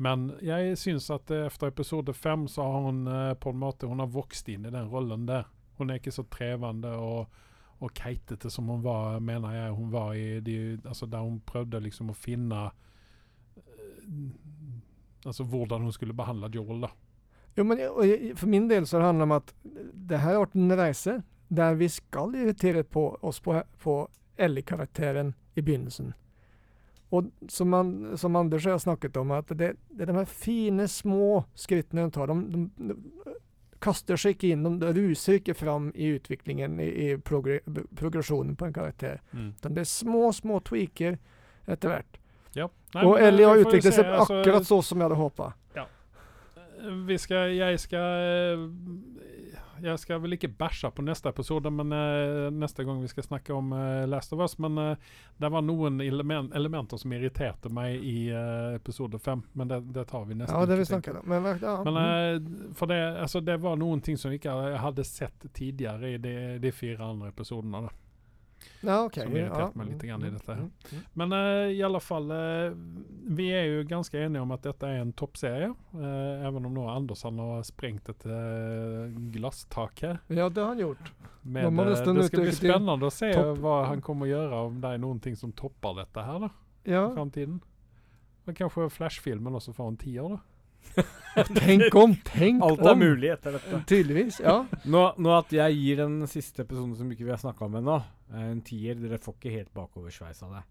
Men jeg syns at eh, efter episode fem så har hun eh, på en måte hun har vokst inn i den rollen der. Hun er ikke så trevende og, og keitete som hun var, mener jeg hun var i de, altså Der hun prøvde liksom å finne eh, Altså hvordan hun skulle behandle Joel, da.
Jo, men jeg, og jeg, for min del så det handler det om at det her har vært en reise der vi skal irritere på oss på, på Ellie-karakteren i begynnelsen. Og som, man, som Anders og jeg har snakket om, at det, det er de her fine, små skrittene hun tar. De, de, de kaster seg ikke inn, de, de ruser ikke fram i utviklingen, i, i progre, progresjonen på en karakter.
Mm.
Men det er små, små tweaker etter hvert.
Ja. Nei,
Og
men, eh,
Ellie har
vi får jo
utviklet
se, alltså-
seg
altså,
akkurat så som jeg hadde håpa.
vi skal, jeg skal eh, Jeg skal vel ikke bæsje på neste episode, men eh, neste gang vi skal snakke om eh, Last of Us. Men eh, det var noen element, elementer som irriterte meg i eh, episode fem. Men det, det tar vi neste
Ja, det vi
uke, tenker jeg.
snakket om. Men, ja,
Men
mm.
eh, for det, altså, det var noen ting som vi ikke hadde sett tidligere i de, de fire andre episodene. Da.
Ja, ok.
som irriterte
ja.
meg litt grann i
Mm,
dette her.
mm, mm.
Men eh, i alle fall, eh, vi er jo ganske enige om at dette er en toppserie. Uh, even om nå Andersen har sprengt et eh, glasstak her.
Ja, det har han gjort.
Med,
Nå må det
eh,
stå en
det skal bli
uttrykt til
spennende å se
topp.
hva han kommer å gjøre, om det er noen ting som topper dette her da, i
Ja,
framtiden. Men kanskje Flash-filmen også får en tier, da.
tenk om! Tenk
Alt
om!
er mulig etter dette.
Tydeligvis, ja.
Nå, nå at jeg gir den siste episoden som ikke vi har snakka om ennå, eh, en tier Dere får ikke helt bakoversveis av det.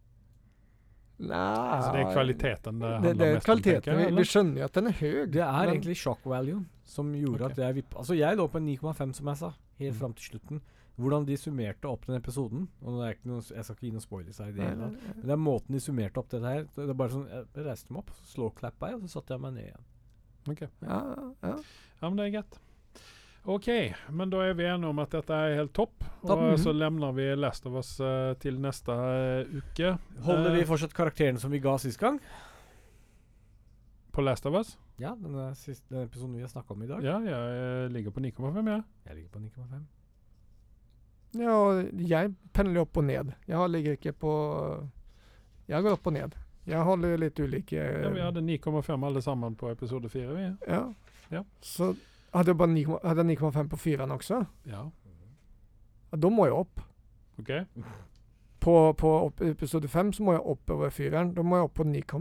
Nei
Så Alltså, det er kvaliteten det
Det,
handler
det er
mest om. tenker
kvaliteten.
jeg,
Vi, vi
eller?
skjønner jo at den er høy.
Det er
men-
egentlig shock value som gjorde
Ok.
at jeg vippa. Altså, jeg lå på en 9,5, som jeg sa, helt
Mm.
fram til slutten. Hvordan de summerte opp den episoden og det er ikke noe, Jeg skal ikke gi noen spoilers her. i Det, hele tatt, men det er måten de summerte opp dette her. Det er bare sånn, Jeg reiste meg opp, så slowclappa jeg, og så satte jeg meg ned igjen.
Ok.
Ja, ja.
Ja, men det er greit. OK, men da er vi enige om at dette er helt topp. Og
Topp, mhm.
så
Mm.
lemner vi Last of Us eh, til neste eh, uke. Eh,
Holder vi fortsatt karakteren som vi ga sist gang?
På Last of Us?
Ja, den er siste den episoden vi har snakka om i dag.
Ja, jeg eh, ligger på 9,5, jeg.
Jeg ligger på 9,5.
ja, jeg pendler opp og ned. Jeg ligger ikke på Jeg går opp og ned. Jeg holder litt ulike
Ja, vi hadde 9,5 alle sammen på episode 4, vi.
ja.
Ja.
Så hadde jeg bare 9,5 hadde jeg 9,5 på fyren også.
Ja,
Ja, Da må jeg opp.
OK.
På, på opp, episode fem så må jeg opp over fyreren. Da må jeg opp på 9,7,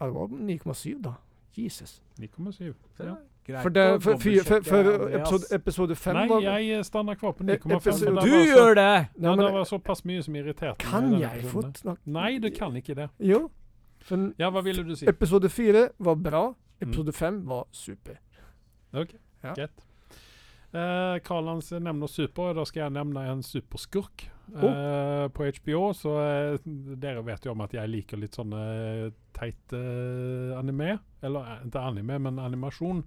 ja, det var 9,7 da. Jesus.
9,7.
Så
Ja.
greit
For, det,
å
for, for, for,
dobbeltsjekke,
for
Andreas.
episode, episode fem
Nei,
var
jeg eh, stanner kvar på 9,5.
Episode-
for det
Du
var så-
gjør det!
Ja,
Nei,
det var
men,
såpass mye som irriterte meg.
Kan
i den
jeg få
episoden.
snakke
Nei, du kan ikke det.
Jo. For
Ja, hva ville du si? Mm.
episode fire var bra. Episode fem var super.
Ok,
Ja.
greit. Eh, Karlans nevner super, og da skal jeg nevne en superskurk eh, på HBO. Så eh, dere vet jo om at jeg liker litt sånne teit eh, anime. Eller eh, ikke anime, men animasjon.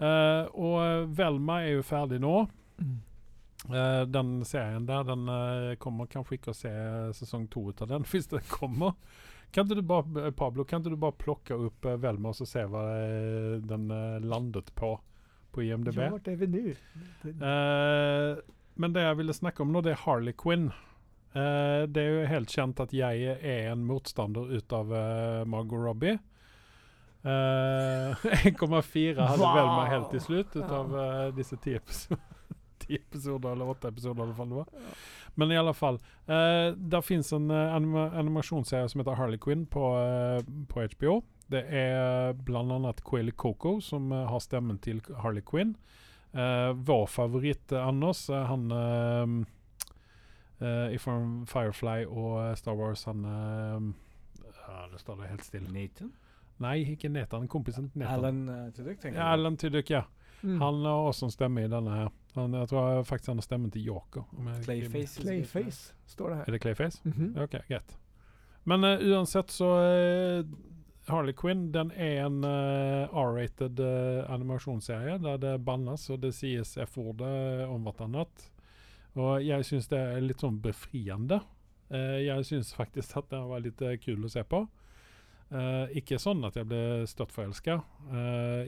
Eh, og Velma er jo ferdig nå. Eh, den serien der, den eh, kommer kanskje ikke å se eh, sesong to ut av den, hvis det kommer. Kan ikke du bare, Pablo, kan ikke du bare plukke opp eh, Velma og så se hva eh, den eh, landet på på IMDb?
Ja, det er vi nu.
Eh, men det jeg ville snakke om nå, det er Harley Quinn. Eh, det er jo helt kjent at jeg er en motstander ut av eh, Margot Robbie. Eh, 1,4 hadde
Wow!
vel meg helt til slutt ut av eh, disse ti episoder. Ti episoder, eller åtte episoder, i alle fall. det var. Men i alle fall uh, Det fins en eh, anima animasjonsserie som heter Harley Quinn på, eh, på HBO. Det er bl.a. Quayle Coco som eh, har stemmen til Harley Quinn. Eh, vår favoritt, eh, Anders, eh, han eh, eh, i form Firefly og eh, Star Wars, han eh, ja, Det står det helt stille.
Nathan?
Nei, ikke Netan. Kompisen til Netan.
Alan eh, Tudyk, tenker
Ja,
jeg.
Alan Tudyk, ja.
Mm.
Han har også en stemme i denne her. Han, jeg tror faktisk han har stemmen til Joker. om jeg ikke-
Clayface.
Clayface står det her.
Er det Clayface?
Mhm.
Ok, greit. Men eh, uansett så eh, Harley Quinn den er en eh, R-rated eh, animasjonsserie der det bannes og det sies F-ordet eh, om hvert annet. Og jeg syns det er litt sånn befriende. Eh, jeg syns faktisk at den var litt eh, kul å se på. Eh, ikke sånn at jeg ble støttforelska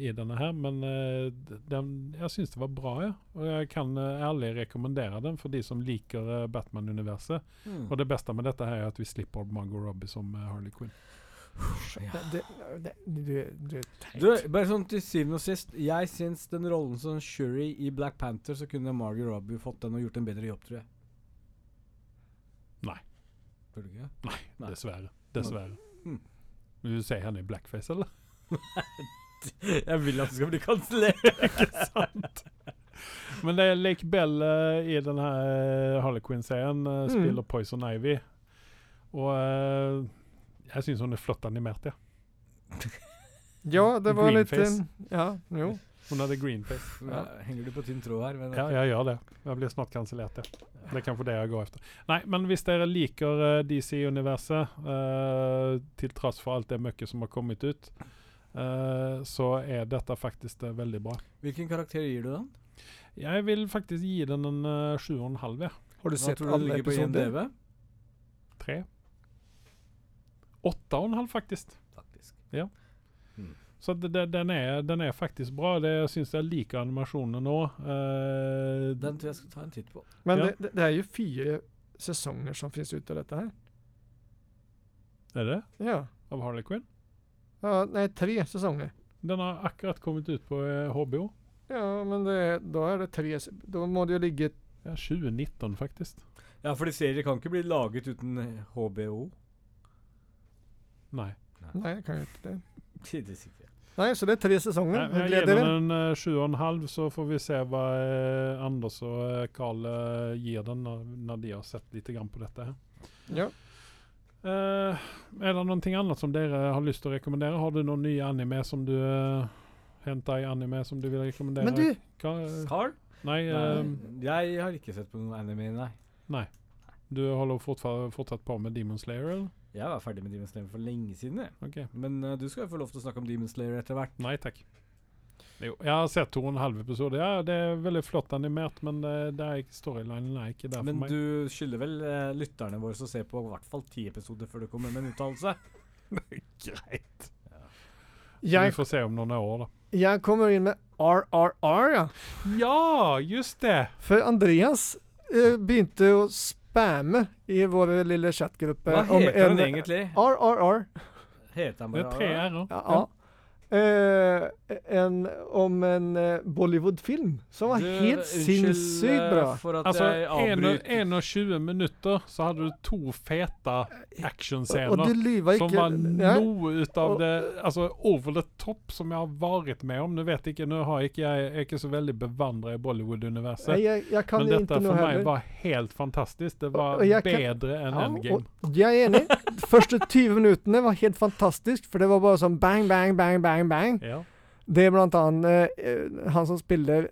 i denne her, men eh, d- den, jeg syns det var bra, ja. Og jeg kan eh, ærlig rekommendere den for de som liker eh, Batman-universet.
Mm.
Og det beste med dette her er at vi slipper Margot Robbie som eh, Harley Quinn.
Ja.
Det, det, det, du, du er teit.
Du, bare sånn til syvende og sist. Jeg syns den rollen som Shuri i Black Panther, så kunne Margot Robbie fått den og gjort en bedre jobb, tror jeg.
Nei.
Burde du ikke?
Nei,
Nei.
dessverre. Dessverre.
Mm.
Vil du se henne i blackface, eller?
Jeg vil at den skal bli kansellert.
Men det er Lake Bell eh, i den her eh, Harley Quinn-serien. eh,
Mm.
spiller Poison Ivy. Og eh, jeg syns hun er flott animert, ja.
Ja, det var litt
Greenface.
eh, Ja, jo.
Hun hadde greenface.
Ja. Henger du på tynn tråd her? Men
Ja, jeg gjør det. Jeg blir snart kansellert, ja. Det er kanskje det jeg går etter. Nei, men hvis dere liker eh, DC-universet, eh, til tross for alt det møkket som har kommet ut, eh, så er dette faktisk eh, veldig bra.
Hvilken karakter gir du den?
Jeg vil faktisk gi den en eh, sju og en halv, ja.
Har du
Hva
sett
tror du
alle
ligger på
episoder?
IMDv?
Tre. Åtte og en halv, faktisk.
Faktisk.
Så det, det, den, er, den er faktisk bra. Det, jeg syns jeg liker animasjonen nå. Eh,
Den tror jeg skal ta en titt på.
Men
Ja.
det, det, det er jo fire säsonger som finns ute av detta här.
er det?
Ja.
Av Harley Quinn?
ja. Nej, tre säsonger.
Den har akkurat kommet ut på eh, HBO.
Ja, men det, då är det tre. s- Då må det ju ligga...
Ja, 2019, faktisk.
Ja, fordi serier kan ikke bli laget uten eh, HBO.
Nei.
Nej, jag kan ju inte det.
Tidligst ikke.
Nej, så det är tre säsonger.
Nei,
Mm, Hur
jeg
gläder
gir
vi?
den en eh, sju og en halv, så får vi se hva eh, Anders og eh, Carl eh, gir den når, når de har sett litt grann på dette. her.
Ja.
Eh, er det noe annet som dere har lyst til å rekommendere? Har du noen nye anime som du uh, henta i anime som du vil rekommendere?
Men du,
Ka-
Carl?
nei, eh,
jeg har ikke sett på noen anime, nei.
du holder fortsatt, fortsatt på med Demon Slayer, eller?
Jeg var ferdig med Demon Slayer for lenge siden, jeg.
Ok.
Men eh, du skal jo få lov til å snakke om Demon Slayer etter hvert.
Nei takk. Jo, jeg har sett to og en halv episode. Ja, det er veldig flott animert, men eh, det, det er ikke, storylinen er ikke der for
Men
meg.
du skylder vel eh, lytterne våre som ser på i hvert fall ti episoder før du kommer med en
Eh,
uttalelse.
Greit. Vi
jag,
får se om noen år, da.
jag kommer in med RRR ja.
Ja, just det!
För Andreas eh, begynte att spamma i vår lilla chattgrupp. eh,
Hva
om
heter
en-
han egentlig?
RRR.
Heter han
Det er
bare
tre r-er.
Ja. Eh, en, om en eh, Bollywood-film som var
Du,
helt sinnssykt
eh,
bra.
for at
Altså,
jeg avbryter.
21 minutter så hadde du to fete
Og du
actionscener.
lyver
Som
ikke.
var
Ja.
noe ut av
Og-
det altså over the top som jeg har vært med om. Nå vet jeg ikke, nå har jeg ikke jeg er ikke så veldig bevandra i
Nej,
Bollywood-universet.
jag, jag kan
Men
det
dette
inte nå
for meg
heller.
var helt fantastisk. Det var
Og- og jeg kan-
bedre enn
Ja,
Endgame.
og jeg er enig. Første 20 minuttene var helt fantastisk, for det var bare sånn bang, bang, bang, bang, bang.
Ja.
Det er blant annet eh, han som spiller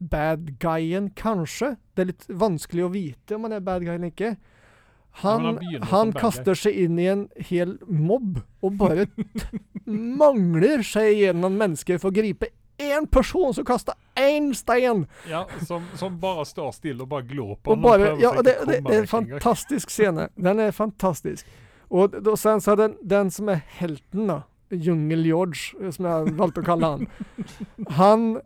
bad guyen, kanskje. Det er litt vanskelig å vite om han er bad guy eller
Ja,
ikke. Han,
men han begynner
han,
som bad guy.
kaster seg inn i en hel mobb og bare t- mangler seg gjennom mennesker for å gripe én person som kaster én stein.
Ja, som, som bare står stille og bare glor på
Og
han
bare,
prøver
ja,
seg ikke
og det, det
komme
er en
vekk engang.
fantastisk scene. Den er fantastisk. Og, d- og sen så er den, den som er helten, da, Jungel-George, eh, som jeg valgte å kalle han, han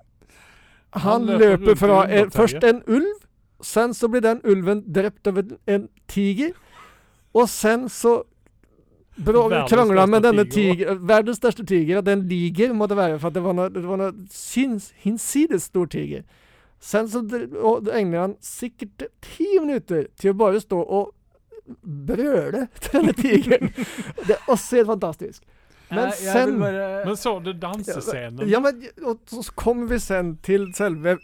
Han
Han løper
løper
rundt i
fra en,
undertøyet.
først en ulv, sen så blir den ulven drept av en, en tiger, og sen så Bra, vi
Verdens
krangla med
største
denne
tiger.
tiger, verdens største tiger, og den liger måtte være for at det var noe, det var noe sinns- hinsides stor tiger. Sen så dr- og det egner han sikkert ti minutter til å bare stå og brøle til denne tigeren. det er også helt fantastisk. Men
jeg, jeg
sen-
vil bare,
Men så du dansescenen?
Ja, men og så kommer vi sen til selve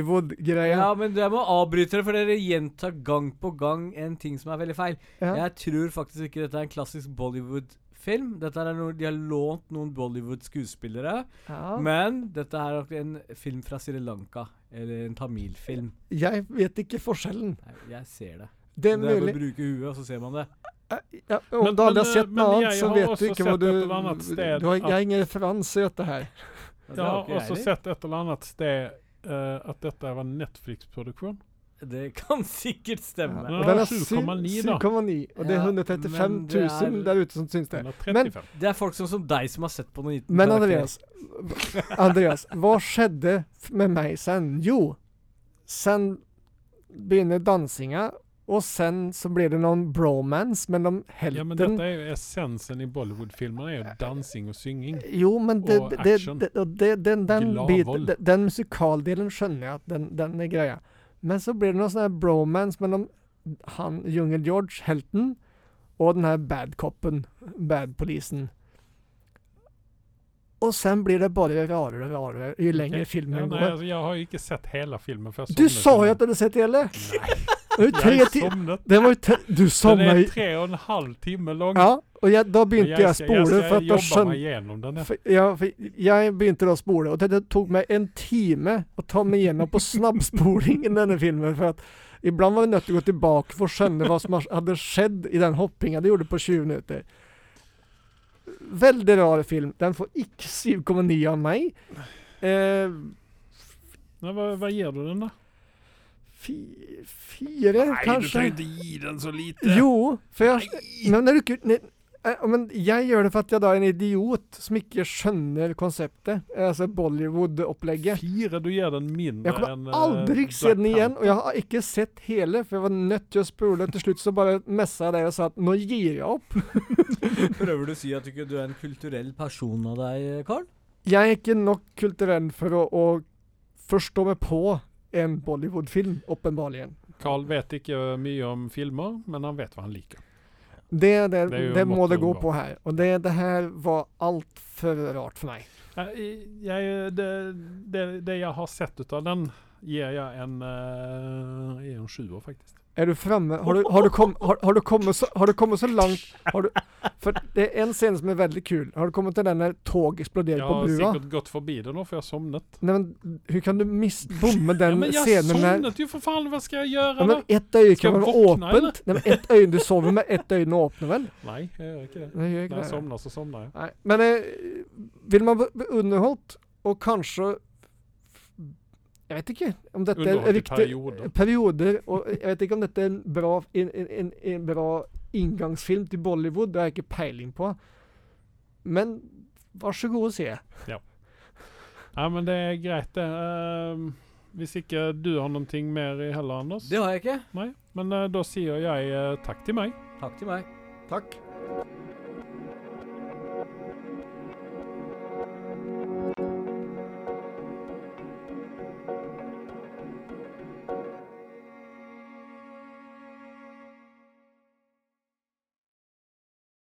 Bollywood-greia.
Ja, men jeg må avbryte dere, for dere gjentar gang på gang en ting som er veldig feil.
Ja.
Jeg tror faktisk ikke dette er en klassisk Bollywood-film. Dette er noe, De har lånt noen Bollywood-skuespillere.
Ja.
Men dette er nok en film fra Sri Lanka. Eller en tamilfilm.
Jeg vet ikke forskjellen.
Nei, Jeg ser det.
Det
Det
er
er bare å
mulig.
bruke huet, og så ser man det.
Äh, Ja, om
Men-
du aldri
men,
har sett
eh,
noe
men
annet,
jeg
så
har
vet
også
du ikke hva
sett
du
et eller annet sted
du har, Jeg
at-
har ingen referanse i dette her.
Det
Jeg har
ikke jeg
også
heller.
sett et eller annet sted eh, at dette var Netflix-produksjon.
Det kan sikkert stemme.
Ja.
Og den er
7,9 da.
7,9 og det er
Ja,
135
men
000
det er-
der ute som syns det.
Den er
Men-
35.
Det er folk som, som deg som har sett på noen liten
Men
karakter.
Andreas, Andreas, hva skjedde f- med meg sen? Jo, sen begynner dansinga, og sen så blir det noen bromance mellom
ja, men
helten
dette er jo essensen i Bollywood-filmene, er jo dansing og synging.
Jo, men det,
og
det,
action.
det, og det, den, den,
Glad
bit,
vold.
den, den musikaldelen skjønner jeg at den, den er greia. Men så blir det noe sånn her bromance mellom han Jungel-George, helten, og den her bad copen, bad policen. Og sen blir det bare rarere og rarere jo lenger
Ok. Ja,
filmen
nei,
går.
altså, jeg har jo ikke sett hele filmen. For jeg
Du
sovnet
sa
under-
jo at du hadde sett det hele!
Nei,
Det var jo tre
jeg
ti-
sovnet.
Det var jo tre Du
Den
sovna
er
i
tre og en halv time lang.
Ja, og jeg, da
Og
begynte jeg å
skal-
spole, for at da
Jeg skal jobbe
skjønte
meg gjennom den. jeg.
For, ja, for jeg begynte da å spole, og det, det tok meg en time å ta meg gjennom på snabbspoling i denne filmen. For at iblant var vi nødt til å gå tilbake for å skjønne hva som har- hadde skjedd i den hoppinga de gjorde på 20 minutter. Veldig rar film. Den får ikke 7,9 av meg. Eh,
Nei, hva, hva gir du den, da?
fi, fire, kanskje?
ikke gi den så lite.
Jo, for jeg Men det er jo ikke nei, eh, Men jeg gjør det for at jeg da er en idiot som ikke skjønner konseptet. eh, Altså Bollywood-opplegget.
Fire, du gir den mindre
Jeg
enn
kommer
eh,
aldri se den
Black
igjen, og jeg har ikke sett hele, for jeg var nødt til å spole. Til slutt så bare messa jeg deg og sa at nå gir jeg opp.
Prøver du å si at du ikke du er en kulturell person av deg, Carl?
Jeg er ikke nok kulturell for å, å forstå meg på en Bollywood-film, åpenbarlig.
Panther. Carl vet ikke mye om filmer, men han vet hva han liker.
Det, det,
Det er jo
det må det gå
mottoet.
på her. Og det, det her var altfor rart for meg.
Jeg, jeg, det, det, det jeg har sett ut av den, gir jeg en, eh, gir en sjuer, faktisk.
Er du fremme? Har du, har du, kom, har, har du, kommet, så, har du kommet så langt har du, For det er en scene som er veldig kul. Har du kommet til den der toget eksploderer
Jeg
på
har
brua?
sikkert gått forbi det nå, for jeg har sovnet.
Nei, men Hvordan kan du mis- bomme
Ja,
den
men jeg
scenen der?
sovnet jo, for faen! Hva skal jeg
Ja,
gjøre,
men
da?
ett øye kan
Skal jeg
være
våkne, eller?
åpent. Nei, men ett øye du sover med, ett øye åpner vel?
Nei, jeg gjør ikke det.
Nei, gjør ikke
Når jeg
det.
sovner, så sovner jeg.
Nei. Men eh, vil man bli underholdt, og kanskje Jeg vet ikke om dette er
Underholdt i
riktig
perioder.
perioder, og jeg vet ikke om dette er en bra, en, en, en, en bra inngangsfilm til Bollywood, det har jeg ikke peiling på. Men vær så god å se.
Nei, men det er greit, det. Ehm, hvis ikke du har noe mer i heller, Anders.
Det har jeg ikke.
Nei, men eh, da sier jeg eh, takk til meg.
Takk til meg.
Takk.